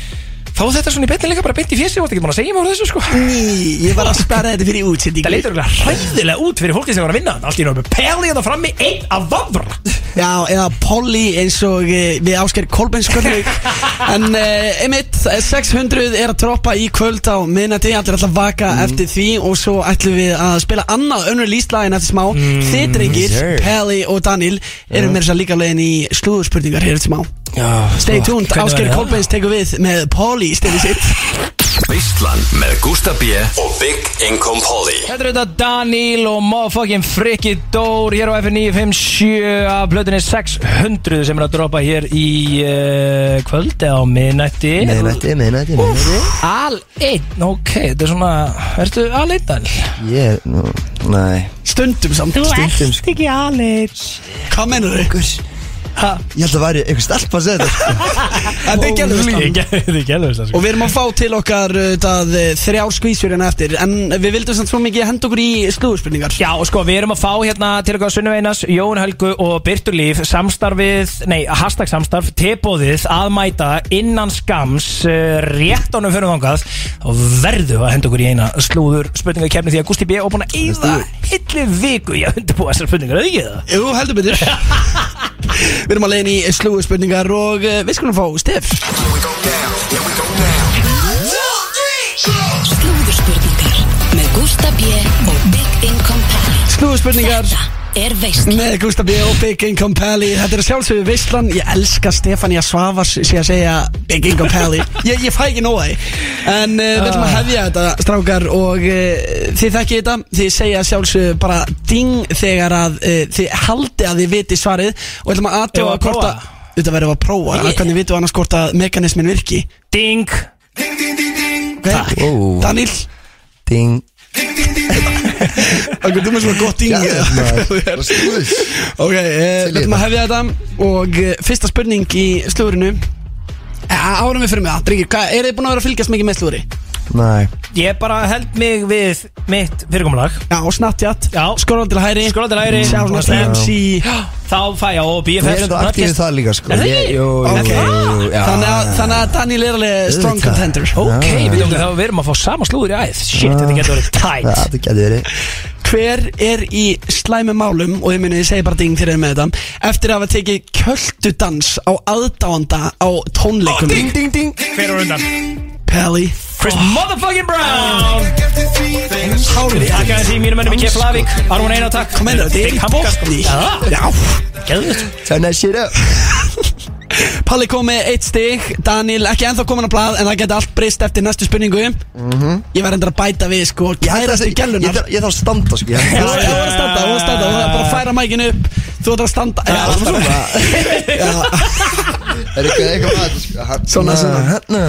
[SPEAKER 2] fá þetta svona í beinni líka bara beint í fjessi og þetta getur maður að segja mér úr þessu sko
[SPEAKER 1] Ný, ég var að sperra þetta fyrir útsendingu
[SPEAKER 2] Það leitur eitthvað hræðilega út fyrir fólki sem var að vinna þarna. Allt í náttúrulega pelið þetta frammi einn að vafra
[SPEAKER 1] Já, eða Polly eins og eh, við Ásker Kolbenskvöldug En uh, einmitt, eh, 600 er að troppa í kvöld á miðnætti Allir ætla að vaka
[SPEAKER 9] Mm.
[SPEAKER 1] eftir því Og svo ætlum við að spila annað önnur lístlægin eftir smá mm. Þið drengir,
[SPEAKER 9] Yes, sir.
[SPEAKER 1] Pelli og Daniel Eru meira þess að líka leiðin í slúðurspurningar hér eftir smá Stay tuned,
[SPEAKER 2] sko, hvernig
[SPEAKER 1] Ásker
[SPEAKER 2] verður það?
[SPEAKER 1] Kolbens tekur við með Polly í stilið sitt
[SPEAKER 11] Veistlan með Gústa B og Big Income Polly
[SPEAKER 2] Þetta er auðvitað Daniel og motherfucking Frikki Dór hér á F957 af blöðinni 600 sem er að droppa hér í uh, kvöldi á miðnætti
[SPEAKER 9] Miðnætti, miðnætti, miðnætti
[SPEAKER 2] Al einn, ok, þetta er svona, ertu al einn Daniel?
[SPEAKER 9] Ég, nú, næ
[SPEAKER 1] Stundum samt
[SPEAKER 9] Stundum sko
[SPEAKER 2] Ekki al einn
[SPEAKER 1] Hvað menur þau?
[SPEAKER 9] Guð,
[SPEAKER 2] Ha?
[SPEAKER 9] Ég held að væri einhver stelpa að segja þetta sko.
[SPEAKER 1] Þetta er gerðum við
[SPEAKER 2] Þið gerðu sko. þess að
[SPEAKER 1] Og við erum að fá til okkar uh, það, uh, þrjár skvísur en eftir En við vildum samt svo mikið henda okkur í slúðurspurningar
[SPEAKER 2] Já, og sko, við erum að fá hérna til okkar Sunnuveinas, Jón Helgu og Byrtur Líf samstarfið, nei, hashtag samstarf tebóðið að mæta innan skams uh, rétt ánum fyrir þangað og verðu að henda okkur í eina slúður spurningakefni því að Gusti B. er búin að eyða hillu viku í að undirbúa þessar spurningar, auðvitað það?
[SPEAKER 1] Jú, heldur betur Við erum að leiðin í slúðspurningar og uh, við skulum fá stef
[SPEAKER 6] Slúðurspurningar með Gústa B. og Big Income Pally
[SPEAKER 1] Slúðspurningar
[SPEAKER 6] Þetta er veist
[SPEAKER 1] með Gustaf B. og Big Income Pally Þetta er að sjálfsögðu veistlan Ég elska Stefania Svavars sé að segja Big Income Pally ég, ég fæ ekki nóg af því En uh, við
[SPEAKER 2] Ah.
[SPEAKER 1] ætlum að hefja þetta strákar og uh, þið þekkið þetta Þið segja að sjálfsögðu bara ding þegar að uh, þið haldi að þið viti svarið og við ætlum að
[SPEAKER 2] Eigum við
[SPEAKER 1] aðtjóða
[SPEAKER 2] að
[SPEAKER 1] hvort
[SPEAKER 2] prófa?
[SPEAKER 1] að Þetta verðum við að prófa yeah. Hvernig vitum við annars hvort að mekanismin virki
[SPEAKER 2] Ding!
[SPEAKER 1] Takk
[SPEAKER 9] Ó.
[SPEAKER 1] Daniel
[SPEAKER 9] Ding
[SPEAKER 1] Það er með svona gott dingi
[SPEAKER 9] Hvað stuðis
[SPEAKER 1] Ok, eh, við ætlum að hefja þetta Og eh, fyrsta spurning í slúrinu Árum við fyrir mig það, drengir Hvað, er þið búin að vera að fylgjast mikið með slúri?
[SPEAKER 9] Næ,
[SPEAKER 2] Ég bara held mig við mitt fyrirkomulag
[SPEAKER 1] Já, snattjatt
[SPEAKER 2] Já.
[SPEAKER 1] Skorðan til hæri
[SPEAKER 2] Skróla til æri,
[SPEAKER 1] Sjá svona MC
[SPEAKER 2] Þá fæ ég og
[SPEAKER 9] við
[SPEAKER 2] BFF
[SPEAKER 9] erum þetta aktífið það líka sko
[SPEAKER 2] Er það
[SPEAKER 9] Ég-
[SPEAKER 2] ekki?
[SPEAKER 9] Jú, jú,
[SPEAKER 1] Ok.
[SPEAKER 9] jú, já.
[SPEAKER 1] Þannig að, þannig að Daniel er alveg strong
[SPEAKER 9] Auðvitað.
[SPEAKER 1] contender
[SPEAKER 2] Ok,
[SPEAKER 9] Já.
[SPEAKER 2] við tókum þá við erum að fá sama slúður í æð Shit, þetta getur verið
[SPEAKER 9] Já,
[SPEAKER 2] tight
[SPEAKER 9] Þetta getur verið
[SPEAKER 1] Hver er í slæmi málum Og ég muni, ég segi bara ding þegar ég er með þetta Eftir að hafa tekið kjöldudans á aðdáanda á tónleikum oh,
[SPEAKER 2] ding, ding Hver er undan?
[SPEAKER 1] Pelli
[SPEAKER 2] Chris motherfucking Brown Takk að því mínum ennum í Keflavík Arvon Einar takk
[SPEAKER 1] Hvað meinar, þetta er
[SPEAKER 2] Dick
[SPEAKER 1] í
[SPEAKER 2] Hampkast.
[SPEAKER 1] botni
[SPEAKER 2] Já,
[SPEAKER 1] Já
[SPEAKER 2] geðvitt
[SPEAKER 9] Turn that shit up
[SPEAKER 1] Palli kom með eitt stig Daniel ekki ennþá komin á blað En það geti allt breyst eftir næstu spurningu Ég var endur að bæta við sko Kærastu
[SPEAKER 9] Mhm. Ég- ég
[SPEAKER 1] gælunar
[SPEAKER 9] þarf- Ég þarf að standa sko Ég-
[SPEAKER 1] Þú þú var að standa, þú var að standa Þú var bara að færa mækinu upp Þú var að standa Já,
[SPEAKER 9] Það er
[SPEAKER 1] alltaf.
[SPEAKER 9] svona Er eitthvað eitthvað að þetta, sko. Hanna,
[SPEAKER 1] Svona, svona.
[SPEAKER 9] hanna.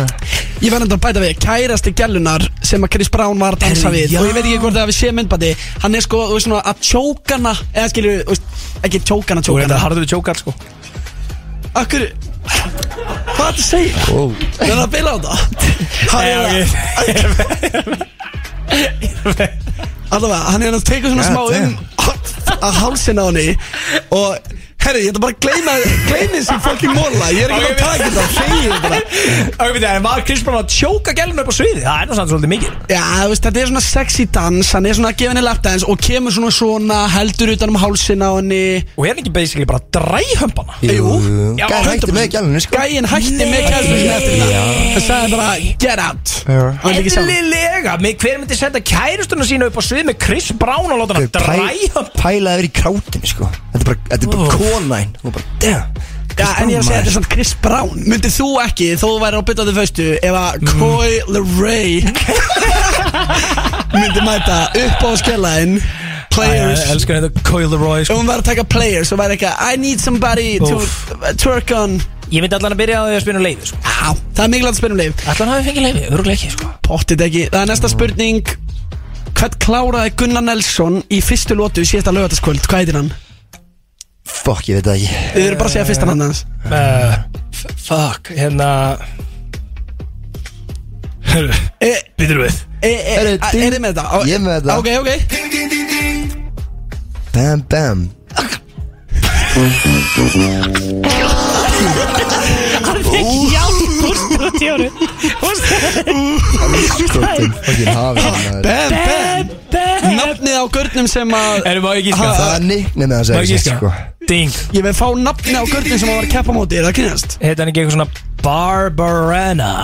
[SPEAKER 1] Ég verði enda að bæta við Kærasti gælunar sem að Chris Brown var að dansa
[SPEAKER 2] Herri,
[SPEAKER 1] við
[SPEAKER 2] já.
[SPEAKER 1] Og ég veit ekki hvort það við sé myndbandi Hann er sko, þú veist svona, að tjókana Eða skilur, þú veist, ekki tjókana,
[SPEAKER 2] Þú er þetta
[SPEAKER 1] tjókana
[SPEAKER 2] harður tjókall sko
[SPEAKER 1] Akkur, hvað það segir?
[SPEAKER 9] Ó,
[SPEAKER 1] Það er að bila á það Hann er að Allavega, hann er að teka svona
[SPEAKER 9] God
[SPEAKER 1] smá
[SPEAKER 9] damn.
[SPEAKER 1] um að hálsin á henni og herri, ég ætla bara að gleyma gleymi þessi fucking móla, ég er ekki að taka þetta þegið bara,
[SPEAKER 2] Ok, við það, var Chris Brown að tjóka gælun upp á sviði? Það er nú samt svolítið mikið
[SPEAKER 1] já, þú veist, þetta er svona sexy dans, hann er svona að gefa henni lapdance og kemur svona svona, heldur utan um hálsin á henni
[SPEAKER 2] Og er hann ekki basically bara að dræhömbana?
[SPEAKER 1] Jú,
[SPEAKER 2] Já,
[SPEAKER 9] Gæði hætti
[SPEAKER 1] 100%.
[SPEAKER 9] með gælunni sko
[SPEAKER 1] gæinn hætti með kæðinu sinni eftir þetta hann sagði bara, get out
[SPEAKER 9] Já.
[SPEAKER 1] hann vil ekki sjá hann.
[SPEAKER 2] Eðlilega, með- hver myndi senda kærustuna sína upp á svið með Chris Brown og láta hann að dræja
[SPEAKER 9] Pælaði verið í krátinu sko Þetta er bara, þetta er bara
[SPEAKER 2] Úff.
[SPEAKER 9] konæn Hún bara, damn
[SPEAKER 1] Já, en ég er að segja þetta er
[SPEAKER 9] Kristján
[SPEAKER 1] samt Chris Brown Mm. Myndið þú ekki, þó þú væri á byttandi föstu Ef að Coi LeRae Myndi mæta upp á skellaðin Players Ef
[SPEAKER 2] Elskar þetta Coileroy sko.
[SPEAKER 1] hún væri að taka players og væri eitthvað I need somebody to
[SPEAKER 2] Úff.
[SPEAKER 1] twerk on
[SPEAKER 2] Ég myndi allan að byrja á því að spila um leiði sko.
[SPEAKER 1] Á, það er mikilvægt að spyrja um leif
[SPEAKER 2] Allan hafi fengið leiði, öruglega ekki sko.
[SPEAKER 1] Pottið ekki, það er næsta spurning Hvern kláraði Gunnar Nelson í fyrstu lótu síðasta lögataskvöld? Hvað heitir hann?
[SPEAKER 9] Maður. Fuck, ég veit það ekki
[SPEAKER 1] Þið eru bara að segja fyrsta hann hans
[SPEAKER 2] uh, f- Fuck, hérna Eh. Býtur við
[SPEAKER 1] Er
[SPEAKER 9] Herru, ding.
[SPEAKER 1] þið eh, með þetta? Á-
[SPEAKER 9] Ég er með þetta.
[SPEAKER 1] Ok, ok
[SPEAKER 9] Bam, bam Skotin, fucking hafið hann, maður.
[SPEAKER 1] Bam, bam Nafnið á gurnum sem að
[SPEAKER 2] Erum við ekki sko?
[SPEAKER 1] Ha,
[SPEAKER 2] skjáð?
[SPEAKER 9] Það er nicknum hans
[SPEAKER 2] Má
[SPEAKER 9] er
[SPEAKER 2] ég
[SPEAKER 9] sett
[SPEAKER 2] giska?
[SPEAKER 9] sko
[SPEAKER 2] Ding
[SPEAKER 1] Ég vil fá nafni á görnum sem hann var að keppa á móti, er það kynast?
[SPEAKER 2] Heita hann ekki eitthvað svona Barbarana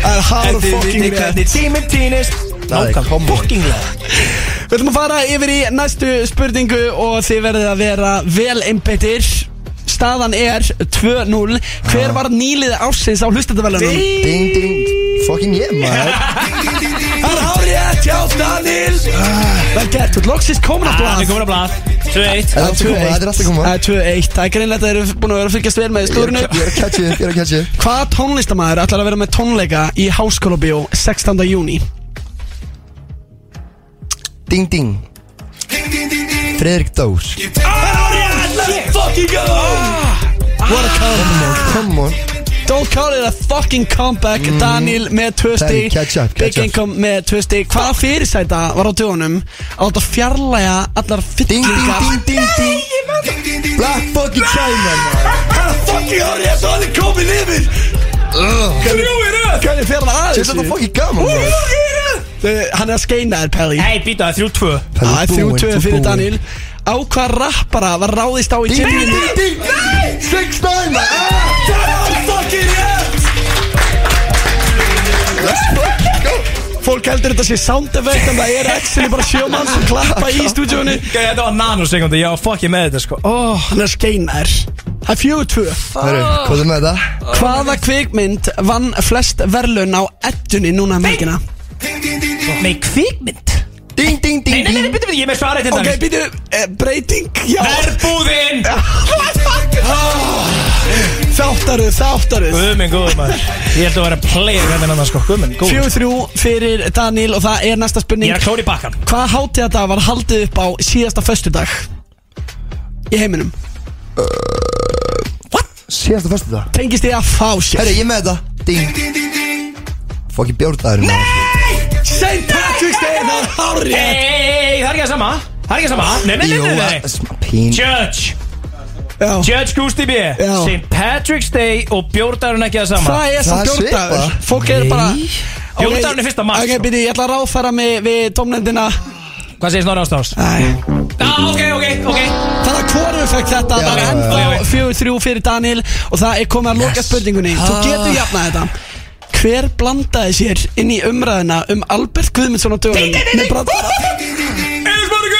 [SPEAKER 1] Það er hard og fucking rétt
[SPEAKER 2] tíminn týnist
[SPEAKER 9] Það er
[SPEAKER 2] Nákvæm
[SPEAKER 9] kombo.
[SPEAKER 2] fucking lega
[SPEAKER 1] Við ætlum að fara yfir í næstu spurningu og þið verðið að vera vel einbeittir Staðan er 2-0
[SPEAKER 9] Ah.
[SPEAKER 1] Hver var nýlið ársins á hlustatavælunum?
[SPEAKER 9] Ding, ding, fucking ég maður
[SPEAKER 1] Það er hárið hjá Daniel
[SPEAKER 9] Ah.
[SPEAKER 1] Vel gert, þú ert loksist komin á
[SPEAKER 2] Ah, Það er
[SPEAKER 1] blað
[SPEAKER 2] komin að blað 2-1
[SPEAKER 9] Það er allt að koma, þetta er allt að koma
[SPEAKER 1] Það er 2-1, það er greinlega að þeir eru búin að vera að fylgjast vel með
[SPEAKER 9] Ég
[SPEAKER 1] stúrinu
[SPEAKER 9] er að catcha upp, ég er að catcha upp
[SPEAKER 1] Hvaða tónlistamæður ætlar að vera með tónleika í Háskólabíó 16. júni?
[SPEAKER 9] Ding, ding Fredrik Dór
[SPEAKER 1] Fucking go! What a comeback
[SPEAKER 9] Come on, come on
[SPEAKER 1] Don't call it a fucking comeback Daniel með tvö
[SPEAKER 9] Það er
[SPEAKER 1] stig
[SPEAKER 9] Mm. catch up, catch
[SPEAKER 1] Big
[SPEAKER 9] up.
[SPEAKER 1] Income með tvö stig Hvaða fyrirsæta var á dögunum Átt að fjarlæga allar
[SPEAKER 9] Ding, ding,
[SPEAKER 1] fyllingar
[SPEAKER 9] ding, ding, ding Black fucking China maður.
[SPEAKER 1] Fucking árið að það er komin yfir Þrjúir upp Hvernig fer hann að
[SPEAKER 9] Þetta er
[SPEAKER 1] þessu
[SPEAKER 9] þetta fucking gaman maður.
[SPEAKER 1] Uh, Hann er að skeina þér Pelli
[SPEAKER 2] Hei, býta það er 3-2
[SPEAKER 9] Pelli,
[SPEAKER 1] Það er þrjú
[SPEAKER 9] búin,
[SPEAKER 1] tvö
[SPEAKER 9] þú
[SPEAKER 1] fyrir
[SPEAKER 9] búin.
[SPEAKER 1] Daniel Á hvað rappara var ráðist á í
[SPEAKER 9] Ding, ding,
[SPEAKER 1] tippinu
[SPEAKER 9] ding, ding Six nine Ah. maður.
[SPEAKER 1] Fólk heldur þetta sé sound effect En það er actually bara sjómann sem klappa í stúdíónu
[SPEAKER 2] Gæði, þetta var nanosekundi, ég var fucking með þetta sko
[SPEAKER 1] oh, Hann er að skeina þér Það er fjögur tvö
[SPEAKER 9] Herru, hvað er með þetta?
[SPEAKER 1] Hvaða kvikmynd vann flest verðlaun á ettunni núna um helgina?
[SPEAKER 2] Nei, kvikmynd
[SPEAKER 9] Ding, ding,
[SPEAKER 2] Nei,
[SPEAKER 9] ding,
[SPEAKER 2] nei, nei,
[SPEAKER 9] ding
[SPEAKER 2] býta, býta, ég er með svarið til
[SPEAKER 1] Ok,
[SPEAKER 2] dæmis
[SPEAKER 1] býtu, eh, breyting, já
[SPEAKER 2] Verbúðinn
[SPEAKER 1] Ah, Þáttaru, þáttaru
[SPEAKER 2] Guðminn, góður maður Ég held að vera player hérna annars sko Guðminn, góður
[SPEAKER 1] Fjögur þrjú fyrir Daniel og það er næsta
[SPEAKER 2] Ég
[SPEAKER 1] spurning
[SPEAKER 2] er að klóra í bakkan
[SPEAKER 1] Hvaða hátíða það var haldið upp á síðasta föstudag? Í heiminum
[SPEAKER 9] Síðast og fyrstu það
[SPEAKER 1] Tengist þið að fá sér
[SPEAKER 9] Herru, ég er með þetta Ding Fucking bjórdagur Nei
[SPEAKER 1] St. Patrick's Day, það er hárið
[SPEAKER 2] Nei, það er ekki að sama Það er ekki að sama Nei, nei, nei,
[SPEAKER 9] Jó,
[SPEAKER 2] nei,
[SPEAKER 9] það
[SPEAKER 2] nei
[SPEAKER 9] er smá pín
[SPEAKER 2] Judge
[SPEAKER 1] Já
[SPEAKER 2] Judge Gusti B
[SPEAKER 1] Já.
[SPEAKER 2] St. Patrick's Day og bjórdagurinn ekki að sama
[SPEAKER 1] Það er
[SPEAKER 9] Það
[SPEAKER 1] samt
[SPEAKER 9] er
[SPEAKER 1] bjórdagur
[SPEAKER 9] svipað.
[SPEAKER 1] Fólk er bara
[SPEAKER 9] Nei.
[SPEAKER 1] Ok,
[SPEAKER 2] Bjórdagurinn er fyrsta mars,
[SPEAKER 1] Ok,
[SPEAKER 2] sko.
[SPEAKER 1] býtu, ég ætla að ráðfæra mig við domnendina
[SPEAKER 2] Hvað segir Snorri Ástáðs?
[SPEAKER 1] Æ
[SPEAKER 2] Já, ok, ok, ok
[SPEAKER 1] Það er hvorið fekk þetta,
[SPEAKER 9] Já,
[SPEAKER 1] það er
[SPEAKER 9] já,
[SPEAKER 1] ennþá
[SPEAKER 2] já, já.
[SPEAKER 1] 4-3 fyrir Daniel og það er komið að loka
[SPEAKER 9] Yes. Ah.
[SPEAKER 1] spurningunni Þú getur jafnað þetta Hver blandaði sér inn í umræðina um Albert Guðmundsson og dögum með brandara?
[SPEAKER 2] Elis Mári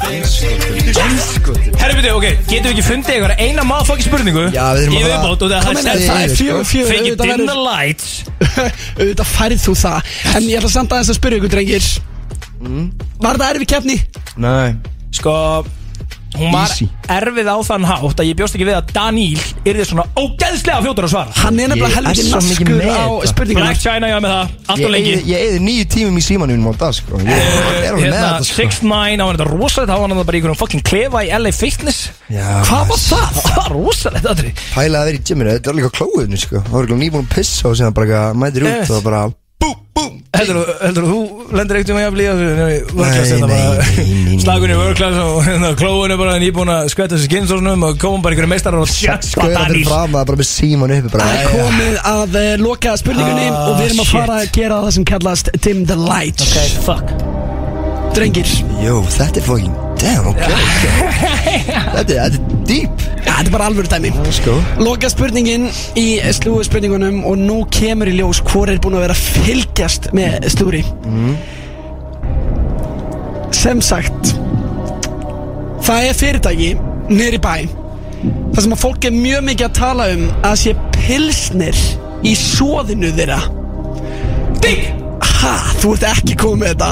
[SPEAKER 2] Guðjónsson Herri, byrju, ok, getum við ekki fundið eitthvað eina maðurfokki spurningu
[SPEAKER 9] Já, við erum
[SPEAKER 2] að fara Í
[SPEAKER 9] að fara-
[SPEAKER 2] viðbót og
[SPEAKER 1] Kom inn,
[SPEAKER 2] það er
[SPEAKER 1] Það er
[SPEAKER 9] Nei,
[SPEAKER 1] fjögur fjögur,
[SPEAKER 2] Fengi
[SPEAKER 1] auðvitað
[SPEAKER 2] dinner
[SPEAKER 1] verður-
[SPEAKER 2] lights
[SPEAKER 1] auðvitað færð þú það En ég ætla samt
[SPEAKER 9] Mm.
[SPEAKER 1] aðeins að spyrja ykkur drengir Var það erfi keppni?
[SPEAKER 9] Nei
[SPEAKER 2] Sko, Hún var
[SPEAKER 1] Easy.
[SPEAKER 2] erfið á þann hátt að ég bjóst ekki við að Daníl yrði svona ógeðslega fljótur að svara
[SPEAKER 1] Hann er nefnilega
[SPEAKER 9] Ég er
[SPEAKER 1] helviti
[SPEAKER 9] svo mikið
[SPEAKER 1] naskur
[SPEAKER 9] með
[SPEAKER 1] á
[SPEAKER 9] þetta.
[SPEAKER 1] spurningarnar
[SPEAKER 2] Black China, já með það, allt og lengi Eh,
[SPEAKER 9] Ég eði nýju tímum í símanum mínum á dag sko Ég er alveg með
[SPEAKER 2] Hérna,
[SPEAKER 9] þetta sko
[SPEAKER 2] 6ix9ine, hann var þetta rosalegt Hann var þetta bara í einhverjum fucking klefa í LA Fitness
[SPEAKER 9] Já,
[SPEAKER 2] Hvað var
[SPEAKER 9] maður.
[SPEAKER 2] það? Það var rosalegt aðri
[SPEAKER 9] Pæla að vera í gyminu, þetta er alveg á klóðinu sko Það var alveg nýbúin að pissa og síðan bara eitthvað mætir út
[SPEAKER 2] Yes.
[SPEAKER 9] og það bara
[SPEAKER 2] Heldur þú, þú lendir ekkert um að jafnlega þessu
[SPEAKER 9] Nei, nei, nei, nei, nei,
[SPEAKER 2] Vörklass
[SPEAKER 9] nei.
[SPEAKER 2] Slagun í vörklass og hérna, klóinu bara En ég er búin að skvæta þessu skinnsóknum Og komum bara einhverjum meistarar og sjötta
[SPEAKER 9] Gauðan fyrir
[SPEAKER 2] Daníl
[SPEAKER 9] fram að bara með síman uppi bara
[SPEAKER 1] Það er
[SPEAKER 9] "Jæja."
[SPEAKER 1] komið að uh, loka spurningunni
[SPEAKER 2] Ah,
[SPEAKER 1] og við erum að
[SPEAKER 2] shit.
[SPEAKER 1] fara að gera það sem kallast Dim the Lights
[SPEAKER 2] Ok, fuck
[SPEAKER 1] Drengir,
[SPEAKER 9] Jó, þetta er fucking damn, ok Þetta er, þetta er deep
[SPEAKER 1] ja, þetta er bara alvöru dæmi
[SPEAKER 9] Sko
[SPEAKER 1] Loka spurningin í slúðu spurningunum og nú kemur í ljós hvor er búin að vera að fylgjast með slúri Sem sagt Það er fyrirtæki niður í bæ Það sem að fólk er mjög mikið að tala um að sé pilsnir í svoðinu þeirra Ding! Ha, þú ert ekki komið með þetta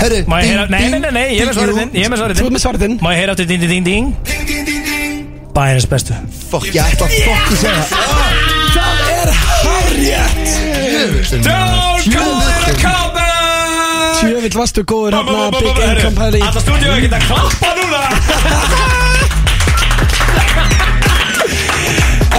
[SPEAKER 9] Herru,
[SPEAKER 2] Má ég heyra, nei, nei, nei, nei, ég er með svarið þinn Ég er með svarið
[SPEAKER 1] Þú ert
[SPEAKER 2] þinn
[SPEAKER 1] með svarið þinn
[SPEAKER 2] Má ég heyra aftur ding, ding, ding, ding Bæjarins bestu
[SPEAKER 9] Fuck, ég ætla að fucking segja
[SPEAKER 1] Það er hárjætt
[SPEAKER 2] Don't call it a comeback
[SPEAKER 1] Tjövill varstu góður hérna Big Income Pally
[SPEAKER 2] Alla stúdíu að geta klappa núna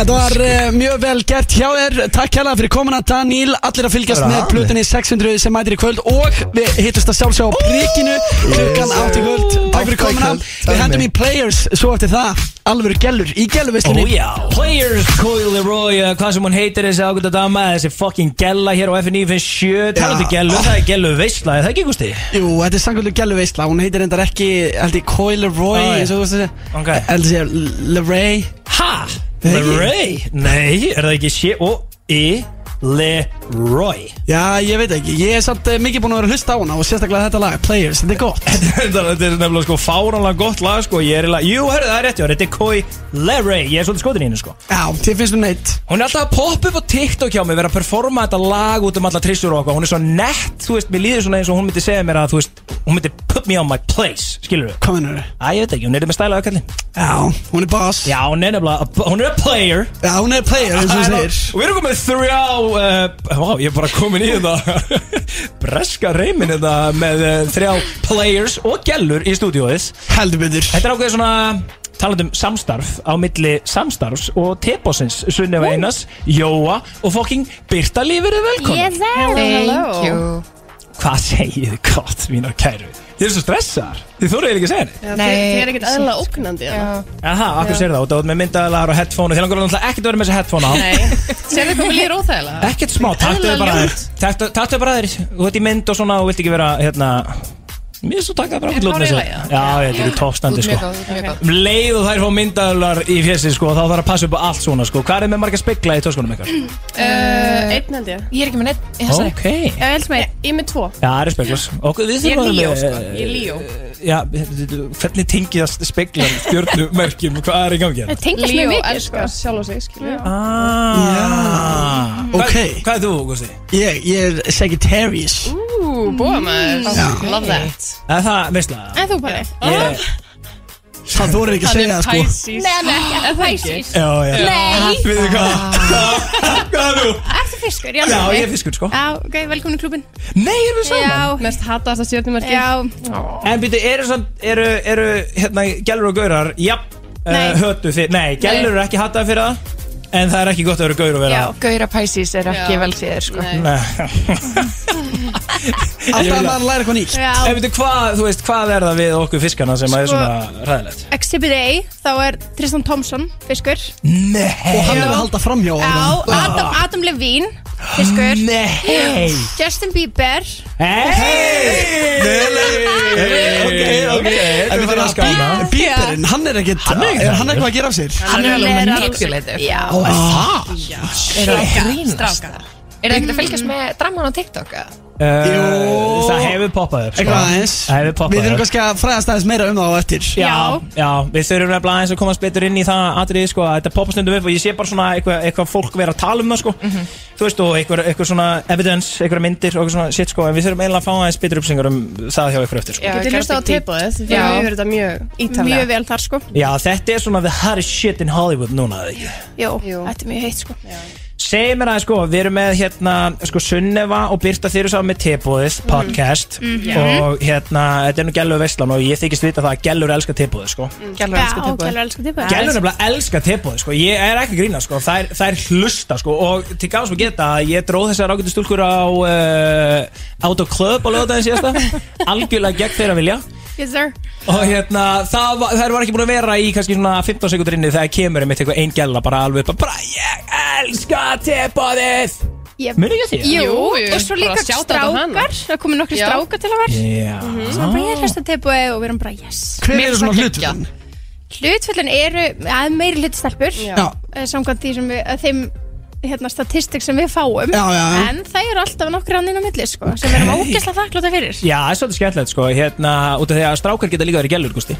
[SPEAKER 1] Þetta var uh, mjög vel gert hjá þér Takk hérlega fyrir komuna Daníl Allir að fylgjast
[SPEAKER 9] Bravo.
[SPEAKER 1] með blutinni 600 sem mætir í kvöld Og við hittast að sjálfsög á prikinu Klukkan
[SPEAKER 9] Yes.
[SPEAKER 1] átt í kvöld Takk fyrir
[SPEAKER 9] Átta í
[SPEAKER 1] komuna
[SPEAKER 9] kvöld. Takk
[SPEAKER 1] Við hendum
[SPEAKER 9] mér.
[SPEAKER 1] í Players svo eftir það Alvöru gellur í
[SPEAKER 2] Ó
[SPEAKER 1] gelluvislinni
[SPEAKER 2] já, Players, Coil Leroy, uh, hvað sem hún heitir þessi ágönda dama, þessi fucking gella hér á FNI finn sjö, talandi gellu, það er gellu veistla, er það ekki gústi?
[SPEAKER 1] Jú, þetta er sanguleg gelluvisla Hún heitir endar ekki, held ég, Coyle Roy
[SPEAKER 2] Nei.
[SPEAKER 1] eins og þú veist þessi
[SPEAKER 2] Ok.
[SPEAKER 1] Held ég að segja LeRae
[SPEAKER 2] Ha? Leroy? Nei, er það ekki sjö, og í Leroy?
[SPEAKER 1] Já, ég veit ekki Ég er samt eh, mikið búin að vera að hlusta á hana Og sérstaklega þetta lag, Players, þetta er gott
[SPEAKER 2] Þetta þetta er nefnilega sko fáránlega gott lag sko, ég er eiginlega, jú, herru, það er rétt, já, þetta er Coil Leroy, ég er svolítið skotin í hennu sko.
[SPEAKER 1] Já, þið finnst hún neitt
[SPEAKER 2] Hún er alltaf að poppa upp á TikTok hjá mig vera að performa þetta lag út um alla trissur og okkur Hún er svo nett, þú veist, mér líður svona eins og hún myndi segja mér að, þú veist, hún myndi put me on my place, skilur
[SPEAKER 1] Hvað mennur þau?
[SPEAKER 2] Æ, ég veit ekki, hún er með stæla ökallin
[SPEAKER 1] Já, hún er boss
[SPEAKER 2] Já, hún er nefnilega, hún er a player
[SPEAKER 1] Já, hún er player eins og þú segir
[SPEAKER 2] Og við erum komið þrjá uh, Vá, ég er bara komin í þetta Breska reymin þetta með uh, þrjá players og gellur í stúdíóið
[SPEAKER 1] Heldur betur
[SPEAKER 2] Þetta er ákveðið svona talandi um samstarf á milli samstarfs og tebossins Sunneva Einars, Jóa og fokking Birta Lífur er velkomin
[SPEAKER 6] Ég verði
[SPEAKER 3] Thank you
[SPEAKER 2] Hvað segið þið gott, mínar kæru? Þið eru svo stressar, þið þóruðið ekki að segja neitt
[SPEAKER 3] Nei.
[SPEAKER 12] Þið er ekkert eðla ógnandi eða?
[SPEAKER 2] Aha, akkur sér það, og það er með myndaðalar og headphone og þér langar náttúrulega ekkert að vera með þessi headphone á
[SPEAKER 12] Nei, sér þið komið líður óþægilega
[SPEAKER 2] Ekkert smá, taktu þau bara þér Taktu taktu þau bara þér, þú ert í mynd og svona og vilt ekki vera, hérna Mér er svo takað bara ekkert lót með
[SPEAKER 12] hárið
[SPEAKER 2] þessu
[SPEAKER 12] í lagi, já?
[SPEAKER 2] sko. Já, þetta eru toppstandi sko Um leið og þær fá myndaðalar í fjessi sko, þá þarf að passa upp á allt svona sko Hvað er með marga spegla í töskunum ykkar?
[SPEAKER 12] Einn held ég
[SPEAKER 3] Ég er ekki með neitt í þessari
[SPEAKER 2] Ok Já,
[SPEAKER 12] Já, ég held sem ég, ég er með tvo
[SPEAKER 2] það eru speglar Ok, við
[SPEAKER 12] Ég er
[SPEAKER 2] þurfum að
[SPEAKER 12] líó, sko, ég er líó
[SPEAKER 2] Já, hvernig tengið það speglar stjörnumerkjum, hvað er í gangi hérna?
[SPEAKER 12] Það tengast mjög mikið
[SPEAKER 3] sko.
[SPEAKER 12] Líó elskar sjálf og sig, skilju
[SPEAKER 2] Ah,
[SPEAKER 1] Ok.
[SPEAKER 2] Hvað, hvað er þú, Gusti?
[SPEAKER 1] Ég, ég er Sagittarius
[SPEAKER 12] Ú, búa maður Love that
[SPEAKER 2] Er það veistlega?
[SPEAKER 12] En þú Palli?
[SPEAKER 2] Ég,
[SPEAKER 1] Það þú eru ekki að segja það sko
[SPEAKER 12] Pisces Nei, nei, ekki Er það ekki?
[SPEAKER 2] já, já
[SPEAKER 12] Nei
[SPEAKER 2] Við þið hvað? Hvað er þú?
[SPEAKER 12] Ertu fiskur?
[SPEAKER 2] Ah. Já, ég er fiskur sko
[SPEAKER 12] Já, ok, velkomin í klubin
[SPEAKER 2] Nei, erum við saman?
[SPEAKER 12] Já Mest hata þess að stjórnumarki Já
[SPEAKER 2] En byrju, eru, samt- eru, eru hérna, gælur og gaurar Japp,
[SPEAKER 12] Nei.
[SPEAKER 2] uh, hötu fyrir Nei, gælur eru ekki hattaði fyrir það En það er ekki gott að vera gaur og vera
[SPEAKER 3] Já, Gauðra Pæsís er ekki
[SPEAKER 12] Já.
[SPEAKER 3] vel séður sko
[SPEAKER 12] Nei.
[SPEAKER 2] Nei.
[SPEAKER 1] Alltaf að maður læra eitthvað nýtt
[SPEAKER 2] En
[SPEAKER 12] Já
[SPEAKER 2] byrju, hvað, þú veist, hvað er það við okkur fiskana sem er
[SPEAKER 12] Sko-
[SPEAKER 2] svona ræðilegt?
[SPEAKER 12] Exhibit A, þá er Tristan Thompson, fiskur
[SPEAKER 2] Nei
[SPEAKER 1] Og hann er
[SPEAKER 12] Já.
[SPEAKER 1] að halda framhjá
[SPEAKER 12] Já, Adam, Adam Levine, fiskur
[SPEAKER 2] Nei
[SPEAKER 12] Justin Bieber
[SPEAKER 2] Nei Ok,
[SPEAKER 1] En
[SPEAKER 2] ok,
[SPEAKER 1] við
[SPEAKER 2] ok
[SPEAKER 1] verðum að skána Bíberinn, hann er ekkert Hann er ekkert Hann er eitthvað að gera af sér Ah,
[SPEAKER 3] Hann er alveg
[SPEAKER 12] er
[SPEAKER 3] manipulator
[SPEAKER 12] Já,
[SPEAKER 1] Það
[SPEAKER 3] Er það grín? Stráka Er það ekkert að fylgjast með draman á TikTok? eða?
[SPEAKER 2] Jú Eh, Það hefur poppað upp sko.
[SPEAKER 1] Eitthvað aðeins
[SPEAKER 2] Það hefur poppað
[SPEAKER 1] Við þurfum
[SPEAKER 2] upp.
[SPEAKER 1] kannski að fræðast aðeins meira um það á eftir
[SPEAKER 2] Já, já, við þurfum nefnilega aðeins að komast betur inn í það atriði sko að þetta poppa stundum upp og ég sé bara svona eitthvað, eitthvað fólk vera að tala um það sko þú veist og eitthvað, eitthvað svona evidence, eitthvað myndir og eitthvað svona shit sko en við þurfum eiginlega að fá aðeins betur uppsengar um það hjá ykkur eftir sko.
[SPEAKER 13] Getið hlusta á tilbúið Við
[SPEAKER 2] Já.
[SPEAKER 13] höfum verið þetta mjög ítalega
[SPEAKER 12] Mjög vel þar sko
[SPEAKER 2] Já, þetta er svona the hottest shit in Hollywood núna eða ekki
[SPEAKER 12] Jó, þetta er mjög heitt sko
[SPEAKER 2] Segir mér aðeins sko, við erum með hérna sko Sunneva og Birta þeir eru saman með Tebúðið podcast
[SPEAKER 12] Mhm.
[SPEAKER 2] og hérna, þetta er nú Gellur Veistlan og ég þykist vita það að Gellur elskar Tebúðið sko
[SPEAKER 3] Gælur elskar tilbúið.
[SPEAKER 12] Gælur elskar tilbúið
[SPEAKER 2] Gælur nefnilega elska tilbúið sko. Ég er ekki að grína sko. þær, þær hlusta sko. Og til gáðs með geta að Ég dróð þessar ágættu stúlkur á uh, Out of Club á lögðaðin síðasta Algjörlega gegn þeirra vilja
[SPEAKER 12] Yes sir
[SPEAKER 2] Og hérna, það, var- þær var ekki búin að vera í kannski svona 15 sekundur inni þegar kemur einmitt eitthvað einn gæla bara alveg upp að bara ég elska tilbúið
[SPEAKER 12] Yep.
[SPEAKER 2] Munið ekki eftir því?
[SPEAKER 12] Jú,
[SPEAKER 2] Jú,
[SPEAKER 12] og svo
[SPEAKER 2] bara
[SPEAKER 12] líka
[SPEAKER 2] að sjáta þetta á hana.
[SPEAKER 12] strákar Það komu nokkri
[SPEAKER 2] Já.
[SPEAKER 12] strákar til að vera
[SPEAKER 2] Já.
[SPEAKER 12] Svo Mhm, bara ég er hlusta tilbúið og við erum bara yes
[SPEAKER 1] Hver eru svona hlutvöldin?
[SPEAKER 12] Hlutföllin eru að meiri hlutstelpur
[SPEAKER 1] Já.
[SPEAKER 12] eh, Samkvæmt því sem við, að þeim hérna, statistik sem við fáum
[SPEAKER 2] Já, já, já.
[SPEAKER 12] En það eru alltaf nokkri anninn á milli sko, sem erum ógeðslega þakkláta fyrir
[SPEAKER 2] Já, það er svolítið skemmtilegt sko Hérna, út af því að strákar geta líka verið gælur, Gusti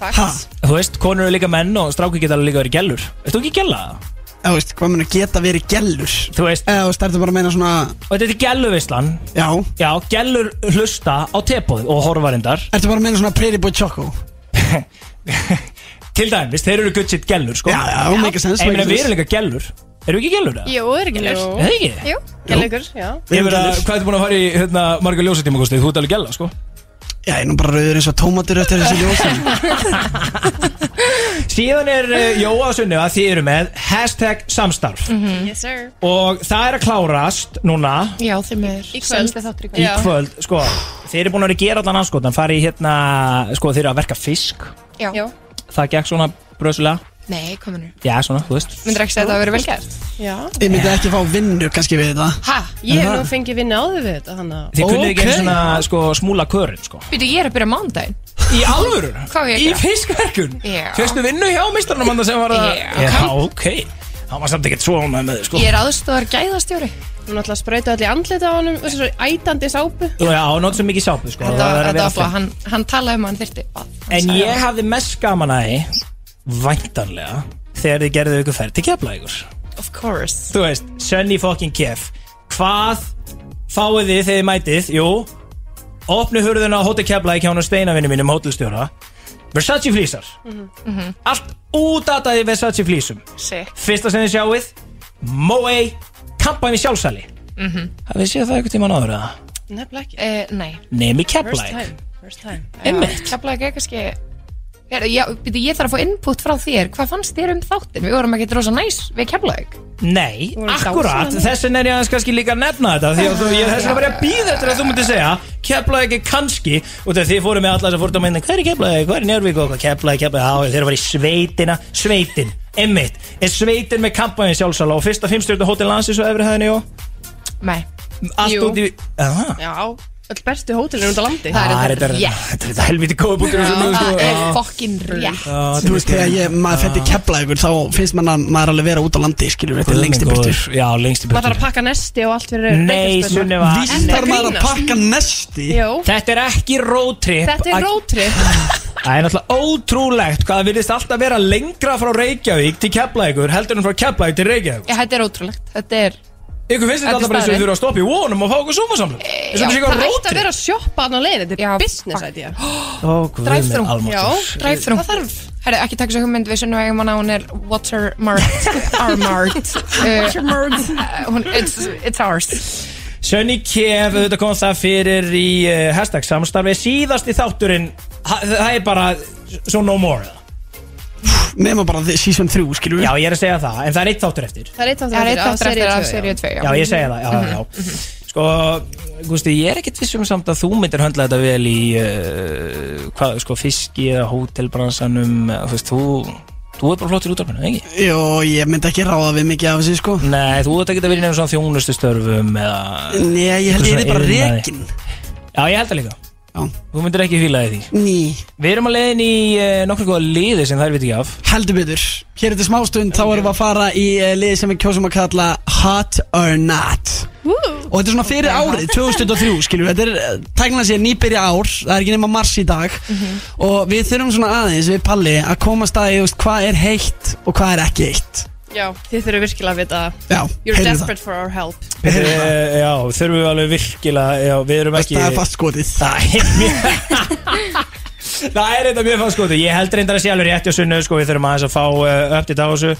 [SPEAKER 2] Þú veist, konur eru líka menn og strákar geta líka verið gælur Ertu ekki gæla?
[SPEAKER 1] Já, veist, hvað mun að geta verið gellur?
[SPEAKER 2] Þú veist
[SPEAKER 1] Eða þú startur bara að meina svona Og
[SPEAKER 2] þetta er gæluvislan
[SPEAKER 1] Já
[SPEAKER 2] Já, gælur hlusta á tepóð og horfarindar
[SPEAKER 1] Ertu bara að meina svona Pretty Boy Choco?
[SPEAKER 2] Til dæmis, þeir eru gutt sitt gælur sko Já,
[SPEAKER 1] já, make sense,
[SPEAKER 2] Ég
[SPEAKER 1] make
[SPEAKER 2] meina, við erum
[SPEAKER 1] sense.
[SPEAKER 2] líka gælur Eru ekki gælur það?
[SPEAKER 13] Jú, það er ekki ljós
[SPEAKER 2] Er það ekki?
[SPEAKER 13] Jú, gælugur, já
[SPEAKER 2] Ég meina, hvað ertu búin að fara í hérna, marga ljósatíma, Gusti? Þú ert alveg gæla, sko
[SPEAKER 1] Já, ég er nú bara rauður eins og tómatur eftir þessi ljósin
[SPEAKER 2] Síðan er uh, Jóa og Sunniva, þið eru með hashtag samstarf
[SPEAKER 13] Yes sir
[SPEAKER 2] Og það er að klárast núna
[SPEAKER 3] Já, þeim er Í
[SPEAKER 13] kvöld.
[SPEAKER 2] í kvöld, sko, þeir eru búin að vera að gera allan anskotan, fara í hérna, sko, þeir eru að verka fisk,
[SPEAKER 3] Já. Já.
[SPEAKER 2] það gekk svona bröðsulega,
[SPEAKER 3] Nei, kominu
[SPEAKER 2] já, svona, þú veist
[SPEAKER 3] Myndir ekki segja að það hafi verið vel gert?
[SPEAKER 13] Já
[SPEAKER 1] Ég myndi ekki fá vinnu kannski við þetta
[SPEAKER 3] Hæ?
[SPEAKER 13] Ég hef
[SPEAKER 1] Það-
[SPEAKER 13] nú fengið vinna áður við þetta hana
[SPEAKER 2] Þið kunnið ekki einu
[SPEAKER 13] Ok.
[SPEAKER 2] svona, sko, smúla körin, sko
[SPEAKER 3] Býtu, ég er að byrja mándaginn
[SPEAKER 2] Í alvöru?
[SPEAKER 3] Hvað á ég
[SPEAKER 2] Í
[SPEAKER 3] að gera?
[SPEAKER 2] fiskverkun?
[SPEAKER 3] Já.
[SPEAKER 2] Fyrstu vinnu hjá mistrarnum hann sem var að
[SPEAKER 3] Já.
[SPEAKER 2] Já, ok, það var samt ekkert svo ánægð með þið, sko
[SPEAKER 3] Ég er aðstofar gæðastjóri
[SPEAKER 13] Hún ætla að sprauta allir andlita á honum Þessu svo ætandi sápu
[SPEAKER 2] Já, nót sem mikið sápu, sko
[SPEAKER 3] Þetta
[SPEAKER 2] það er að
[SPEAKER 3] var
[SPEAKER 2] vera
[SPEAKER 3] bara,
[SPEAKER 2] fínt.
[SPEAKER 3] hann, hann talaði um að hann þyrti
[SPEAKER 2] En ég hafði mest gaman að því, væntanlega, þegar þið gerðu ykkur ferð til Keflavíkur
[SPEAKER 3] Of course
[SPEAKER 2] þú veist, Sunny fucking Kef hvað fáið þið þegar þið mætið, jú opnu hurðuna á Hotel Keflavík hjá hún og steinavinni mínum hótelstjóra, Versace flýsar
[SPEAKER 13] Mhm,
[SPEAKER 2] allt útataði Versace flýsum,
[SPEAKER 3] Sick
[SPEAKER 2] fyrsta sem þið sjáuð Moe kampan í sjálfsæli,
[SPEAKER 13] Mhm.
[SPEAKER 2] hafið þið séð það eitthvað tíma náður eða?
[SPEAKER 13] Nefnilega ekki
[SPEAKER 3] Eh, Nei
[SPEAKER 2] Nemi
[SPEAKER 13] First
[SPEAKER 2] Keflavík
[SPEAKER 13] time First time
[SPEAKER 2] Einmitt.
[SPEAKER 3] Keflavík er kannski Heyrðu, já, býtu, Ég þarf að fá input frá þér Hvað fannst þér um þáttin? Við vorum ekki rosa næs við Keflavík
[SPEAKER 2] Nei,
[SPEAKER 3] Voru
[SPEAKER 2] akkurat,
[SPEAKER 3] dásamlega.
[SPEAKER 2] þess vegna er ég aðeins kannski líka að nefna þetta því að þú, ég þess vegna var ég að býða eftir að þú myndir segja Keflaði ekki kannski og þegar þið fóru með alla þess að fórta að mynda Hvað er keflaði, hvað er njárvík og hvað keflaði, keflaði Þeir eru að fara í sveitina, sveitin, emmitt Er sveitin með kampanjum sjálfsala og fyrsta fimmstjörnu hótel landsins og efri hæðinni og
[SPEAKER 3] Nei
[SPEAKER 2] Allt út í Aha.
[SPEAKER 13] Já Öll bestu hótelin út á landi
[SPEAKER 2] Það er Ah, þetta
[SPEAKER 13] Já
[SPEAKER 2] þetta er þetta helviti góða bútur
[SPEAKER 3] Það er
[SPEAKER 2] Ah.
[SPEAKER 3] fokkin rétt
[SPEAKER 1] Þú veist, þegar ég, maður fætti kepla ykkur þá finnst mann að maður alveg vera út á landi skilur, þetta er lengst í burtu
[SPEAKER 2] Já, lengst í
[SPEAKER 13] Maður
[SPEAKER 2] burtu
[SPEAKER 13] þarf að pakka nesti og allt fyrir
[SPEAKER 2] Nei,
[SPEAKER 13] Reykjanesbrautina.
[SPEAKER 2] Sunniva
[SPEAKER 13] Víst þarf maður að
[SPEAKER 1] pakka nesti
[SPEAKER 13] Jó.
[SPEAKER 2] Þetta er ekki roadtrip
[SPEAKER 13] Þetta er
[SPEAKER 2] að-
[SPEAKER 13] rótrip
[SPEAKER 2] Það er náttúrulega ótrúlegt hvað það virðist alltaf vera lengra frá Reykjavík til Keflavíkur heldur en frá Keflavík til Reykjavík
[SPEAKER 3] Ég, Þetta er ótrúlegt Þetta er
[SPEAKER 2] Ykkur finnst þetta
[SPEAKER 3] Þetta er
[SPEAKER 2] alltaf bara eins og
[SPEAKER 3] staðreynd.
[SPEAKER 2] þau þurfa að stoppa í vonum og fá okkur súmasamlega Eins
[SPEAKER 13] Eh, Já, Það
[SPEAKER 2] og þau séu eitthvað
[SPEAKER 13] ætti að
[SPEAKER 2] rótri
[SPEAKER 13] vera að sjoppa hann á leiðin Þetta er business idea
[SPEAKER 2] Ó,
[SPEAKER 3] Drive-thru
[SPEAKER 13] Já,
[SPEAKER 3] Drive-thru Það þarf Herru, ekki taka svo hugmynd við sunnum eigum hana Hún er watermarked Armarked Watermarked it's, it's ours
[SPEAKER 2] Sönni Kef, þetta kom það fyrir í uh, hashtag samstarfi Síðasti þátturinn, ha, það er bara svo no more
[SPEAKER 1] Nefna bara þið- season 3 skilur
[SPEAKER 2] Já, ég er að segja það, en það er eitt þáttur eftir
[SPEAKER 13] Það er eitt
[SPEAKER 3] Það er eitt
[SPEAKER 13] þáttur
[SPEAKER 3] þáttur
[SPEAKER 13] eftir
[SPEAKER 3] eftir
[SPEAKER 13] af
[SPEAKER 3] af
[SPEAKER 13] seríu
[SPEAKER 3] seríu 2
[SPEAKER 2] Já, ég segja það, já, já, já Sko, Gústi, ég er ekkert vissum samt að þú myndir höndla þetta vel í uh, hvað, sko, fiski eða hótelbransanum, eh, þú veist, þú þú er bara flottir útdarpinu, ekki?
[SPEAKER 1] Jó, ég myndi ekki ráða við mikið af þessu sko
[SPEAKER 2] Nei, þú ert ekki að vera í nefnum svona þjónustustörfum eða
[SPEAKER 1] Nei, ég held ég
[SPEAKER 2] Eitthvað
[SPEAKER 1] er bara
[SPEAKER 2] svona iðnaði.
[SPEAKER 1] rekin
[SPEAKER 2] Já, ég held það líka Þú myndir ekki fíla í því
[SPEAKER 1] Ný
[SPEAKER 2] Við erum að leiðin í uh, nokkur góða liði sem þær veit ekki af
[SPEAKER 1] Heldur betur Hér eftir smástund þá erum við að fara í eh, lið sem við kjósum að kalla Hot or Not Og þetta er svona fyrir árið, 2003 skilur við Þetta er tækna sér nýbyrja ár Það er ekki nema mars í dag
[SPEAKER 13] Mhm.
[SPEAKER 1] Og við þurfum svona aðeins við Palli að koma staði veist, Hvað er heitt og hvað er ekki heitt
[SPEAKER 13] Já, þið þurfum virkilega að vita
[SPEAKER 1] Já,
[SPEAKER 13] You're
[SPEAKER 1] heyrðu
[SPEAKER 13] desperate for our help
[SPEAKER 2] Uh, já, þurfum við alveg virkilega já, Við erum ekki
[SPEAKER 1] Það er fast skotið
[SPEAKER 2] Það er Það er reynda mjög fann skoðu, ég held reyndar að sé alveg rétti og sunnu, sko, við þurfum aðeins að fá uh, uppdýtt á þessu.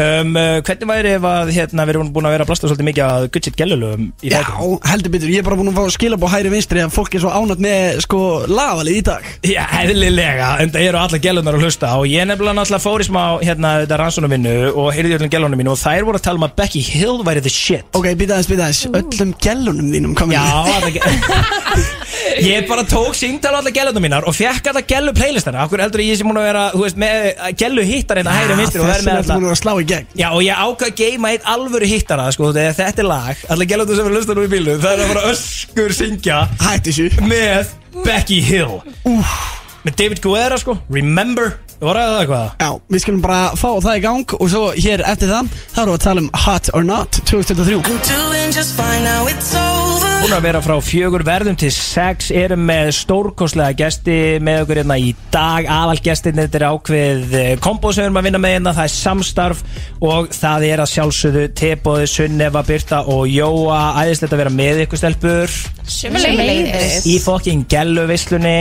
[SPEAKER 2] Um, uh, hvernig væri ef að, hérna, við erum búin að vera að blasta svolítið mikið að guttsitt gælulögum í
[SPEAKER 1] Já, heldur betur, ég er bara búin að fá skilabó hæri vinstri að fólk er svo ánætt með sko lavalið í dag
[SPEAKER 2] Já, eðlilega, en það eru alla gælunar að hlusta og ég nefnilega náttúrulega fór í smá, hérna, þetta rannsónum minnu og heyrði í öllum gælunum mínu og þær voru að tala um að Becky Hill væri the shit.
[SPEAKER 1] Ok, býta aðeins, býta aðeins, öllum gælunum þínum komið
[SPEAKER 2] Já, alla gæ- ég bara tók síndal alla gælunum mínar og fekk alla gælu playlistana, okkur heldur ég sem múin að vera, þú veist, með gælu hittar hérna hægri og vinstri og
[SPEAKER 1] Þess
[SPEAKER 2] verð
[SPEAKER 1] vegna
[SPEAKER 2] með
[SPEAKER 1] ertu
[SPEAKER 2] alla.
[SPEAKER 1] Ah, búin að slá í gegn
[SPEAKER 2] Já og ég ákvað að geima eitt alvöru hittara sko, þegar þetta er lag, allir gælum sem er að hlusta nú í bílu það er að fara öskur syngja
[SPEAKER 1] Hætti sér
[SPEAKER 2] með Becky Hill
[SPEAKER 1] Úf.
[SPEAKER 2] með David Guerra sko, Remember voru það eitthvað?
[SPEAKER 1] Já, við skulum bara fá það í gang og svo hér eftir það, þá erum við að tala um Hot or Not 2023
[SPEAKER 2] Búin að vera frá fjögur verðum til sex erum með stórkoslega gesti með okkur hérna í dag aðalgestin þetta er ákveð kombo sem við erum að vinna með hérna, það er samstarf og það er að sjálfsögðu teboði Sunnefa, Birta og Jóa æðislegt að vera með ykkur stelpur
[SPEAKER 13] Sömuleiðis.
[SPEAKER 2] í fokkin gæluvislunni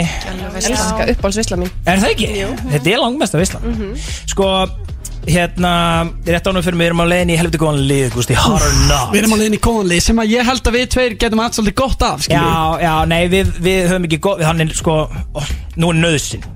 [SPEAKER 13] Elska uppáhaldsvisla mín
[SPEAKER 2] Er það ekki?
[SPEAKER 13] Jú.
[SPEAKER 2] Þetta er langmesta visla Sko, hérna Rétt ánum fyrir mig erum á leiðin í helviti góðan lið Gústi, hard or not
[SPEAKER 1] Við erum alveg inn í góðanlið sem að ég held að við tveir getum allt svolítið gott af, skiljum
[SPEAKER 2] Já, já, nei, við, við höfum ekki góð Hann er sko, ó, nú er nöðsinn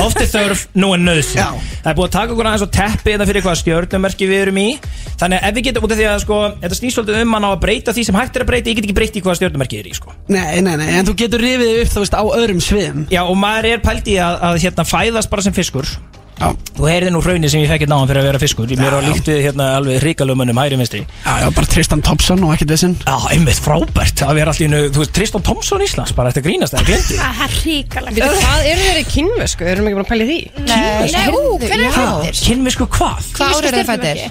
[SPEAKER 2] Oft er þörf, nú er nöðsinn Það er búið að taka okkur aðeins og teppi þetta fyrir hvað stjörnumerki við erum í Þannig að ef við getum út af því að sko Þetta snýst svolítið um að ná að breyta því sem hægt er að breyta Ég get ekki breytt í hvað stjörnumerki er í sko
[SPEAKER 1] Nei, nei, nei, en þú getur rifið þig upp, þú veist, á öðrum sviðum
[SPEAKER 2] Já, og maður er pælt í að, að hérna fæðast bara sem fiskur
[SPEAKER 1] Já.
[SPEAKER 2] Þú heyrði nú hraunir sem ég fekk hérna á hann fyrir að vera fiskur Ég mér á líkt við hérna alveg ríkalöfmönnum hæri minnstri
[SPEAKER 1] Já, já, bara Tristan Thompson og ekkert vissinn
[SPEAKER 2] Já, einmitt frábært að vera allir, þú veist, Tristan Thompson Íslands bara eftir að grínast, það er glindi
[SPEAKER 12] Það er ríkalagt
[SPEAKER 13] Veitu, Hvað eru þeir í kynvesku? Erum ekki búin að pæla í því?
[SPEAKER 12] Nei, hvernig er fættir?
[SPEAKER 2] Kynvisku hvað?
[SPEAKER 3] Hvað ár eru þið fættir?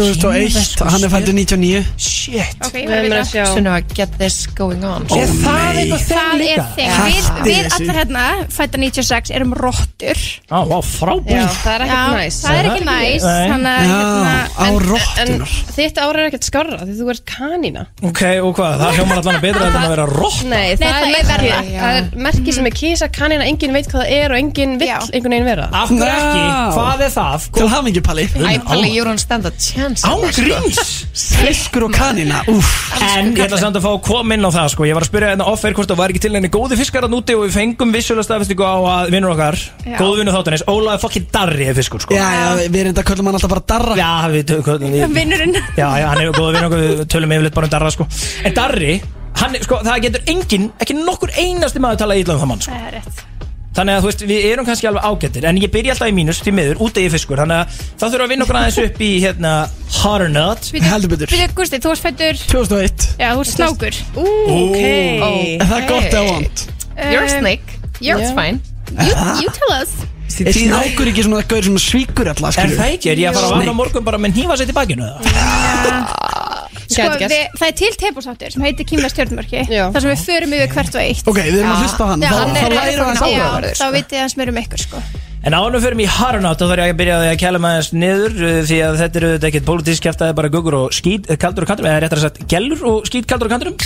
[SPEAKER 1] 2001, hann er fættur 99
[SPEAKER 2] Shit
[SPEAKER 12] Ok,
[SPEAKER 3] Við erum að sjá Sunna, get this going on
[SPEAKER 1] Ó, Er það nei. eitthvað þeim
[SPEAKER 12] Það er
[SPEAKER 1] líka?
[SPEAKER 12] þing Við,
[SPEAKER 1] Hættu
[SPEAKER 12] við
[SPEAKER 1] þessu.
[SPEAKER 12] allar hérna, fættar 96, erum rottur
[SPEAKER 2] Á, á, frábært
[SPEAKER 13] Já, það er ekkert næs.
[SPEAKER 12] Það er ekki
[SPEAKER 13] Nei.
[SPEAKER 12] næs
[SPEAKER 13] Nei.
[SPEAKER 12] Þannig að
[SPEAKER 13] Já,
[SPEAKER 12] hérna
[SPEAKER 13] á
[SPEAKER 12] en-
[SPEAKER 13] En þitt ára er ekkert skarra því þú ert kanína
[SPEAKER 2] Ok, og hvað, það hljómar allan að betra en að vera rótt
[SPEAKER 13] Nei, það,
[SPEAKER 12] það
[SPEAKER 13] er
[SPEAKER 12] er
[SPEAKER 13] merki,
[SPEAKER 12] verra.
[SPEAKER 13] það er merki sem er kisa kanína Engin veit hvað það er og engin vill einhvern veginn vera
[SPEAKER 2] Af hverju ekki? Hvað er það?
[SPEAKER 1] Til hafingi, Palli
[SPEAKER 3] Æ, Palli, you don't stand a chance
[SPEAKER 2] Án gríns
[SPEAKER 1] Fiskur og kanina, úff
[SPEAKER 2] En ég ætla samt að fá að koma inn á það sko Ég var að spyrja hérna off-air hvort það var ekki til henni góði fiskar að núti og við fengum vissulega staðfestingu á að vinnur okkar
[SPEAKER 1] Já.
[SPEAKER 2] góðu vinnu þáttanins, Ólaði fokkin darri er fiskur sko
[SPEAKER 1] Já, já, við erum þetta að köllum hann alltaf bara darra
[SPEAKER 2] Já, við tökum
[SPEAKER 12] Vinnurinn
[SPEAKER 2] Já, já, hann er góða vinn okkur, við tölum yfirleitt bara um Darra sko En Darri, hann, er- sko, það getur engin, ekki nokkur einasti maður talað ítla um það mann sko
[SPEAKER 12] Það er rétt
[SPEAKER 2] Þannig að þú veist, við erum kannski alveg ágættir En ég byrja alltaf í mínus, því miður, út í fiskur Þannig að það þurfum að vinna okkur aðeins upp í hérna Hot or not
[SPEAKER 1] Heldur betur
[SPEAKER 12] Býtu, Gústi, þú varst fættur
[SPEAKER 1] 2001
[SPEAKER 12] Já, þú ert snákur Ú,
[SPEAKER 1] Er það gott eða vond?
[SPEAKER 13] Um,
[SPEAKER 3] You're
[SPEAKER 12] Um,
[SPEAKER 3] a snake You're
[SPEAKER 12] Já.
[SPEAKER 3] fine
[SPEAKER 12] You, you tell us
[SPEAKER 1] Er snákur ekki svona gaur sem svíkur alla,
[SPEAKER 2] Er
[SPEAKER 1] skilur?
[SPEAKER 2] það ekki? Er ég að fara að vanna morgun bara með hnífa sér til bakinu? eða?
[SPEAKER 12] Sko,
[SPEAKER 2] Gæti gerst.
[SPEAKER 12] við, það er til tebúsáttur sem heitir Kímla stjórnmörki þar sem við förum yfir hvert og eitt
[SPEAKER 1] Ok, við erum að hlusta á hann,
[SPEAKER 12] Já,
[SPEAKER 1] þá-
[SPEAKER 12] er-
[SPEAKER 1] þá lærum við aðeins
[SPEAKER 12] Já,
[SPEAKER 1] áhugaverður,
[SPEAKER 12] Þá
[SPEAKER 1] sko.
[SPEAKER 12] vitið þið hans meir um ykkur sko
[SPEAKER 2] En ánum fyrir mig í Harunátt þá þarf ég að byrja á því að kæla maður aðeins niður uh, því að þetta eru þetta ekkert pólitísk kæft það er bara guggur og skýt eh, kaldur og kandurum eða réttar að sagt gellur og skýt kaldur og kandurum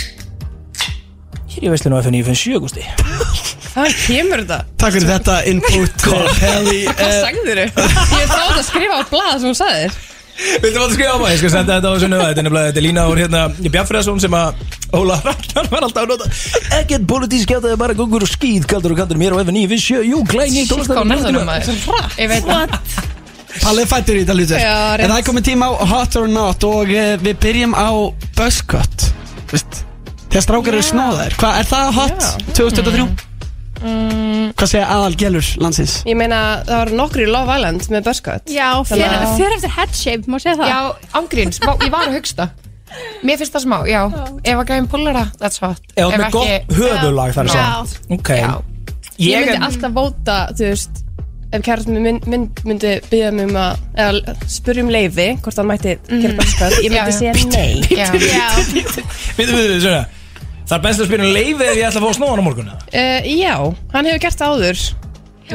[SPEAKER 2] Hér í veistlinu á FN 957 Gústi
[SPEAKER 13] Það kemur þetta Eh.
[SPEAKER 1] Takk fyrir þetta input eh, Helly
[SPEAKER 13] Hvað sagðir þau? Ég þátt að skrifa á blað sem hún sagði
[SPEAKER 2] Viltu maður skrifa á maður? Ég skal senda þetta á þessu nöða Þetta er nefnilega, þetta er lína úr hérna Bjarfriðarsson sem að Óla Ragnar var alltaf að nota Ekkert pólitísk kæft það er bara guggur og skýt kaldur og kandurum Mér á FN 957 Jú, glæni
[SPEAKER 3] Hvað nærðunum maður? Ég veit það
[SPEAKER 1] Palli er fættur í þetta lítið
[SPEAKER 3] Já, rétt.
[SPEAKER 1] En það er komið tíma á Hot or Not Og eh, við byrjum á Buzzcut Vist? Þegar strákar eru snóðar Hvað, er það hot 2023? Hvað segja aðal gelur landsins?
[SPEAKER 13] Ég meina, það var nokkri Love Island með börskött
[SPEAKER 12] Já,
[SPEAKER 13] Þannig
[SPEAKER 12] fyrir,
[SPEAKER 13] að-
[SPEAKER 12] fyrir eftir headshape, má segja það
[SPEAKER 3] Já, ángríns, ég var að hugsta Mér finnst það smá, já Ef að gæðin púlar það, that's hot
[SPEAKER 2] Ef með
[SPEAKER 3] ekki-
[SPEAKER 2] gott höfuðlag þar að
[SPEAKER 3] Já.
[SPEAKER 2] segja Ok
[SPEAKER 13] Ég,
[SPEAKER 2] Ég
[SPEAKER 13] myndi
[SPEAKER 2] er-
[SPEAKER 13] alltaf vóta, þú veist ef kærtum minn, minn myndi byggja mig um að eða spurja um leiði hvort hann mætti gera bröstkvöld ég myndi segja nei
[SPEAKER 2] Já. Við við við svona Það er best að spyrja um leiði ef ég ætla að fá að snóa hann á morgun
[SPEAKER 13] Eh, já, hann hefur gert það áður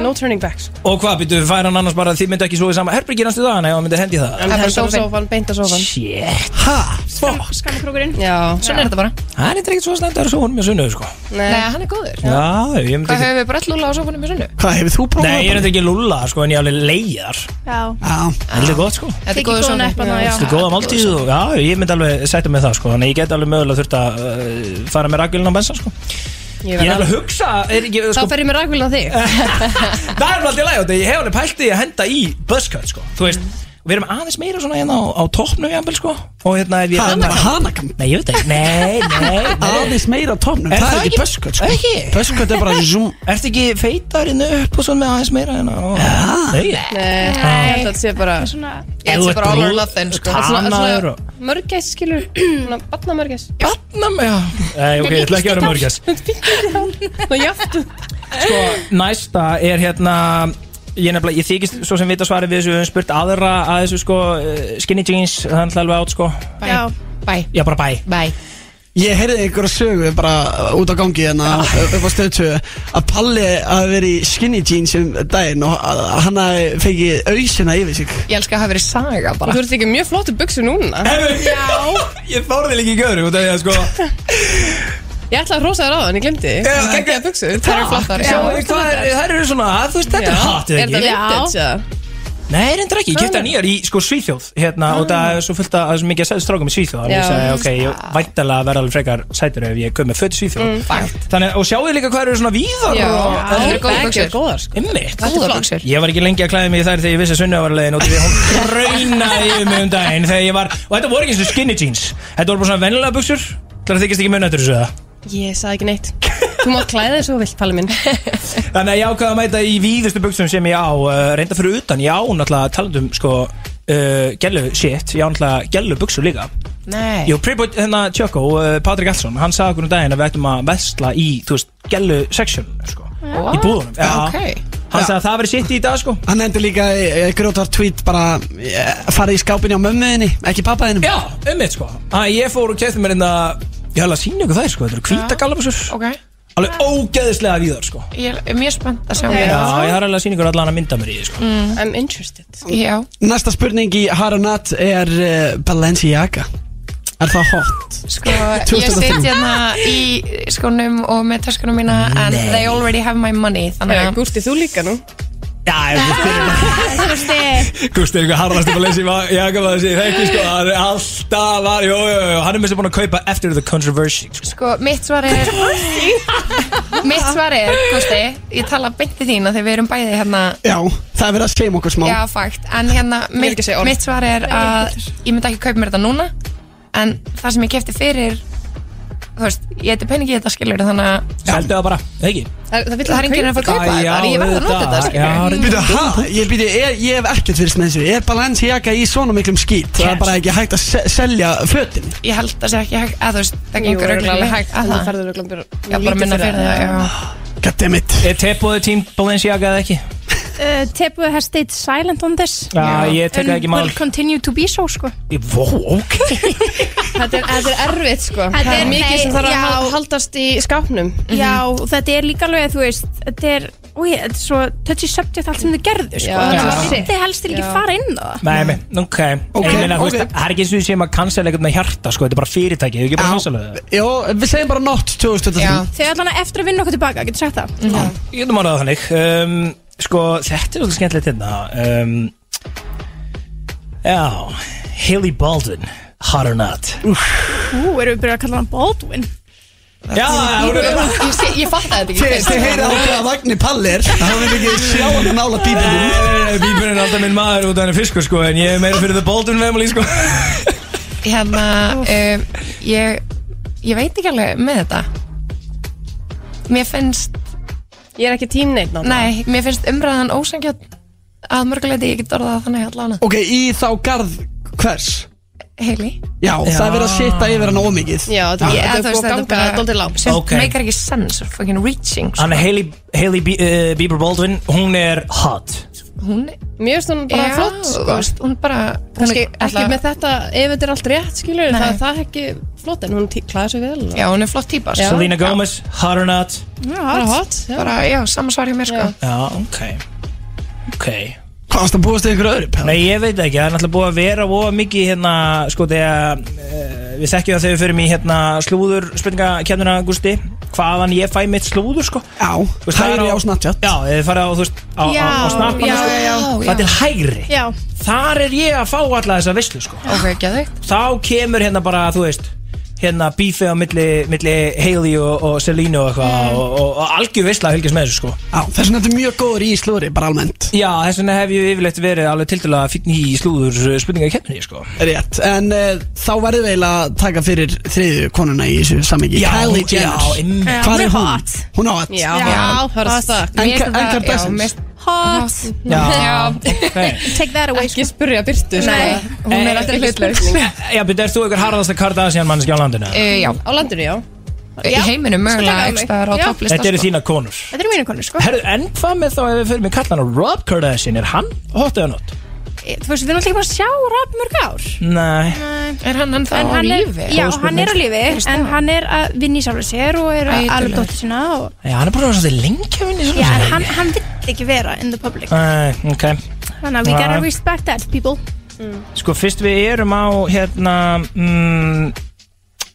[SPEAKER 13] no turning back sko.
[SPEAKER 2] Og hvað, býttu, fær hann annars bara að þið myndi ekki svo í sama herbergi næstu dagana ef hann myndi hendi í það
[SPEAKER 13] hann hefur bara sófan, beinta sófan
[SPEAKER 2] shit
[SPEAKER 13] skammakrókurinn svona
[SPEAKER 3] er þetta bara
[SPEAKER 2] Það er ekkert svo slæmt að vera svo honum með sunnu sko.
[SPEAKER 3] Nei, hann er góður
[SPEAKER 2] Já, ég myndi
[SPEAKER 3] Hvað
[SPEAKER 2] ekki
[SPEAKER 3] höfum við bara allúlega á sofunum í sunnu?
[SPEAKER 1] Hvað hefur þú
[SPEAKER 2] Nei, ég er þetta ekki lúlla sko, en ég er alveg leiðar
[SPEAKER 13] Já
[SPEAKER 2] Heldur gott sko
[SPEAKER 3] Þetta er góður
[SPEAKER 13] góðan
[SPEAKER 3] sófi.
[SPEAKER 13] eplan á, já.
[SPEAKER 2] Þetta er góða máltíð og já, ég myndi alveg setja mig það sko Þannig að ég get alveg mögulega þurft að uh, fara með rakvélina á bensan sko Ég er alveg að hugsa er ekki,
[SPEAKER 13] þá
[SPEAKER 2] sko,
[SPEAKER 13] fer ég með rækvöld á þig
[SPEAKER 2] Það er alveg alltaf læg og ég hef alveg pælt því að henda í buzzcut sko Þú veist, við erum aðeins meira svona hérna á, á toppnum jafnvel sko Og hérna ef ég
[SPEAKER 1] Það er bara hanakam
[SPEAKER 2] Nei, ég veit ekki Nei, nei, nei
[SPEAKER 1] Aðeins meira á toppnum, það
[SPEAKER 2] Er
[SPEAKER 1] er
[SPEAKER 2] það ekki-
[SPEAKER 1] ekki buskut sko.
[SPEAKER 2] Er ekki?
[SPEAKER 1] Buskut er bara zoom
[SPEAKER 2] Ertu ekki feitarinn upp og svona með aðeins meira hérna og... Nei,
[SPEAKER 13] Nei, þetta sé bara
[SPEAKER 2] Ef þú
[SPEAKER 13] Þetta
[SPEAKER 2] ert
[SPEAKER 13] er bara all or
[SPEAKER 2] brú-
[SPEAKER 13] nothing sko.
[SPEAKER 2] tanaður
[SPEAKER 13] Svona- svona
[SPEAKER 2] og-
[SPEAKER 13] Mörgæs skilur Svona batna mörgæs
[SPEAKER 2] Batna mörgæs Nei, ok, ég ætla ekki að vera mörgjast
[SPEAKER 13] Ná jaftu
[SPEAKER 2] Sko, næsta er hérna Ég nefnilega, ég þykist svo sem vita svarið við þessu Við höfum spurt aðra að þessu sko eh, Skinny jeans, það er náttúrulega alveg átt sko
[SPEAKER 3] Bæ Bæ
[SPEAKER 2] Já, bara bæ
[SPEAKER 3] Bæ
[SPEAKER 1] Ég heyrði einhverja sögu bara út á gangi hérna upp á stöðtöðu að Palli hafi verið í skinny jeans um daginn og að- að hann hafi fengið ausina yfir sig
[SPEAKER 3] Ég elska að hafa verið saga bara
[SPEAKER 13] Þú ert ekki mjög flottu buksu núna
[SPEAKER 2] Ég fór þig líka í göðru út af því að sko
[SPEAKER 13] Ég ætlaði að hrósa þér á þann, ég glemdi Gæti að buksu Það eru flottar
[SPEAKER 2] Já, veist, það er- þær eru svona, þú veist, þetta er hot eða
[SPEAKER 13] Er það
[SPEAKER 2] ekki?
[SPEAKER 13] vintage eða?
[SPEAKER 2] Nei, reyndar ekki, ég kæfti
[SPEAKER 13] Hvað Ah.
[SPEAKER 2] það nýjar í sko Svíþjóð Hérna, og það er svo fullt að, það er svo mikið að segja strákum í Svíþjóð Þannig
[SPEAKER 13] Já.
[SPEAKER 2] að ég sagði, ok, ég væntalega verða alveg frekar sætur ef ég kom með föt í Svíþjóð
[SPEAKER 13] Mm. Fakt.
[SPEAKER 2] Þannig, að- og sjáðu líka hvað eru svona víðar
[SPEAKER 13] Já,
[SPEAKER 2] og-
[SPEAKER 13] það eru góðar buxur. Góðar, sko.
[SPEAKER 2] Einmitt.
[SPEAKER 13] Þetta er flott.
[SPEAKER 2] Ég var ekki lengi að klæða mig í þær þegar ég vissi að Sunna var að leiðin og því að hún raunaði yfir mig um daginn þegar ég var, og þetta voru ekki eins og skinny jeans þetta voru bara svona vennilega buksur þannig að þykist ekki mun eftir þessu það
[SPEAKER 13] Ég sagði ekki neitt Þú mátt klæða þér svo vilt, Palli minn
[SPEAKER 2] þannig að ég ákvaði að mæta í víðustu buksum sem ég á uh, reynda fyrir utan, ég á náttúrulega talandum sko uh, gellu shit, ég á náttúrulega gellu buksur líka
[SPEAKER 3] Nei
[SPEAKER 2] Jú, Preboy, hérna Tjökko, uh, Patrik Allsson hann sagði okkur um daginn að við ættum að vesla í þú veist, gellu section sko, í búðunum Já. Hann sagði að það verið sitt í dag sko
[SPEAKER 1] Hann endur líka grótvar tweet bara eh, farið í skápinni á mömmuðinni ekki pappaðinum
[SPEAKER 2] Já, ummitt sko Æ, ég fór og kefti mér hérna Ég ætla að sína ykkur þær sko, þetta eru hvíta gallabusur
[SPEAKER 3] Ok
[SPEAKER 2] Alveg ógeðislega víðar sko
[SPEAKER 3] Ég er mjög spennt að sjá
[SPEAKER 2] Já, ég þarf alveg að sína ykkur allan að mynda mér í því sko
[SPEAKER 3] Mm.
[SPEAKER 13] I'm interested
[SPEAKER 3] Já
[SPEAKER 1] Næsta spurning í Harunat er uh, Balenciaga Er það hot?
[SPEAKER 3] Sko, ég sitt
[SPEAKER 1] 2003.
[SPEAKER 12] Ah, uh,
[SPEAKER 3] hérna í skónum og með töskunum mína and
[SPEAKER 1] Nei.
[SPEAKER 3] they already have my money þannig
[SPEAKER 13] Eh,
[SPEAKER 3] að
[SPEAKER 13] Gústi, þú líka nú
[SPEAKER 2] Já, ég
[SPEAKER 13] Gústi
[SPEAKER 2] Gústi er eitthvað harðast að leysi Jakob að þessi þekki sko Hann er alltaf var, jó, jó, jó Hann er mest búin að kaupa eftir the controversy sko.
[SPEAKER 3] Sko, mitt svar er Mitt svar er, Gusti Ég tala beint til þín að þegar við erum bæði hérna
[SPEAKER 1] Já, það er verið að seima okkur smá
[SPEAKER 3] Já, fakt, en hérna
[SPEAKER 13] vil
[SPEAKER 3] mitt,
[SPEAKER 13] ekki segja orð.
[SPEAKER 3] mitt svar er að ég myndi ekki kaupa mér þetta núna en það sem ég kefti fyrir þú veist, ég heiti peningi í þetta skilur þannig að
[SPEAKER 2] Seldu það bara, eða ekki
[SPEAKER 13] Það, það
[SPEAKER 3] Það er enginn að fara að kaupa þetta, ég verð að nota þetta, sko. skilurðu.
[SPEAKER 1] Býtu, hæ? Ég, býtu, er, ég hef ekkert fyrst með þessu Er Balenciaga í svona miklum skít? Það er bara ekki hægt að se selja fötin
[SPEAKER 3] ég held að það sé ekki hægt að þú veist, það
[SPEAKER 13] Jú,
[SPEAKER 3] gengur
[SPEAKER 13] örugglega
[SPEAKER 3] örugglega
[SPEAKER 13] alveg hægt,
[SPEAKER 3] hægt
[SPEAKER 13] en
[SPEAKER 3] að
[SPEAKER 13] þú
[SPEAKER 3] það
[SPEAKER 13] ferður örugglega bara
[SPEAKER 3] Já, bara
[SPEAKER 13] lítið
[SPEAKER 3] minna
[SPEAKER 13] fyrir
[SPEAKER 3] fyrir það, já.
[SPEAKER 1] Goddammit
[SPEAKER 2] Er teppuðu tím Balenciaga eða ekki?
[SPEAKER 12] Uh, Tepuðu has stayed silent on this
[SPEAKER 2] Já, ég tek það ekki í mál.
[SPEAKER 12] And will continue to be so sko
[SPEAKER 2] Ég- Vó, ok
[SPEAKER 13] Þetta er, þetta er erfitt sko
[SPEAKER 12] Þetta
[SPEAKER 13] Það
[SPEAKER 12] er-
[SPEAKER 13] er mikið
[SPEAKER 12] nei,
[SPEAKER 13] sem þarf að
[SPEAKER 12] já.
[SPEAKER 13] hal- haldast í skápnum
[SPEAKER 12] Já, og þetta er líka alveg, þú veist Þetta er, úi, þetta er svo touchy subject allt sem þau gerðu, sko
[SPEAKER 13] Já.
[SPEAKER 12] Þannig að
[SPEAKER 2] Já.
[SPEAKER 12] maður vildi helst ekki
[SPEAKER 13] Já.
[SPEAKER 12] fara inn á það
[SPEAKER 2] Nei, nei, ok,
[SPEAKER 1] Ok,
[SPEAKER 2] Ég meina, þú
[SPEAKER 1] ok.
[SPEAKER 2] veist, Það er ekki eins og við séum að cancel eitthvað með hjarta sko, Þetta er bara fyrirtæki, þetta er
[SPEAKER 1] Já.
[SPEAKER 2] bara hansalega
[SPEAKER 1] Jó, við segjum bara not 2023
[SPEAKER 12] Þau allan að eftir að vinna okkur tilbaka, getur sagt það
[SPEAKER 2] Já, Ég getum orðað það þannig um, Sko, þetta er svolítið skemmtilegt hérna um, Já Hailey Baldwin Hot or not
[SPEAKER 12] Ú, erum við byrjað að kalla hann Baldwin
[SPEAKER 2] Já, hún er
[SPEAKER 3] Ég, sé- ég fatt þetta ekki
[SPEAKER 1] Þi- Þið heyrið á hvað Vagni Pallir Það vil ekki sjá hann nála bíbelum
[SPEAKER 2] Bíbjörn Eh, er alltaf minn maður út af henni fiskur sko En ég er meira fyrir The Baldwin family sko
[SPEAKER 3] Hérna, um, ég, ég veit ekki alveg með þetta Mér finnst
[SPEAKER 13] Ég er ekki tím neitt náttúrulega
[SPEAKER 3] Nei, mér finnst umræðan ósangjöld að mörguleiti ég get orðað það þannig allan
[SPEAKER 1] Ok, í þá garð hvers?
[SPEAKER 3] heili
[SPEAKER 1] Já, það er verið að sitta yfir hana ómikið
[SPEAKER 13] Já,
[SPEAKER 3] þetta er- þetta er búið að ganga dálítið langt. Sem
[SPEAKER 2] Ok.
[SPEAKER 3] meikar ekki sens fucking reaching sko.
[SPEAKER 2] Hann er Hailey, Hailey Bie- eh, Bieber Baldwin, hún er hot
[SPEAKER 3] hún
[SPEAKER 13] Mér finnst hún bara
[SPEAKER 3] Já,
[SPEAKER 13] flott
[SPEAKER 3] þú
[SPEAKER 13] sko.
[SPEAKER 3] veist, hún bara
[SPEAKER 13] Kannski
[SPEAKER 3] hún er-
[SPEAKER 13] ekki
[SPEAKER 3] alla-
[SPEAKER 13] með þetta ef þetta er allt rétt skilur
[SPEAKER 3] Nei.
[SPEAKER 13] það, það er ekki flott en hún tí- klæðir sig vel og-
[SPEAKER 3] Já, hún er flott típa sko.
[SPEAKER 2] Selena Gomez, hot or not
[SPEAKER 3] Já,
[SPEAKER 13] Bara hot,
[SPEAKER 3] hot
[SPEAKER 13] já.
[SPEAKER 3] Bara, já, sama svar hjá mér sko
[SPEAKER 2] Já, ok Ok
[SPEAKER 1] Hvað varst að búast til ykkur öðru?
[SPEAKER 2] Nei, ég veit ekki, það er náttúrulega búið að vera óa mikið hérna, sko, þegar uh, við þekkjum það þegar við förum í hérna slúður spurningakennuna, Gusti hvaðan ég fæ mitt slúður, sko
[SPEAKER 1] Já,
[SPEAKER 2] veist, það er
[SPEAKER 1] hægri
[SPEAKER 2] á-
[SPEAKER 1] á Snapchat
[SPEAKER 2] Já, þið farið á, þú veist, á, á, á snappan,
[SPEAKER 13] já,
[SPEAKER 2] sko.
[SPEAKER 13] já, já.
[SPEAKER 2] Það er til hægri
[SPEAKER 13] Já,
[SPEAKER 2] Þar er ég að fá alla þessa veislu, sko
[SPEAKER 3] Ok, geðvikt
[SPEAKER 2] Þá kemur hérna bara, þú veist hérna bífið á milli, milli Hailey og, og Selena og eitthvað og, og, og algjör veisla að fylgjast með þessu, sko
[SPEAKER 1] Já, þess vegna þetta er mjög góður í slúðri, bara almennt
[SPEAKER 2] Já, þess vegna hef ég yfirleitt verið alveg tildulega fínn í slúður spurningakenninni, sko
[SPEAKER 1] Rétt, en uh, þá verðum við eiginlega að taka fyrir þriðju konuna í þessu samhengi
[SPEAKER 2] Já,
[SPEAKER 1] Kylie
[SPEAKER 2] já,
[SPEAKER 1] Jenner
[SPEAKER 2] einmitt. Já,
[SPEAKER 1] Hvað er
[SPEAKER 2] hún er
[SPEAKER 1] hún?
[SPEAKER 2] hot.
[SPEAKER 1] Hún er hot
[SPEAKER 13] Já, hörðu það
[SPEAKER 1] En Ka- en Kardashians?
[SPEAKER 13] Hot
[SPEAKER 2] Já, ok.
[SPEAKER 13] Take that away Ekki spurja Byrtu sko.
[SPEAKER 3] Nei, hún er
[SPEAKER 13] Eh,
[SPEAKER 3] alltaf
[SPEAKER 13] ekki
[SPEAKER 3] hlutlaus.
[SPEAKER 13] spurning.
[SPEAKER 2] Já, betur, ert þú ykkur harðasta Kardashian mannski á landinu?
[SPEAKER 3] Eh, Já, Eh,
[SPEAKER 13] Á landinu, já
[SPEAKER 3] í heiminum
[SPEAKER 13] Skal
[SPEAKER 3] mögulega
[SPEAKER 13] taka
[SPEAKER 3] ekki staðar á
[SPEAKER 13] mig. Já.
[SPEAKER 3] topplista
[SPEAKER 2] Þetta eru
[SPEAKER 3] sko.
[SPEAKER 2] þína konur
[SPEAKER 13] Þetta eru mínu konur sko
[SPEAKER 2] Herru, en hvað með þá ef við fyrir mig kallan á Rob Kardashian, er hann hot eða not?
[SPEAKER 12] Eh, Þú veist, við erum alltaf ekki bara að sjá rap mörg ár
[SPEAKER 2] Nei
[SPEAKER 3] Er hann ennþá
[SPEAKER 12] En
[SPEAKER 3] á
[SPEAKER 12] hann er-
[SPEAKER 3] lífi?
[SPEAKER 12] Já,
[SPEAKER 2] Góð spurning.
[SPEAKER 12] hann er á lífi En hann er að vinna í sjálfur sér og er að
[SPEAKER 3] Ægilegur.
[SPEAKER 12] alveg dóttir sína og
[SPEAKER 2] Já, hann er bara svolítið lengi að vinna í
[SPEAKER 12] Já, en
[SPEAKER 2] svona
[SPEAKER 12] hann, hann vill ekki vera in the public
[SPEAKER 2] Nei, ok
[SPEAKER 12] Þannig að we gotta
[SPEAKER 2] Nei.
[SPEAKER 12] respect that people
[SPEAKER 2] Sko, fyrst við erum á hérna mm,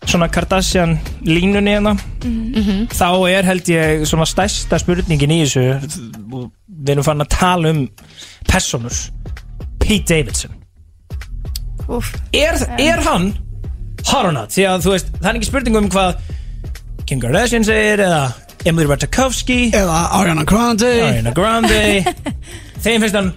[SPEAKER 2] svona Kardashian línunni hérna þá er held ég svona stærsta spurningin í þessu og við erum farin að tala um personur Pete Davidson
[SPEAKER 12] Úf,
[SPEAKER 2] er, er hann hot or not? Því að þú veist, það er ekki spurning um hvað Kim Kardashian segir eða Emily Ratajkowski
[SPEAKER 1] eða Ariana Grande
[SPEAKER 2] Ariana Grande Þeim finnst hann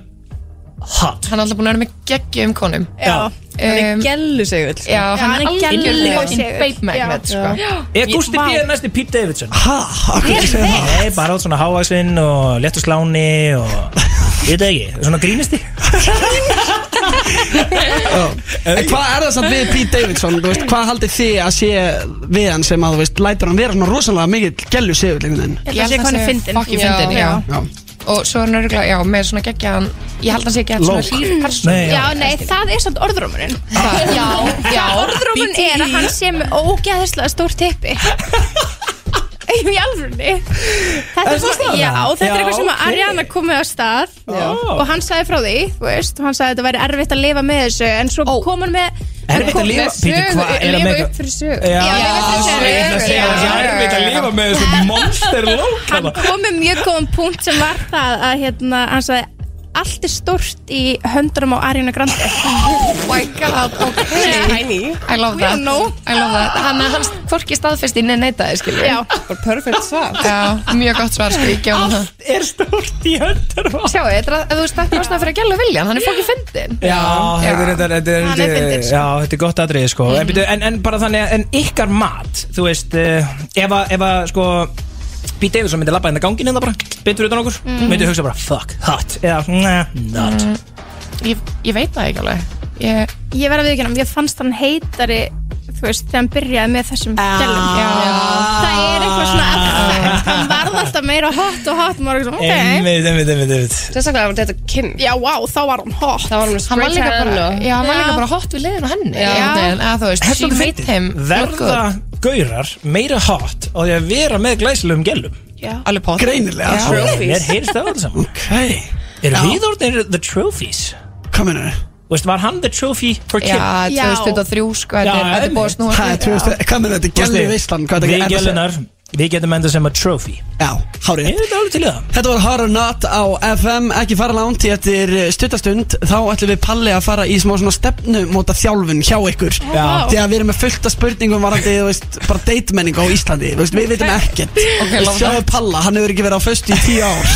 [SPEAKER 2] hot
[SPEAKER 3] Hann er alltaf búin að vera með geggjum konum
[SPEAKER 2] Já.
[SPEAKER 3] Hann
[SPEAKER 12] Um,
[SPEAKER 13] er gellu segul
[SPEAKER 3] Já, hann er
[SPEAKER 12] hann er
[SPEAKER 3] algjör
[SPEAKER 12] gellu
[SPEAKER 3] fucking
[SPEAKER 12] segull.
[SPEAKER 3] babe magnet
[SPEAKER 12] Já.
[SPEAKER 3] sko.
[SPEAKER 2] Er Gusti B. næsti Pete Davidson?
[SPEAKER 1] Ha, akkur ekki segja það
[SPEAKER 2] Nei, bara alls svona hávaksinn og léttur sláni og ég veit það ekki, svona grínisti
[SPEAKER 1] En hvað er það samt við Pete Davidson, þú veist, hvað haldið þið að sé við hann sem að, þú veist, lætur hann vera svona rosalega mikill gellu segjul einhvern veginn?
[SPEAKER 12] Ég held að sé hvað hann er fyndin.
[SPEAKER 3] Fokki
[SPEAKER 12] Já.
[SPEAKER 3] fyndin, já.
[SPEAKER 1] Já.
[SPEAKER 3] Og svo er hann örgulega, já, með svona geggjaðan Ég held að hann sé ekki að svona
[SPEAKER 1] Lók.
[SPEAKER 3] hlýr person
[SPEAKER 2] Nei,
[SPEAKER 12] Já, nei, það er samt orðrómurinn Já, já Orðrómurinn er að hann sé með ógeðislega stór tippi Í alvörunni
[SPEAKER 2] Er
[SPEAKER 12] Þetta er,
[SPEAKER 2] það
[SPEAKER 12] svona,
[SPEAKER 2] staðan?
[SPEAKER 12] já, þetta
[SPEAKER 2] Já,
[SPEAKER 12] er eitthvað sem
[SPEAKER 2] ok.
[SPEAKER 12] að Ariana komið á stað og hann sagði frá því, þú veist og hann sagði að þetta væri erfitt að lifa með þessu en svo kom hann með
[SPEAKER 2] Erfitt að lifa Pítur, hvað er að Eh,
[SPEAKER 3] Lifa
[SPEAKER 2] meika?
[SPEAKER 3] upp fyrir sög
[SPEAKER 2] Já,
[SPEAKER 12] lifa upp fyrir
[SPEAKER 2] ég ætla að segja það
[SPEAKER 12] sögu,
[SPEAKER 2] sé
[SPEAKER 12] já,
[SPEAKER 2] erfitt að
[SPEAKER 3] Oh
[SPEAKER 2] lifa með þessu monster lók
[SPEAKER 12] hann
[SPEAKER 2] þarna.
[SPEAKER 12] kom með mjög góðan punkt sem var það að hérna, hann sagði allt er stórt í höndunum á Ariana Grande
[SPEAKER 3] Oh my god, ok
[SPEAKER 13] Tiny
[SPEAKER 3] I love
[SPEAKER 12] We
[SPEAKER 3] that
[SPEAKER 12] don't know.
[SPEAKER 3] I love that Hann er hans hvorki staðfesti inn en neitaði, skilur við.
[SPEAKER 12] Já,
[SPEAKER 13] Bara Perfect svar
[SPEAKER 3] Já, mjög gott svar, sko, ég gef hann það
[SPEAKER 2] Er stórt í höndur
[SPEAKER 3] Sjáu, þetta er að- þú veist, þetta er ástæða fyrir að gæla vilja Hann er fokki fyndin
[SPEAKER 2] Já, þetta er, þetta er, þetta er,
[SPEAKER 12] Hann er fyndinn, sko. Mhm.
[SPEAKER 2] já, þetta er gott aðrið sko. en, byrju, en, en bara þannig, að- en ykkar mat Þú veist, uh, ef að, ef að sko, Pete Davidson myndi labba hérna gangin hérna bara, betur utan okkur
[SPEAKER 12] Mhm.
[SPEAKER 2] myndi hugsa bara, fuck, hot eða, nah, not
[SPEAKER 3] Ég, ég veit það ekki alveg ég,
[SPEAKER 12] ég verði að viðkjöna, ég fannst hann heitari þú veist, þegar hann byrjaði með þessum gælum það er eitthvað svona effekt hann varð alltaf meira hot og hot maður er svona, ok,
[SPEAKER 2] Einmitt, einmitt, einmitt, einmitt
[SPEAKER 13] Sérstaklega var þetta Kim
[SPEAKER 12] já, wow, þá var hann hot
[SPEAKER 13] Það var hann með
[SPEAKER 3] Hann var
[SPEAKER 13] straight
[SPEAKER 3] líka
[SPEAKER 13] hand
[SPEAKER 3] bara,
[SPEAKER 13] og
[SPEAKER 3] já, hann var
[SPEAKER 12] Já.
[SPEAKER 3] líka bara hot við liðin á henni
[SPEAKER 13] Já.
[SPEAKER 3] einhvern veginn, að þú veist,
[SPEAKER 2] Þetta er
[SPEAKER 3] she
[SPEAKER 2] svolítið
[SPEAKER 3] made
[SPEAKER 2] fyndið.
[SPEAKER 3] him look
[SPEAKER 2] Verða
[SPEAKER 3] good.
[SPEAKER 2] gaurar meira hot á því að vera með glæsilegum gellum
[SPEAKER 12] Mm.
[SPEAKER 3] Alveg pott
[SPEAKER 1] Greinilega,
[SPEAKER 3] Já.
[SPEAKER 1] sko.
[SPEAKER 2] Og Mér heyrst það alveg saman
[SPEAKER 1] Ok,
[SPEAKER 2] Eru við orðinir the trophies?
[SPEAKER 1] hvað mennur þið?
[SPEAKER 2] Veist, var hann the trophy for Kim?
[SPEAKER 3] Já,
[SPEAKER 12] Já.
[SPEAKER 3] 2023 sko,
[SPEAKER 2] Já,
[SPEAKER 3] þetta er- þetta er búið
[SPEAKER 2] einmitt.
[SPEAKER 3] að snúa
[SPEAKER 1] Það er, þú veist, hvað mennur þetta
[SPEAKER 2] Gústi,
[SPEAKER 1] gellu veistlan, hvað þetta
[SPEAKER 2] Við
[SPEAKER 1] er
[SPEAKER 2] gellunar, við getum enda sem a trophy
[SPEAKER 1] Já, hárið
[SPEAKER 2] Ég veit alveg til í það
[SPEAKER 1] Þetta var Horror Not á FM, ekki fara langt í eftir stuttastund Þá ætlum við Palli að fara í smá svona stefnumóta þjálfun hjá ykkur
[SPEAKER 2] Já.
[SPEAKER 1] Því að við erum með fullt af spurningum varandi, þú veist, bara deitmenning á Íslandi Þú veist, Við veitum ekkert
[SPEAKER 3] Ok,
[SPEAKER 1] Við
[SPEAKER 3] láta.
[SPEAKER 1] Sjáðu Palla, hann hefur ekki verið á föstu í tíu ár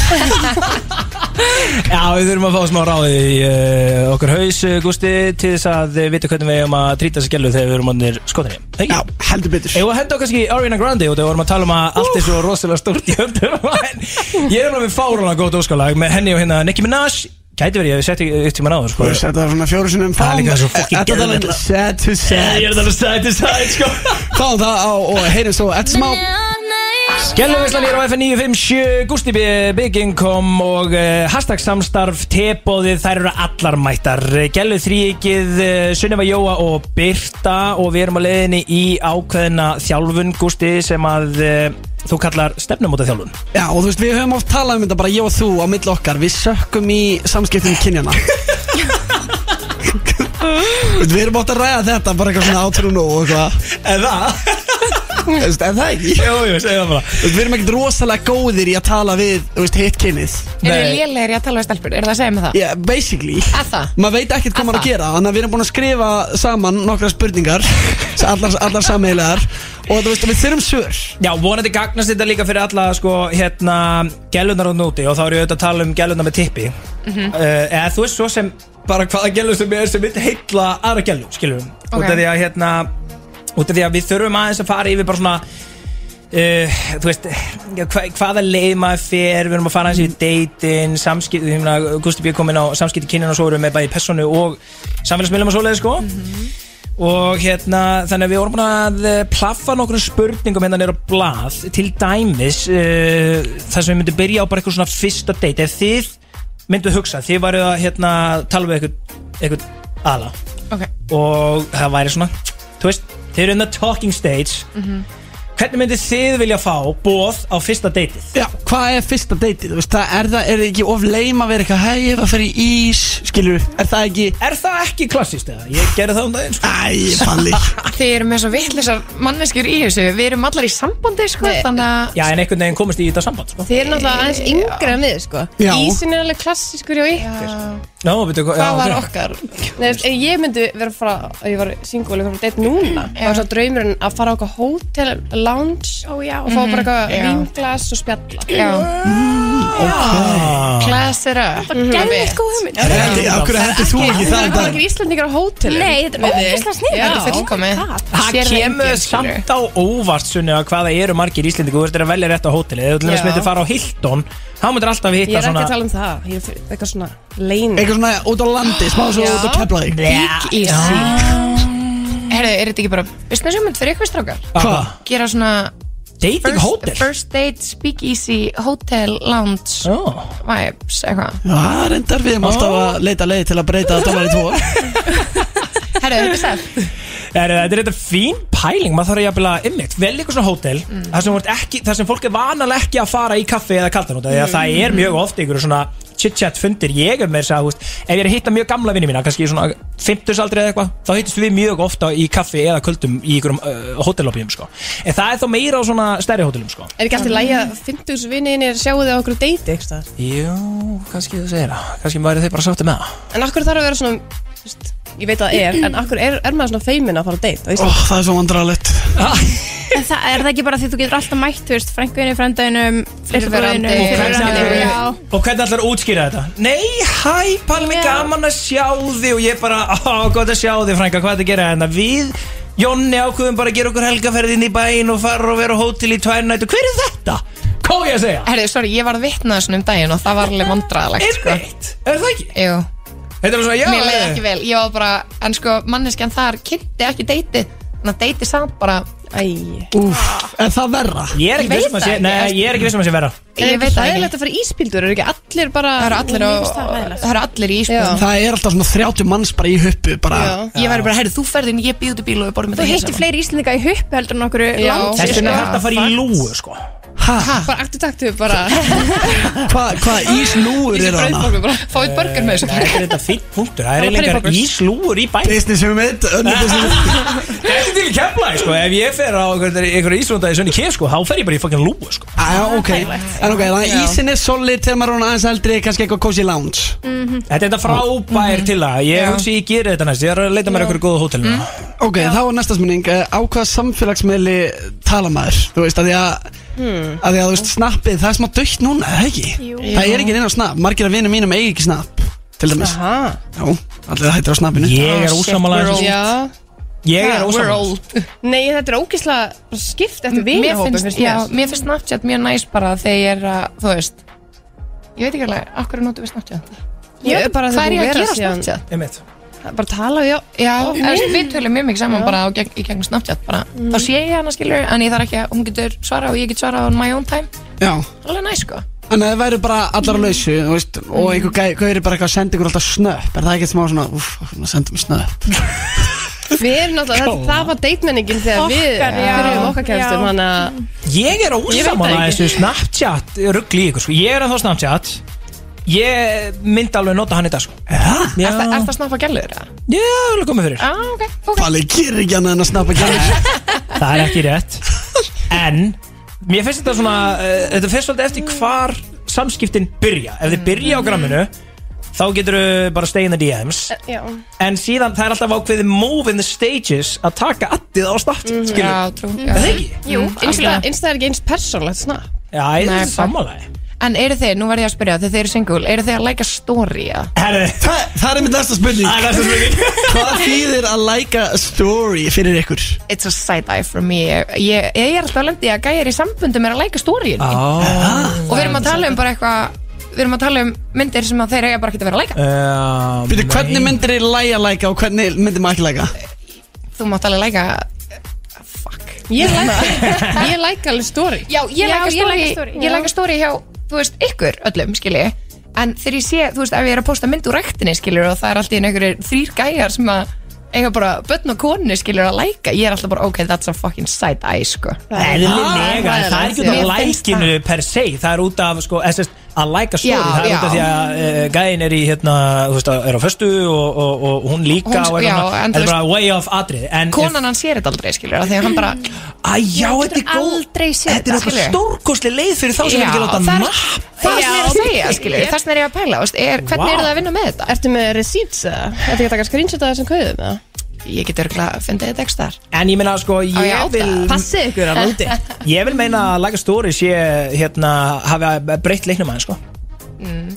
[SPEAKER 2] Já, við þurfum að fá smá ráði í uh, okkur haus, uh, Gústi til þess að uh, vita hvernig við eigum að trýta þessi gellu þegar við erum orðinir skotinni
[SPEAKER 1] Já, heldur betur
[SPEAKER 2] Ég var að henda okkar kannski Ariana Grande út og vorum að tala um að allt er svo rosalega stórt í höndum en Ég er alveg með fárana góð óskalag með henni og hérna Nicki Minaj Gæti verið, ég hef sett í eitt tíma náður sko.
[SPEAKER 1] Þú veist, þetta var svona fjóru sinnum um
[SPEAKER 2] Það er líka svo
[SPEAKER 1] Þetta
[SPEAKER 2] fucking
[SPEAKER 1] er alveg
[SPEAKER 2] geðveikt.
[SPEAKER 1] Sad to sad
[SPEAKER 2] Ég er þetta alveg sad to sad, sko
[SPEAKER 1] Fáum það á og heyrum svo eftir smá
[SPEAKER 2] Skelluvislan hér á FN 957 Gusti B. Bygging kom og uh, hashtag samstarf tebóðið þær eru allar mættar Gellu þrýkið uh, Sunneva Jóa og Birta og við erum á leiðinni í ákveðina þjálfun Gusti sem að uh, þú kallar stefnumóta þjálfun
[SPEAKER 1] Já, og þú veist, við höfum oft talað um þetta bara ég og þú á milli okkar Við sökkum í samskiptum kynjana Þú veist, Við erum átt að ræða þetta bara eitthvað svona átrú nú og eitthvað
[SPEAKER 2] Eða?
[SPEAKER 1] Þú veist, eða ekki?
[SPEAKER 2] Jú, jú, segja það bara
[SPEAKER 1] Þú veist, við erum ekkert rosalega góðir í að tala við, þú veist, hitt kynið
[SPEAKER 3] Eru þið lélegir í að tala við stelpur? Er það að segja mig það?
[SPEAKER 1] Yeah, basically
[SPEAKER 3] Að það?
[SPEAKER 1] maður veit ekkert hvað maður er að gera þannig að við erum búin að skrifa saman nokkra spurningar allar, allar sameilegar og þú veist við þurfum svör
[SPEAKER 2] Já, vonandi gagnast þetta líka fyrir alla sko, hérna, gælunar á núti og þá er ég auðvitað að tala um gælunar með tippi
[SPEAKER 1] Mhm.
[SPEAKER 2] uh, eða þú veist svo sem bara hvaða gælu sem er sem vil heilla aðra gælu, skiljum
[SPEAKER 1] Ok.
[SPEAKER 2] út af því að hérna út af því að við þurfum aðeins að fara yfir bara svona Uh, þú veist, já, hva, hvaða leið maður fer, við erum að fara aðeins yfir deitin, samskipti, ég meina, Gusti Björk komin á samskipti kynnin og svo erum við með bæði personu og samfélagsmiðlum og svoleiði
[SPEAKER 1] Mhm.
[SPEAKER 2] sko og hérna, þannig að við vorum búin að eh, plaffa nokkrum spurningum hérna nýra blað, til dæmis uh, þar sem við myndum byrja á bara eitthvað svona fyrsta date, ef þið myndu hugsa, þið varu að hérna tala við eitthvað, eitthvað ala
[SPEAKER 3] Ok.
[SPEAKER 2] og það væri svona, þú veist, þið eru in the talking stage
[SPEAKER 3] Mhm.
[SPEAKER 2] Hvernig myndið þið vilja fá bóð á fyrsta deitið?
[SPEAKER 1] Já, hvað er fyrsta deitið? Þú veist, það er það, er það ekki of leim að vera eitthvað hei, ég var að fara í ís, skilur er það ekki
[SPEAKER 2] Er það ekki klassist eða? Ég gerði það um daginn sko.
[SPEAKER 1] Æ, falli
[SPEAKER 3] Þið eru með svo vitlisar manneskjur í þessu Við erum allar í sambandi sko Þannig að
[SPEAKER 2] Já, en einhvern veginn komist í þetta samband sko.
[SPEAKER 13] Þið eru náttúrulega aðeins yngri en við sko
[SPEAKER 2] Já.
[SPEAKER 13] Ísin er alveg klassískur hjá ykkur
[SPEAKER 2] Ná, veitu, hvað
[SPEAKER 13] Hvað var okkar? Nei, veist, ef ég myndi vera að fara ef ég var single og kom að date núna Það var svo draumurinn að fara á eitthvað hótel lounge oh, já, og fá
[SPEAKER 3] Mhm,
[SPEAKER 13] bara eitthvað
[SPEAKER 3] já.
[SPEAKER 13] vinglas og spjalla
[SPEAKER 3] Já.
[SPEAKER 2] Ah.
[SPEAKER 3] Ah.
[SPEAKER 1] Ok
[SPEAKER 13] Class it up
[SPEAKER 12] Það var gæðið góð hugmynd
[SPEAKER 1] Af hverju hendur þú ekki það í
[SPEAKER 13] Það er
[SPEAKER 1] dag?
[SPEAKER 13] ekki Íslandingar á hótel
[SPEAKER 12] Nei, þetta er ógeðslega sniðugt.
[SPEAKER 13] Þetta
[SPEAKER 12] Þetta
[SPEAKER 13] er
[SPEAKER 12] er fullkomið.
[SPEAKER 13] fullkomið
[SPEAKER 2] Það kemur samt á óvart sunni að hvaða eru margir íslendingu Þú verður að velja rétt á hóteli Þú verður
[SPEAKER 13] Já.
[SPEAKER 2] að myndir fara á Hilton Þá myndir alltaf
[SPEAKER 13] Ég
[SPEAKER 2] hitta
[SPEAKER 13] er ekki
[SPEAKER 2] svona
[SPEAKER 13] að tala um það Ég er eitthvað svona lein
[SPEAKER 1] Eitthvað svona út á landi, smá svo út á Keflavík.
[SPEAKER 3] Big easy Herðu, er þetta ekki bara Veistu þessu mynd fyrir ykkur strákar?
[SPEAKER 2] Hvað?
[SPEAKER 3] Gera svona
[SPEAKER 2] Dating
[SPEAKER 3] first,
[SPEAKER 2] hótel?
[SPEAKER 3] First date, speak easy, hotel, lounge
[SPEAKER 2] oh.
[SPEAKER 3] Vibes, eitthvað
[SPEAKER 1] Já, reyndar við erum alltaf að leita leið til að breyta dólar í tvo
[SPEAKER 3] Herðu, þetta er sætt
[SPEAKER 2] Er, þetta er þetta fín pæling, maður þarf jafnvel að ymmit, vel eitthvað svona hótel
[SPEAKER 13] Mm.
[SPEAKER 2] þar, sem þú ert ekki, þar sem fólk er vanalega ekki að fara í kaffi eða kaldanóta mm. því að það er mjög oft einhverju svona chit-chat fundir ég er með þess að, þú veist, ef ég er að hitta mjög gamla vinni mína, kannski svona 50 eða eitthvað, þá hittist við mjög ofta í kaffi eða kvöldum í einhverjum uh, hótellopjum sko. en það er þá meira á svona stærri hótelum sko.
[SPEAKER 13] Er ekki alltaf lægi að 50 vinninir sjáu þið á okkur deiti eitthvað staðar?
[SPEAKER 2] Jú, kannski þú segir það kannski væri þeir bara sátti með það
[SPEAKER 13] En akkur þarf að vera svona þú veist, Ég veit að það er En akkur er, er maður svona feimin að fara á date á
[SPEAKER 1] Ó,
[SPEAKER 13] Íslandi?
[SPEAKER 1] það er svo vandrarlegt
[SPEAKER 2] Ah,
[SPEAKER 12] En það er það ekki bara því þú getur alltaf mætt, þú veist, frænguðinu, frændaðinum,
[SPEAKER 3] Fyrrverandi.
[SPEAKER 12] fyrrverðinu, fyrrverðinu,
[SPEAKER 2] Hvernig-
[SPEAKER 12] já.
[SPEAKER 2] Og hvernig ætlar að útskýra þetta? Nei, hæ, Palmi, gaman að sjá þig og ég bara, á, gott að sjá þig, frænka, hvað er að gera hérna? Við, Jonni, ákveðum bara að gera okkur helgaferðin í bæinn og fara og vera á hótel í tvær nættu. Hver er þetta? Hvað á ég að segja?
[SPEAKER 3] Herðu, sorry, ég var að vitna þessum um daginn og það var alveg vandræðalegt sko.
[SPEAKER 2] Er það ekki?
[SPEAKER 3] Jú
[SPEAKER 2] Þetta er svona, já,
[SPEAKER 3] Mér leiði
[SPEAKER 2] eh.
[SPEAKER 3] ekki vel, ég var bara En sko, manneskjan þar kynnti ekki deiti Þannig að deiti samt bara
[SPEAKER 13] Æ
[SPEAKER 1] Úf, er það verra?
[SPEAKER 2] Ég
[SPEAKER 13] Ég
[SPEAKER 2] er ekki
[SPEAKER 13] veit
[SPEAKER 2] viss um að
[SPEAKER 13] það
[SPEAKER 2] sé,
[SPEAKER 13] ekki,
[SPEAKER 2] nei,
[SPEAKER 13] sko.
[SPEAKER 2] ég er ekki viss um að sé vera.
[SPEAKER 13] En
[SPEAKER 3] Ég
[SPEAKER 13] er
[SPEAKER 3] veit það
[SPEAKER 13] ekki hlægilegt að fara í íspildur, eru ekki allir bara
[SPEAKER 3] Það eru allir á- það eru allir í ísbjörn.
[SPEAKER 1] Það er alltaf svona 30 manns bara í huppu bara.
[SPEAKER 3] Ég væri bara, herru, þú ferðin, ég býð út í bíl og við borum
[SPEAKER 12] Þú hittir fleiri íslendinga í huppu heldur en okkur sko.
[SPEAKER 13] Já.
[SPEAKER 12] langt.
[SPEAKER 2] Þess vegna er hægt að fara í lúu, sko.
[SPEAKER 1] Hæ?
[SPEAKER 13] Bara aktu taktu bara
[SPEAKER 1] Hvað hva íslúur
[SPEAKER 13] Ísi
[SPEAKER 1] eru hana?
[SPEAKER 13] brauðbólgu bara Fá eitt börgar með
[SPEAKER 2] Það er þetta fýtt punktur, það er
[SPEAKER 13] Já,
[SPEAKER 2] eiginlega engar
[SPEAKER 13] penningpoppers.
[SPEAKER 2] íslúur í bæinn.
[SPEAKER 1] Business um eitt, önnur business
[SPEAKER 2] Það er til í keflaði, sko, ef ég fer á einhverja íslúndaði sönni kef, sko, þá fer ég bara í fucking lúu, sko.
[SPEAKER 1] Ah, Já, ok En ok, þannig að ísin er solid þegar maður er orðinn aðeins eldri kannski eitthvað cozy lounge
[SPEAKER 13] Mm.
[SPEAKER 2] Þetta er þetta frábær
[SPEAKER 13] Mhm.
[SPEAKER 2] til að Ég hugsi ég gerir þetta næst Ég er að leita mér einhverju góða hótel núna.
[SPEAKER 13] Mhm.
[SPEAKER 1] Ok, þá er næsta smynning á hvaða samfélagsmiðli tala maður Þú veist, að því að, að, því að þú veist, snappið, það er smá dögt núna, er það ekki?
[SPEAKER 13] Hmm. Jú.
[SPEAKER 1] Það er ekki neina á snapp, margir af vinum mínum eigi ekki snapp Til dæmis,
[SPEAKER 13] Aha
[SPEAKER 1] já, allir það hættir á snappinu
[SPEAKER 2] Ég
[SPEAKER 13] Oh,
[SPEAKER 2] er ósammála þessu.
[SPEAKER 13] Já
[SPEAKER 2] Ég er
[SPEAKER 13] Ha, we're
[SPEAKER 2] ósammála
[SPEAKER 13] old. Nei, þetta er ógeðslega skipt eftir
[SPEAKER 3] mér
[SPEAKER 13] vinahópum
[SPEAKER 3] finnst, já, mér finnst Snapchat mjög næs bara þegar ég er að, þú veist Ég veit ekki alveg, af hverju notum við Snapchat? Ég-
[SPEAKER 13] bara
[SPEAKER 3] hvað er
[SPEAKER 13] þegar
[SPEAKER 3] ég
[SPEAKER 13] hún
[SPEAKER 3] að
[SPEAKER 13] vera
[SPEAKER 3] gera á
[SPEAKER 13] síðan-
[SPEAKER 3] Snapchat?
[SPEAKER 2] Einmitt.
[SPEAKER 13] Bara tala, já
[SPEAKER 3] Já,
[SPEAKER 13] Ó,
[SPEAKER 3] eða,
[SPEAKER 13] mm.
[SPEAKER 3] við tölum mjög mikið saman
[SPEAKER 13] Já.
[SPEAKER 3] bara á gegn, í gegnum Snapchat bara. Þá sé ég hana skilur, en ég þarf ekki að hún getur svarað og ég get svarað on my own time
[SPEAKER 1] Já
[SPEAKER 3] Alveg næ sko
[SPEAKER 1] Þannig að það væri bara allar á lausu þú veist, og
[SPEAKER 13] Mm.
[SPEAKER 1] einhver gæ- gaur er bara eitthvað að senda ykkur alltaf snöpp Er það ekki smá svona, uff, senda mér snöpp
[SPEAKER 13] Við erum náttúrulega, það, það var deitmenningin þegar við
[SPEAKER 12] Okkar, já.
[SPEAKER 13] byrjuðum okkar kæmstum
[SPEAKER 12] Já.
[SPEAKER 13] Þannig að
[SPEAKER 2] Ég er
[SPEAKER 13] Ég veit
[SPEAKER 2] ósamála
[SPEAKER 13] það ekki.
[SPEAKER 2] þessu Snapchat ruggli í ykkur sko. Ég er að þá Snapchat Ég myndi alveg nota hann í dag sko. Já,
[SPEAKER 3] Er það að snappa gælur?
[SPEAKER 2] Já, alveg komið fyrir
[SPEAKER 3] ah, okay, okay.
[SPEAKER 1] Palli gerir ekki annað en að snappa gælur
[SPEAKER 2] Það er ekki rétt En Mér finnst þetta svona uh, Þetta finnst svolítið eftir hvar samskiptin byrja Ef þið byrja á gramminu Þá getur þau bara stay in the DMs
[SPEAKER 13] Eh, Já
[SPEAKER 2] En síðan það er alltaf ákveðið move in the stages Að taka addið á Snapchat mm,
[SPEAKER 13] Mhm. já,
[SPEAKER 3] trú
[SPEAKER 13] já.
[SPEAKER 2] Það er ekki
[SPEAKER 13] Jú, Insta,
[SPEAKER 3] algjörlega.
[SPEAKER 13] Insta er ekki eins persónlegt snap
[SPEAKER 2] Já, ég
[SPEAKER 3] Nei,
[SPEAKER 2] er sammálaði
[SPEAKER 3] En eru þið, nú verð ég að spyrja, þegar þið eru single, eru þið að læka story? eða?
[SPEAKER 2] Herri,
[SPEAKER 1] það, það er mitt næsta spurning
[SPEAKER 2] Það er næsta spurning
[SPEAKER 1] Hvað þýðir að læka story fyrir ykkur?
[SPEAKER 3] It's a side eye for me Ég, ég, ég er alltaf að lendi að gæjar í sambundum er að læka story
[SPEAKER 2] oh.
[SPEAKER 3] Og við erum að tala um bara eitthvað Við erum að tala um myndir sem að þeir eiga bara ekki að vera að læka
[SPEAKER 2] Uh,
[SPEAKER 1] Fyrir hvernig myndir þið læja læka og hvernig myndir maður ekki læka?
[SPEAKER 3] Þú mátt alveg læka
[SPEAKER 13] Ég læka Ég læka alveg story
[SPEAKER 3] Já, ég
[SPEAKER 12] Já,
[SPEAKER 3] læka
[SPEAKER 12] ég
[SPEAKER 3] story,
[SPEAKER 12] læka story,
[SPEAKER 3] Ég
[SPEAKER 12] já.
[SPEAKER 3] læka story hjá, þú veist, ykkur öllum, skilji En þegar ég sé, þú veist, ef ég er að posta mynd úr rektinni, skilji Og það er alltaf einhverjir þrýr gæjar sem að eiga bara börn og konu, skilji, að læka Ég er alltaf bara, ok, that's a fucking side eye, sko
[SPEAKER 2] Eðlilega, það er ekki út af lækinu per se Það er út af, sko, eða sérst, að læka story
[SPEAKER 3] Já,
[SPEAKER 2] Það er út af
[SPEAKER 3] já.
[SPEAKER 2] því að uh, gæin er í, hérna, þú veist, er á föstu og, og, og hún líka
[SPEAKER 3] Hún-
[SPEAKER 2] og
[SPEAKER 3] já,
[SPEAKER 2] eitthvað svona.
[SPEAKER 3] en þú
[SPEAKER 2] Það er bara
[SPEAKER 3] veist-
[SPEAKER 2] way off atrið en
[SPEAKER 3] Konan hann sér þetta aldrei, skilji, þegar hann bara
[SPEAKER 2] Æ, já, þetta er góð
[SPEAKER 12] Aldrei séð
[SPEAKER 2] Þetta er eitthvað stórkosli leið fyrir þá sem
[SPEAKER 3] Já,
[SPEAKER 2] er ekki að láta
[SPEAKER 3] það er-
[SPEAKER 2] napp
[SPEAKER 3] Það er sem ég er að
[SPEAKER 13] Já.
[SPEAKER 3] segja, skilju, það sem er ég að pæla, veist, er, hvernig
[SPEAKER 13] Vá.
[SPEAKER 3] wow. eru það að vinna með þetta?
[SPEAKER 13] Ertu með receipts eða? Ertu ekki að taka screenshot af þessum kauðum eða?
[SPEAKER 3] Ég get örgulega að funda þetta ekki þar
[SPEAKER 2] En ég meina sko,
[SPEAKER 3] Á, já,
[SPEAKER 2] ég vil
[SPEAKER 3] það-
[SPEAKER 13] Passið ykkur
[SPEAKER 3] þarna
[SPEAKER 13] úti.
[SPEAKER 2] Ég vil meina að Laga Story sé, hérna, hafi breytt leiknum aðeins sko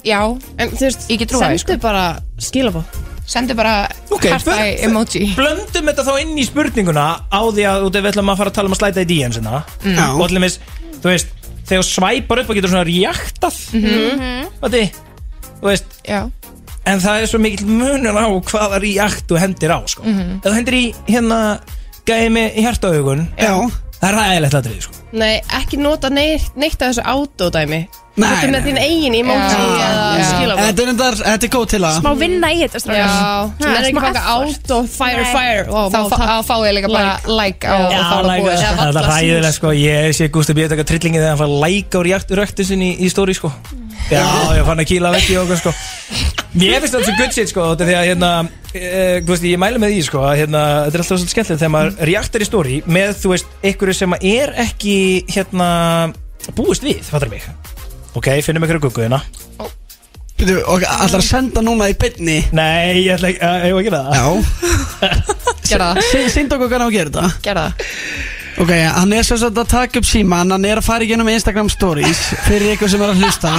[SPEAKER 3] Já,
[SPEAKER 13] en þú veist,
[SPEAKER 3] ég get trúa
[SPEAKER 13] sendu bara skilabó
[SPEAKER 3] Sendu bara
[SPEAKER 2] Ok,
[SPEAKER 3] hjarta
[SPEAKER 2] blönd-
[SPEAKER 3] emoji
[SPEAKER 2] Blöndum þetta þá inn í spurninguna á því að út af við ætlum að fara að tala um að slæta í DM sinna
[SPEAKER 3] Mm. Já.
[SPEAKER 2] og allumis, þú veist, þegar þú svæpar upp og getur svona reaktað
[SPEAKER 3] Mhm.
[SPEAKER 2] Vati, þú veist
[SPEAKER 3] Já.
[SPEAKER 2] en það er svo mikill munur á hvaða reakt þú hendir á sko.
[SPEAKER 13] Mhm.
[SPEAKER 2] ef þú hendir í hérna gæði með hjartaaugun það er ræðilegt aðrið sko.
[SPEAKER 13] Nei, ekki nota neitt, neitt af þessu autodæmi
[SPEAKER 1] Nei,
[SPEAKER 13] Þetta er
[SPEAKER 1] nei,
[SPEAKER 13] með þín eigin emoji eða skilabó
[SPEAKER 1] Þetta er endar, þetta er góð til að
[SPEAKER 12] Smá vinna í þetta strákar.
[SPEAKER 13] Já,
[SPEAKER 12] Ha,
[SPEAKER 13] það er
[SPEAKER 12] smá
[SPEAKER 13] ekki fanga
[SPEAKER 12] effort.
[SPEAKER 13] auto, fire,
[SPEAKER 12] Nei.
[SPEAKER 13] fire Ó,
[SPEAKER 3] Þá
[SPEAKER 13] vá,
[SPEAKER 3] fá-
[SPEAKER 13] takk.
[SPEAKER 3] þá fá ég líka bara like
[SPEAKER 2] Já,
[SPEAKER 3] á- og þá er það
[SPEAKER 2] læka,
[SPEAKER 3] búið.
[SPEAKER 2] sko. það er ræðilegt sko. ég sé Gústi Bíð taka trillingið þegar hann fara að læka úr röktin sinni í, í stóri sko. já, ég fann að kýla vekk í okkur sko. mér finnst þetta svo good shit sko, út af því að hérna, uh, Gústi, ég mælu með því sko, að, hérna, þetta er alltaf svolítið skemmtilegt þegar maður reaktar í stóri með, þú veist, einhverju sem er ekki hérna, búist við, fattar mig ok, finnum ykkur gugguðina
[SPEAKER 1] Byrju, og ætlar að senda núna í byrni
[SPEAKER 2] Nei, ég ætla ekki, uh, ég var ekki það
[SPEAKER 1] Já
[SPEAKER 3] Gerða
[SPEAKER 1] það Sýnd okkur hvernig á að gera þetta
[SPEAKER 3] Gerða
[SPEAKER 1] Ok, hann er sem sagt að taka upp síman Hann er að fara í genum Instagram stories Fyrir ykkur sem er að hlusta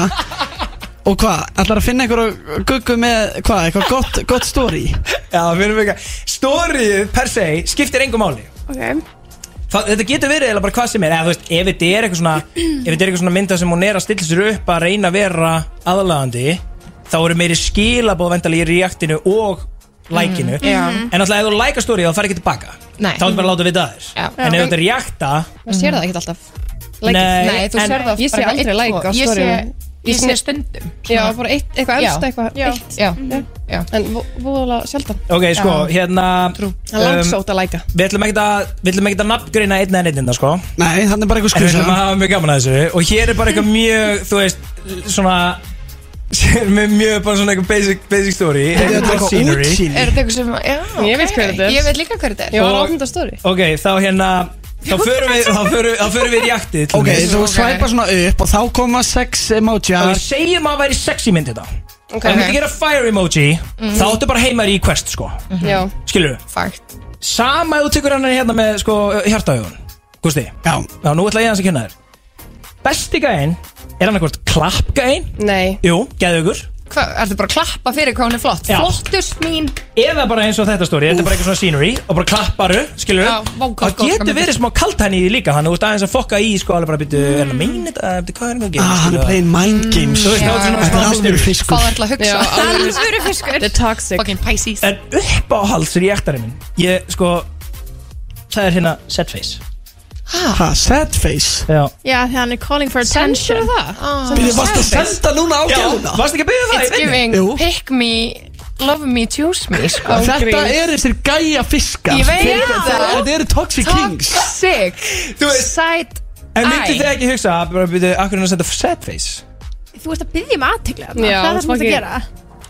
[SPEAKER 1] Og hvað, ætlar að finna ykkur og guggu með Hvað, eitthvað gott, gott story
[SPEAKER 2] já, finnum ykkur, stórið per se skiptir engum máli
[SPEAKER 12] Ok
[SPEAKER 2] Það, þetta getur verið eða bara hvað sem er eða, þú veist, ef þetta er eitthvað svona ef þetta er eitthvað svona mynda sem hún er að stilla sér upp að reyna að vera aðlagandi þá eru meiri skilabóð vendali í reaktinu og lækinu
[SPEAKER 3] Mm, já.
[SPEAKER 2] en alltaf ef þú læka stórið þá fær ekki tilbaka
[SPEAKER 3] Nei.
[SPEAKER 2] þá er bara að láta vita þér
[SPEAKER 3] Já.
[SPEAKER 2] en ef þetta er jakta
[SPEAKER 13] Maður sér það ekkert alltaf Lækið.
[SPEAKER 2] Nei.
[SPEAKER 3] Nei, þú
[SPEAKER 13] En
[SPEAKER 3] sér það
[SPEAKER 13] ég sé
[SPEAKER 3] bara
[SPEAKER 13] aldrei
[SPEAKER 3] eitt
[SPEAKER 13] like á
[SPEAKER 3] og- ég sé-
[SPEAKER 13] storyinu.
[SPEAKER 3] Ég
[SPEAKER 13] Ég
[SPEAKER 3] sé
[SPEAKER 13] sé-
[SPEAKER 3] stundum
[SPEAKER 13] Já, bara eitt, eitthvað
[SPEAKER 3] Já.
[SPEAKER 13] elst, eitthvað
[SPEAKER 3] Já.
[SPEAKER 13] eitt
[SPEAKER 3] Já.
[SPEAKER 13] Já. Mhm. En vo- voðalega sjaldan
[SPEAKER 2] ok, sko, hérna
[SPEAKER 13] Það er langsótt
[SPEAKER 3] Um,
[SPEAKER 13] að læka
[SPEAKER 2] við ætlum ekkert að, við ætlum ekkert að nafngreina einn en einn sko.
[SPEAKER 1] Nei, þannig er bara eitthvað
[SPEAKER 2] En við
[SPEAKER 1] skúsa
[SPEAKER 2] ætlum að hafa mjög gaman að þessu Og hér er bara eitthvað mjög, þú veist, svona Sér með mjög bara svona eitthvað basic, basic story
[SPEAKER 1] Þetta er eitthvað
[SPEAKER 2] scenery.
[SPEAKER 1] útsýni.
[SPEAKER 3] Er þetta eitthvað sem, já,
[SPEAKER 13] Ég veit
[SPEAKER 3] ok.
[SPEAKER 13] hver þetta er.
[SPEAKER 3] Ég veit líka hver þetta er
[SPEAKER 13] Ég var
[SPEAKER 2] Og-
[SPEAKER 13] ofnum þetta story
[SPEAKER 2] Ok, þá hérna Þá förum við, þá förum, þá förum við í jaktið til
[SPEAKER 1] Ok,
[SPEAKER 2] dæmis.
[SPEAKER 1] þú svæpar svona upp og þá koma sex emojar
[SPEAKER 2] Ok, segjum að væri sexy mynd þetta
[SPEAKER 13] Ok.
[SPEAKER 2] Ef við myndum gera fire emoji
[SPEAKER 13] Mhm.
[SPEAKER 1] Mm.
[SPEAKER 2] Þá áttu bara heima í quest sko
[SPEAKER 13] Já
[SPEAKER 2] Skilur
[SPEAKER 3] Fakt
[SPEAKER 2] Sama ef þú tekur hann hérna með sko hjartaðugun Gústi
[SPEAKER 1] Já
[SPEAKER 2] Já, nú ætla ég hans að kynna þér Besti gæinn er hann eitthvað klapp gæinn
[SPEAKER 13] Nei
[SPEAKER 2] Jú, geðugur
[SPEAKER 3] hva, ertu bara að klappa fyrir hvað hún er flott
[SPEAKER 2] Já.
[SPEAKER 3] Flottust mín
[SPEAKER 2] Eða bara eins og þetta stóri, þetta er bara eitthvað svona scenery og bara klapparu, skilur
[SPEAKER 3] Já, vá, gott,
[SPEAKER 2] Það
[SPEAKER 3] gott,
[SPEAKER 2] getur
[SPEAKER 3] gaman.
[SPEAKER 2] verið smá kaltæni í því líka, þannig að þú ert aðeins að fokka í, sko, alveg bara byttu, er það meina þetta, Bíddu, hvað er það að
[SPEAKER 1] Mm.
[SPEAKER 2] gera?
[SPEAKER 1] Ah, hann er
[SPEAKER 2] skilurðu?
[SPEAKER 1] playing mind games.
[SPEAKER 2] Mm. Þú veist,
[SPEAKER 1] Já.
[SPEAKER 2] það er svona
[SPEAKER 1] Þetta er
[SPEAKER 2] smá
[SPEAKER 1] alvöru
[SPEAKER 2] mystery.
[SPEAKER 1] fiskur. Fá þær
[SPEAKER 3] til að hugsa. Já, alvöru- Alvöru fiskur.
[SPEAKER 13] The toxic
[SPEAKER 3] Fucking Pisces
[SPEAKER 2] En uppáhalds er í ektarinn minn, ég, sko, það er hérna set face.
[SPEAKER 1] Ha, sad face?
[SPEAKER 2] Já.
[SPEAKER 12] Já, því hann er calling for attention Sendur
[SPEAKER 3] það?
[SPEAKER 13] Ah.
[SPEAKER 1] Bíddu, varstu að senda núna á gæluna?
[SPEAKER 2] Varstu ekki að byggja
[SPEAKER 3] It's giving pick me, love me, choose me sko.
[SPEAKER 1] Þetta er þessir gæja fiskar
[SPEAKER 3] Ég veit
[SPEAKER 1] Þetta-
[SPEAKER 3] það.
[SPEAKER 1] Þetta eru toxic kings
[SPEAKER 3] Toxic Side
[SPEAKER 2] En myndu þið
[SPEAKER 3] eye
[SPEAKER 2] ekki hugsa, bara byttu, akkur er það að setja set face?
[SPEAKER 12] Þú ert að byggja mig aðtegla Hvað
[SPEAKER 3] Já,
[SPEAKER 12] er það sem þú ert að
[SPEAKER 3] fucking-
[SPEAKER 12] gera?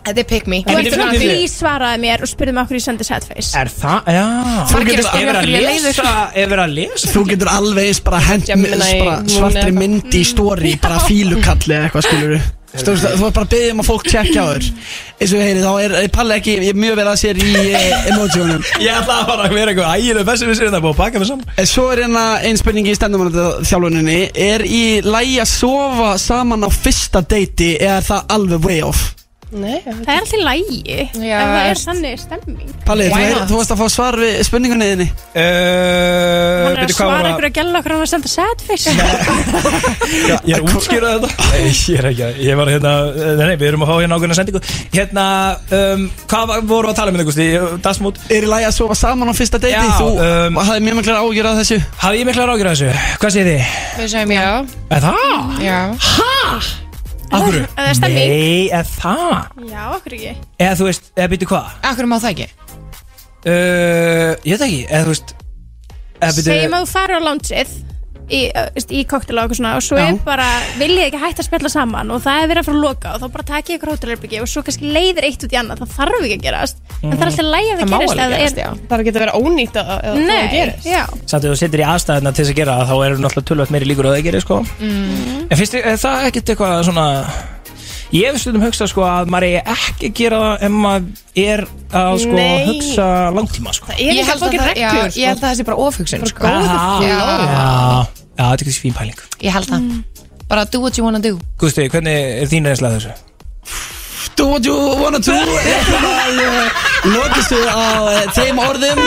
[SPEAKER 3] Þetta er pick me
[SPEAKER 12] Þú
[SPEAKER 2] En
[SPEAKER 12] ert
[SPEAKER 2] ég
[SPEAKER 12] að
[SPEAKER 2] myndi-
[SPEAKER 12] því svaraði mér og spurði mig okkur ég sendi sad face
[SPEAKER 2] Er það, já
[SPEAKER 1] Þú getur
[SPEAKER 2] Ef er að
[SPEAKER 1] spyrja okkur í
[SPEAKER 2] lesa, ef er að lesa
[SPEAKER 1] Þú getur alveg eins bara hent
[SPEAKER 2] Gemini,
[SPEAKER 1] bara
[SPEAKER 2] Moon
[SPEAKER 1] svartri
[SPEAKER 2] eða Mm.
[SPEAKER 1] mynd í stóri bara fílukalli eða eitthvað skilur Þú veist, þú ert bara að byggja um að fólk tjekka á þér eins og við heyrið, þá er, er Palli ekki ég er mjög vel að sér í eh, emotionum
[SPEAKER 2] Ég ætla bara að vera eitthvað ægileg bessi við sér það búið að baka mig saman
[SPEAKER 1] En Svo er hérna einn spurning í stendumannathjálfuninni Er í lægi að sofa saman á fyrsta deiti eða er það alveg way off?
[SPEAKER 13] Nei,
[SPEAKER 12] það er alltaf lægi Ef það er þannig stemming
[SPEAKER 1] Palli, þú, er, þú varst að fá svar við spurningunni þinni
[SPEAKER 2] Eh, Hún
[SPEAKER 12] Hann er að svara ykkur að gæla okkur hann var að senda sad face
[SPEAKER 2] Ég er að útskýra þetta Nei, ég er ekki að Ég var hérna Nei, nei, við erum að fá hérna ákveðna sendingu Hérna, um, hvað var- vorum við að tala um þetta, Gusti? Dasmút
[SPEAKER 1] Er í lægi að sofa saman á fyrsta deiti?
[SPEAKER 2] Já,
[SPEAKER 1] Þú
[SPEAKER 2] um,
[SPEAKER 1] hafði mjög miklar ágjur að þessu
[SPEAKER 2] Hafði ég miklar ágjur að þessu? Hvað segir þið?
[SPEAKER 3] Við segjum já
[SPEAKER 2] Er það?
[SPEAKER 3] Já
[SPEAKER 2] Akkur?
[SPEAKER 12] Ef það er stemming.
[SPEAKER 2] Nei, er það?
[SPEAKER 12] Já, okkur ekki
[SPEAKER 2] Eða þú veist, eða býttu hvað?
[SPEAKER 3] Akkur má það ekki?
[SPEAKER 2] Uh, ég veit ekki, eða þú veist eða býttu-
[SPEAKER 12] Segjum að þú farir á loungeið í, ö, veist, í koktel og eitthvað svona og svo
[SPEAKER 2] Já.
[SPEAKER 12] er bara, viljið ekki hætta að spjalla saman og það er verið að fara að loka og þá bara takið ykkur hótelherbyggi og svo kannski leiðir eitt út í annað það þarf ekki að gerast, en það er alltaf lægi að það, gerist ef það er,
[SPEAKER 13] Það er ekki að vera ónýtt að að það gerist
[SPEAKER 12] nei, já
[SPEAKER 2] Samt ef þú setur í aðstæðina til þess að gera það þá eru náttúrulega tölvöld meiri líkur á að það gerir sko En finnst þið, er það ekkert eitthvað svona Ég hef stundum hugsað sko að maður eigi ekki að gera það ef maður er að sko
[SPEAKER 13] Nei.
[SPEAKER 2] hugsa langtíma sko
[SPEAKER 13] er
[SPEAKER 3] Ég
[SPEAKER 13] líka
[SPEAKER 3] held að
[SPEAKER 13] fucking
[SPEAKER 3] það- já,
[SPEAKER 13] reglur, sko.
[SPEAKER 3] Ég held að það sé bara ofhugsun sko.
[SPEAKER 2] Já, já, Ah, já, þetta er ekki þessi fín pæling
[SPEAKER 3] Ég held það Bara do what you wanna do
[SPEAKER 2] Guðsti, hvernig er þín reynsla af þessu?
[SPEAKER 1] Do what you wanna do er bara að eh, lokistu á eh, þeim orðum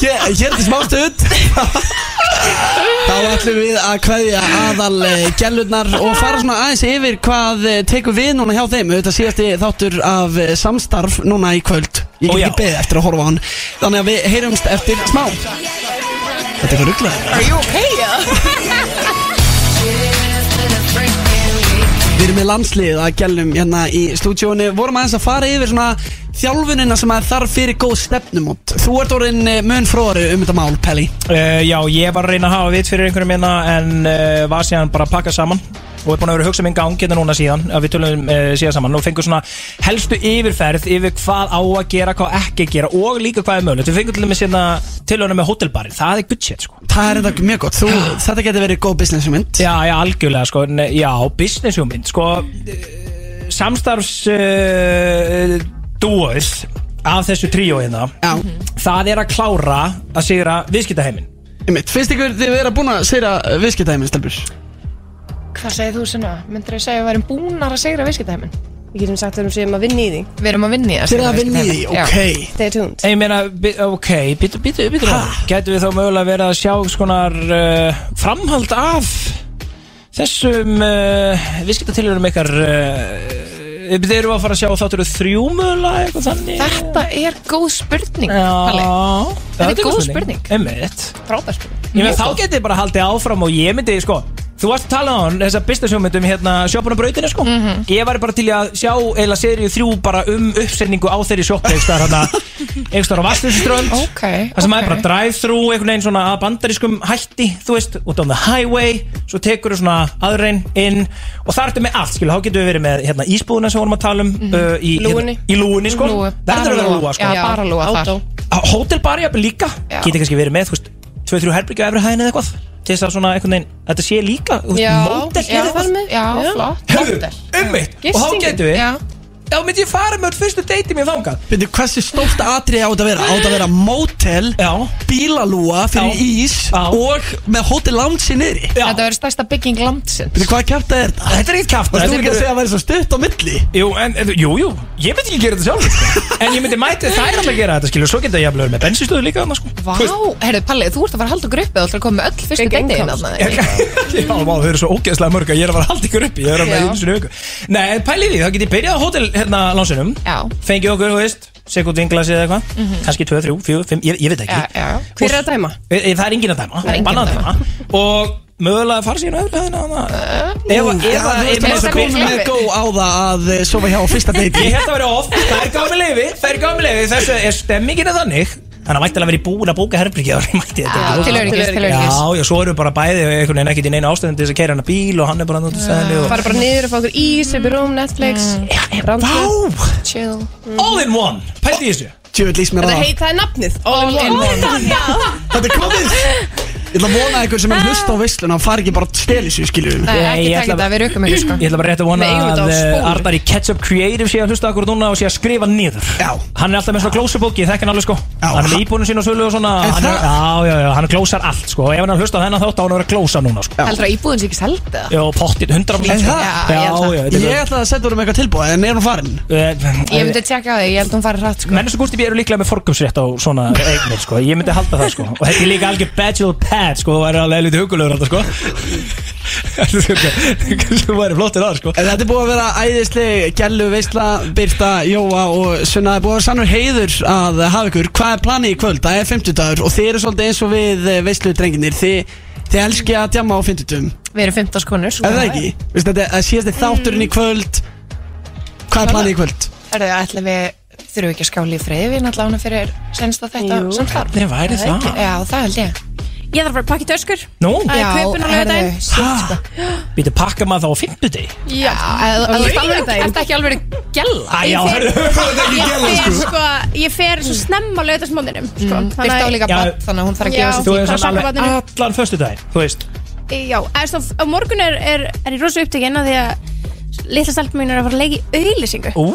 [SPEAKER 1] Hér, hér til smástund Þá ætlum við að kveðja aðal eh, gælurnar og fara svona aðeins yfir hvað eh, tekur við núna hjá þeim Þetta síðasti þáttur af eh, samstarf núna í kvöld Ég get
[SPEAKER 2] Ó, já.
[SPEAKER 1] ekki beðið eftir að horfa á hann Þannig að við heyrumst eftir smá Þetta er eitthvað rugglaður
[SPEAKER 3] Are you okay?
[SPEAKER 1] Við erum með landslið að gælum hérna í stúdíónu Vorum aðeins að fara yfir svona þjálfunina sem að þarf fyrir góð stefnumót Þú ert orðin eh, mun fróðari um þetta mál, Pelli
[SPEAKER 2] Uh, já, ég var að reyna að hafa vit fyrir einhverjum minna en uh, var síðan bara að pakka saman og er búin að vera að hugsa minn gang hérna núna síðan að við tölum uh, síðan saman og fengum svona helstu yfirferð yfir hvað á að gera, hvað ekki að gera og líka hvað er mögulegt. Við fengum til dæmis hérna tilhörna með hotelbarinn, það er good shit sko.
[SPEAKER 1] Það er þetta mjög gott, Þú, þetta getur verið góð businessmynd
[SPEAKER 2] Já, já, algjörlega sko, en, já, business hugmynd sko, eh, samstarfs uh, dúoð af þessu tríó hérna,
[SPEAKER 1] Mhm.
[SPEAKER 2] já. það er að klára að sigra viðskiptaheimin.
[SPEAKER 1] Einmitt, finnst ykkur þið vera búin að segja viðskiptæmi, Stelbur?
[SPEAKER 3] Hvað segir þú svona? Myndir þú segja að við erum búnar að segra viðskiptæmin?
[SPEAKER 13] Við getum sagt að við erum séum að vinna í því
[SPEAKER 3] Við erum að vinna í það
[SPEAKER 1] Þið eru að vinna í því,
[SPEAKER 3] Já.
[SPEAKER 1] ok
[SPEAKER 13] Stay tuned
[SPEAKER 2] Ég meina, bi- ok, býtu, býtu, býtu Gætu við þá mögulega verið að sjá einhvers konar uh, framhald af þessum uh, viðskiptatilhörum ykkar uh, Þeir eru að fara að sjá þáttur þrjú mögulega eitthvað þannig
[SPEAKER 3] Þetta er góð spurning Palli.
[SPEAKER 2] Já,
[SPEAKER 3] Þetta er góð spurning
[SPEAKER 2] Einmitt
[SPEAKER 3] Frábær spurning
[SPEAKER 2] Ég meina, þá getið þið bara haldið áfram og ég myndi, sko Þú varst að tala um þessa businesshjómyndum hérna sjoppan og brautinu sko
[SPEAKER 3] Mhm.
[SPEAKER 2] Ég væri bara til í að sjá eila serið þrjú bara um uppsetningu á þeirri sjoppu einhverstaðar hana einhverstaðar á Vastinströnd
[SPEAKER 3] Ok,
[SPEAKER 2] Það sem
[SPEAKER 3] ok.
[SPEAKER 2] er bara drive-thru, einhvern veginn svona að bandarískum hætti, þú veist, út on the highway, svo tekur þú svona aðrein inn og það ertu með allt, skilu, þá getum við verið með hérna ísbúðuna sem vorum að tala um uh, í,
[SPEAKER 13] Lúgunni.
[SPEAKER 2] Hérna, í lúgunni, sko,
[SPEAKER 13] Lúgu.
[SPEAKER 2] verður að vera
[SPEAKER 13] Bara
[SPEAKER 2] lúga, sko.
[SPEAKER 3] Já, Mhm. bara lúga þar
[SPEAKER 2] Hótelbari jafnvel líka, getið kannski verið með, þú veist, 2-3 herbyggja efri hæðin eða eitthvað, til þess að svona einhvern veginn, þetta sé líka, þú veist, mótel
[SPEAKER 3] já,
[SPEAKER 2] eða eitthvað.
[SPEAKER 3] já, flott
[SPEAKER 2] Hefðu, ummitt, og þá
[SPEAKER 3] Gisting.
[SPEAKER 2] getum við
[SPEAKER 3] Já.
[SPEAKER 14] þá myndi ég fara með öll fyrstu deyti mér þangað
[SPEAKER 1] Bindi, hversu stórt atrið á þetta að vera? Á þetta að vera mótel, bílalúa fyrir ís og með hótel lounge í niðri
[SPEAKER 3] Þetta verður stærsta bygging landsins
[SPEAKER 1] Bindi, hvað kæft er þetta?
[SPEAKER 2] Þetta er ekkert kjaft
[SPEAKER 1] Varst þú ekki að segja að það væri svo stutt á milli?
[SPEAKER 2] Jú, en, en- jú, jú, ég myndi ekki gera þetta sjálf sko. En ég myndi mæti það er alltaf að gera þetta skilur Svo geta ég að blöður með bensinstöðu líka þarna, sko.
[SPEAKER 3] Vá, herru Palli, þú ert að fara að halda okkur uppi og þú ert að koma með öll fyrstu
[SPEAKER 14] Big
[SPEAKER 3] deyti
[SPEAKER 14] income.
[SPEAKER 3] innan
[SPEAKER 2] Já, vá, þau eru svo ógeðslega mörg að ég er að fara að halda ykkur uppi Ég er að
[SPEAKER 3] Já.
[SPEAKER 2] með einu sinni í viku Nei, en pælið því, þá get ég byrjað á hótel hérna lánsinum Fengið okkur, þú veist, sekund vinglasi eða eitthvað
[SPEAKER 13] Mhm.
[SPEAKER 2] Kannski 2, 3, 4, 5, ég, ég veit ekki
[SPEAKER 13] Já, Hver er að dæma?
[SPEAKER 2] E, e, það er engin að dæma,
[SPEAKER 13] Það er enginn
[SPEAKER 2] bannað að dæma Og mögulega fara síðan öðru hæðina þarna. Ef að- ef að-
[SPEAKER 1] Ég
[SPEAKER 2] ef
[SPEAKER 1] með
[SPEAKER 2] að-
[SPEAKER 1] að koma með gó á það að eh, sofa hjá á fyrsta deiti
[SPEAKER 2] Ég held að vera off, það er gámi leifi Það er gámi leifi, þessu er stemmingina þannig Þannig að mættilega verið búin að bóka herbyrgi ára í mætti þetta
[SPEAKER 3] Já,
[SPEAKER 2] ekki.
[SPEAKER 3] til öryggis, til öryggis.
[SPEAKER 2] Já, já, svo eru bara bæði einhvern veginn ekkert í neina ástæðin til þess að keira hana bíl og hann er bara náttúrulega stæðinni og...
[SPEAKER 13] Fara bara niður og fá okkur ís upp í rúm, Netflix
[SPEAKER 3] Mm.
[SPEAKER 13] Vá
[SPEAKER 3] Chill
[SPEAKER 2] All in one, pælti í þessu
[SPEAKER 1] Tjöfell lýst mér á
[SPEAKER 13] Þetta
[SPEAKER 1] það
[SPEAKER 13] heit, það er nafnið All
[SPEAKER 3] in one.
[SPEAKER 1] Þetta er komið Ég ætla að vona að einhver sem er að hlusta á veisluna og fari ekki bara að steli sig, skiljum
[SPEAKER 3] Nei, ekki
[SPEAKER 2] Ég
[SPEAKER 3] taka
[SPEAKER 2] ætla-
[SPEAKER 3] þetta, við rukkum ekki, sko.
[SPEAKER 2] Ég ætla bara rétt að vona
[SPEAKER 3] Við eigum þetta á
[SPEAKER 2] að eh,
[SPEAKER 3] spólu.
[SPEAKER 2] Arnar í Ketchup Creative sé að hlusta akkur núna og sé að skrifa niður Já Hann er alltaf með svona glósubóki, þekk hann alveg sko Hann er með íbúinu sín og svölu og svona hann er, Já, já, já, hann glósar allt sko Ef hann er að hlusta á þennan þátt á hann að vera að glósa núna sko
[SPEAKER 3] Heldur að íbúðin sé ekki seld eða?
[SPEAKER 2] Já, pottit, 100%
[SPEAKER 1] En
[SPEAKER 2] sko.
[SPEAKER 1] það?
[SPEAKER 2] Já, já, þetta er- Eh,
[SPEAKER 1] Ég ætla að setja vorum eitthvað tilbúið en er hún farin?
[SPEAKER 3] Ég myndi tjekka á því, ég held hún farið hratt sko
[SPEAKER 2] Mennins og Gústi B eru líklega með forgumsrétt á svona eignir sko, ég myndi halda það sko og þetta er líka algjör bachelor pad sko, þú væri alveg lítið hugulegur alltaf sko Þú væri flottir að sko
[SPEAKER 1] En þetta er búið að vera æðisleg Gjallu, Veisla, Birta, Jóa og Sunna Það er búið að vera sannur heiður að hafa ykkur Hvað er planið í kvöld? Það er 50 dagur og þið eru svolítið eins og við Veislu drenginir Þið, þið elski að djama á 50
[SPEAKER 3] Við erum 15 konur sko.
[SPEAKER 1] Er það ekki? Veistu, þetta er síðast þátturinn í kvöld Hvað er planið í kvöld?
[SPEAKER 3] Er það ætla við þurfum ekki að skála í friði Við náttúrulega hana fyrir senst að þetta samstarf
[SPEAKER 2] Hvernig væri
[SPEAKER 3] Er
[SPEAKER 2] það?
[SPEAKER 3] ekki? Já, það held ég
[SPEAKER 12] Ég þarf bara að pakka í töskur
[SPEAKER 2] Nú?
[SPEAKER 12] Það er kaupin á laugardaginn.
[SPEAKER 2] sko. Býtu pakka maður þá á fimmtudegi
[SPEAKER 12] Já,
[SPEAKER 3] eða- eða þú ert alveg-
[SPEAKER 12] þetta
[SPEAKER 3] ekki alveg gæla
[SPEAKER 2] Æ, já, hörru, hvað er þetta ekki gæla,
[SPEAKER 12] Ég fer
[SPEAKER 2] sko?
[SPEAKER 12] sko, ég fer svo snemma að lauta smóninum sko.
[SPEAKER 3] Mm, Birta á líka barn, þannig að hún þarf að gefa sig
[SPEAKER 2] Þú
[SPEAKER 3] tíma.
[SPEAKER 2] veist
[SPEAKER 12] Bara
[SPEAKER 2] hann alveg
[SPEAKER 12] barninu.
[SPEAKER 2] allan föstudaginn, þú veist
[SPEAKER 12] Já, eða svo, á morgun er, er, er ég rosa upptekinn af því að litla stelpum mín er að fara að leika í auðlýsingu
[SPEAKER 2] Ú,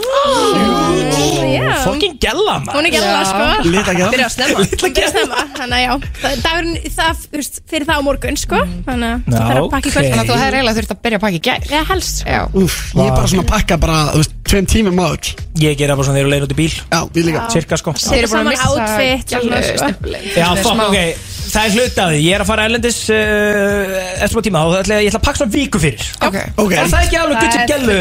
[SPEAKER 12] já.
[SPEAKER 2] Fucking gæla maður
[SPEAKER 12] Hún er gæla, sko
[SPEAKER 2] Byrja að snemma
[SPEAKER 12] Hún byrja að snemma, þannig að já Það- Dagurinn, það, þú veist, fyrir það á morgun, sko Þannig að
[SPEAKER 1] Já,
[SPEAKER 12] það þarf að pakka í kvöld
[SPEAKER 1] ok. Þannig að þú hefðir
[SPEAKER 3] eiginlega þurft að byrja að pakka í gær
[SPEAKER 12] Já, helst
[SPEAKER 3] Já
[SPEAKER 1] Úf, ég er bara svona að pakka bara, þú veist, tveim tímum áður
[SPEAKER 2] Ég gera bara svona þegar ég leiðin út í bíl
[SPEAKER 1] Já, við líka
[SPEAKER 2] Cirka, sko
[SPEAKER 12] Þeir eru búin að missa
[SPEAKER 3] gælu
[SPEAKER 12] sko.
[SPEAKER 2] Já, fuck, ok, það er hluti af því Ég er að fara erlendis uh, eftir smá tíma og ætla, ég ætla að pakka svona viku fyrir
[SPEAKER 3] Ok,
[SPEAKER 2] okay. Er það ekki alveg gutt sem gælu?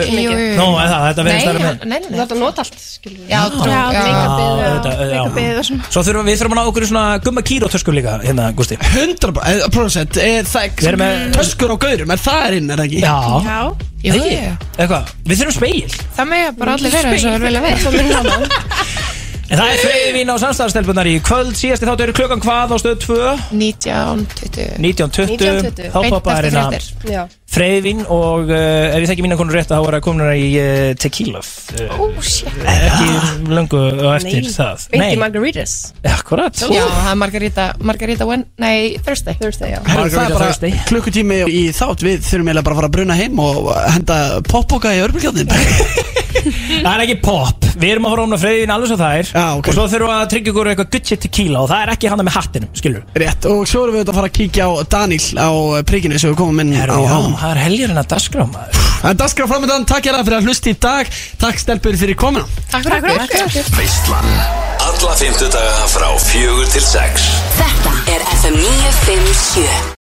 [SPEAKER 2] Nú, er það, þetta verður stærra með
[SPEAKER 3] Nei, nei, nei Þú ætla að nota allt, skilur Já, trú,
[SPEAKER 2] Já,
[SPEAKER 3] já
[SPEAKER 2] auðvitað, auðvitað, já.
[SPEAKER 12] beðið og svona
[SPEAKER 2] Svo þurfum við þurfum að ná okkur í svona gumma kýr og töskum líka hérna, Gústi
[SPEAKER 1] 100% er eh, það
[SPEAKER 2] Við erum með-
[SPEAKER 1] töskur á gaurum, er það hérna, er inn, er það ekki?
[SPEAKER 2] Já.
[SPEAKER 12] Já.
[SPEAKER 3] Jú,
[SPEAKER 2] Ekki?
[SPEAKER 3] jú.
[SPEAKER 2] Eitthvað, við þurfum speil
[SPEAKER 3] Það með bara allir vera eins og er vel að vera
[SPEAKER 2] En það er freyðvín á samstæðarstelpunar í kvöld Síðasti þáttu eru klukkan hvað á stöð 2
[SPEAKER 3] 19.20
[SPEAKER 2] 19.20 Þá poppa er hérna
[SPEAKER 13] Já
[SPEAKER 2] Freyðvin og uh, ef ég þekki mína konur rétt þá er að komin í uh, tequila uh,
[SPEAKER 3] Ó, shit
[SPEAKER 2] ekki löngu á eftir það
[SPEAKER 13] Vindi Margaritas
[SPEAKER 2] akkurat
[SPEAKER 3] Já, það er Margarita, Margarita Wen, nei, Thursday Thursday, já
[SPEAKER 1] Herru, það er bara klukkutími í þátt Við þurfum eiginlega bara að fara að bruna heim og henda poppoka í örbulgjóðin
[SPEAKER 2] það er ekki pop við erum að fara ofna freyðin alveg svo það er Já, okay. og svo þurfum við að tryggja ykkur eitthvað gucci tequila og það er ekki hana með hattinum skilur
[SPEAKER 1] Rétt, og svo erum við auðvitað að fara að kíkja á Daniel á eh, prikinu sem við komum inn á
[SPEAKER 2] já,
[SPEAKER 1] hann
[SPEAKER 2] það er helgirinn að dasgra maður
[SPEAKER 1] Það er dasgra framöndan, takk ég fyrir að hlusta í dag Takk stelpur fyrir komuna
[SPEAKER 3] Takk fyrir okkur
[SPEAKER 11] Veislan Alla fymtudaga frá fjögur til sex
[SPEAKER 6] Þetta er FM 957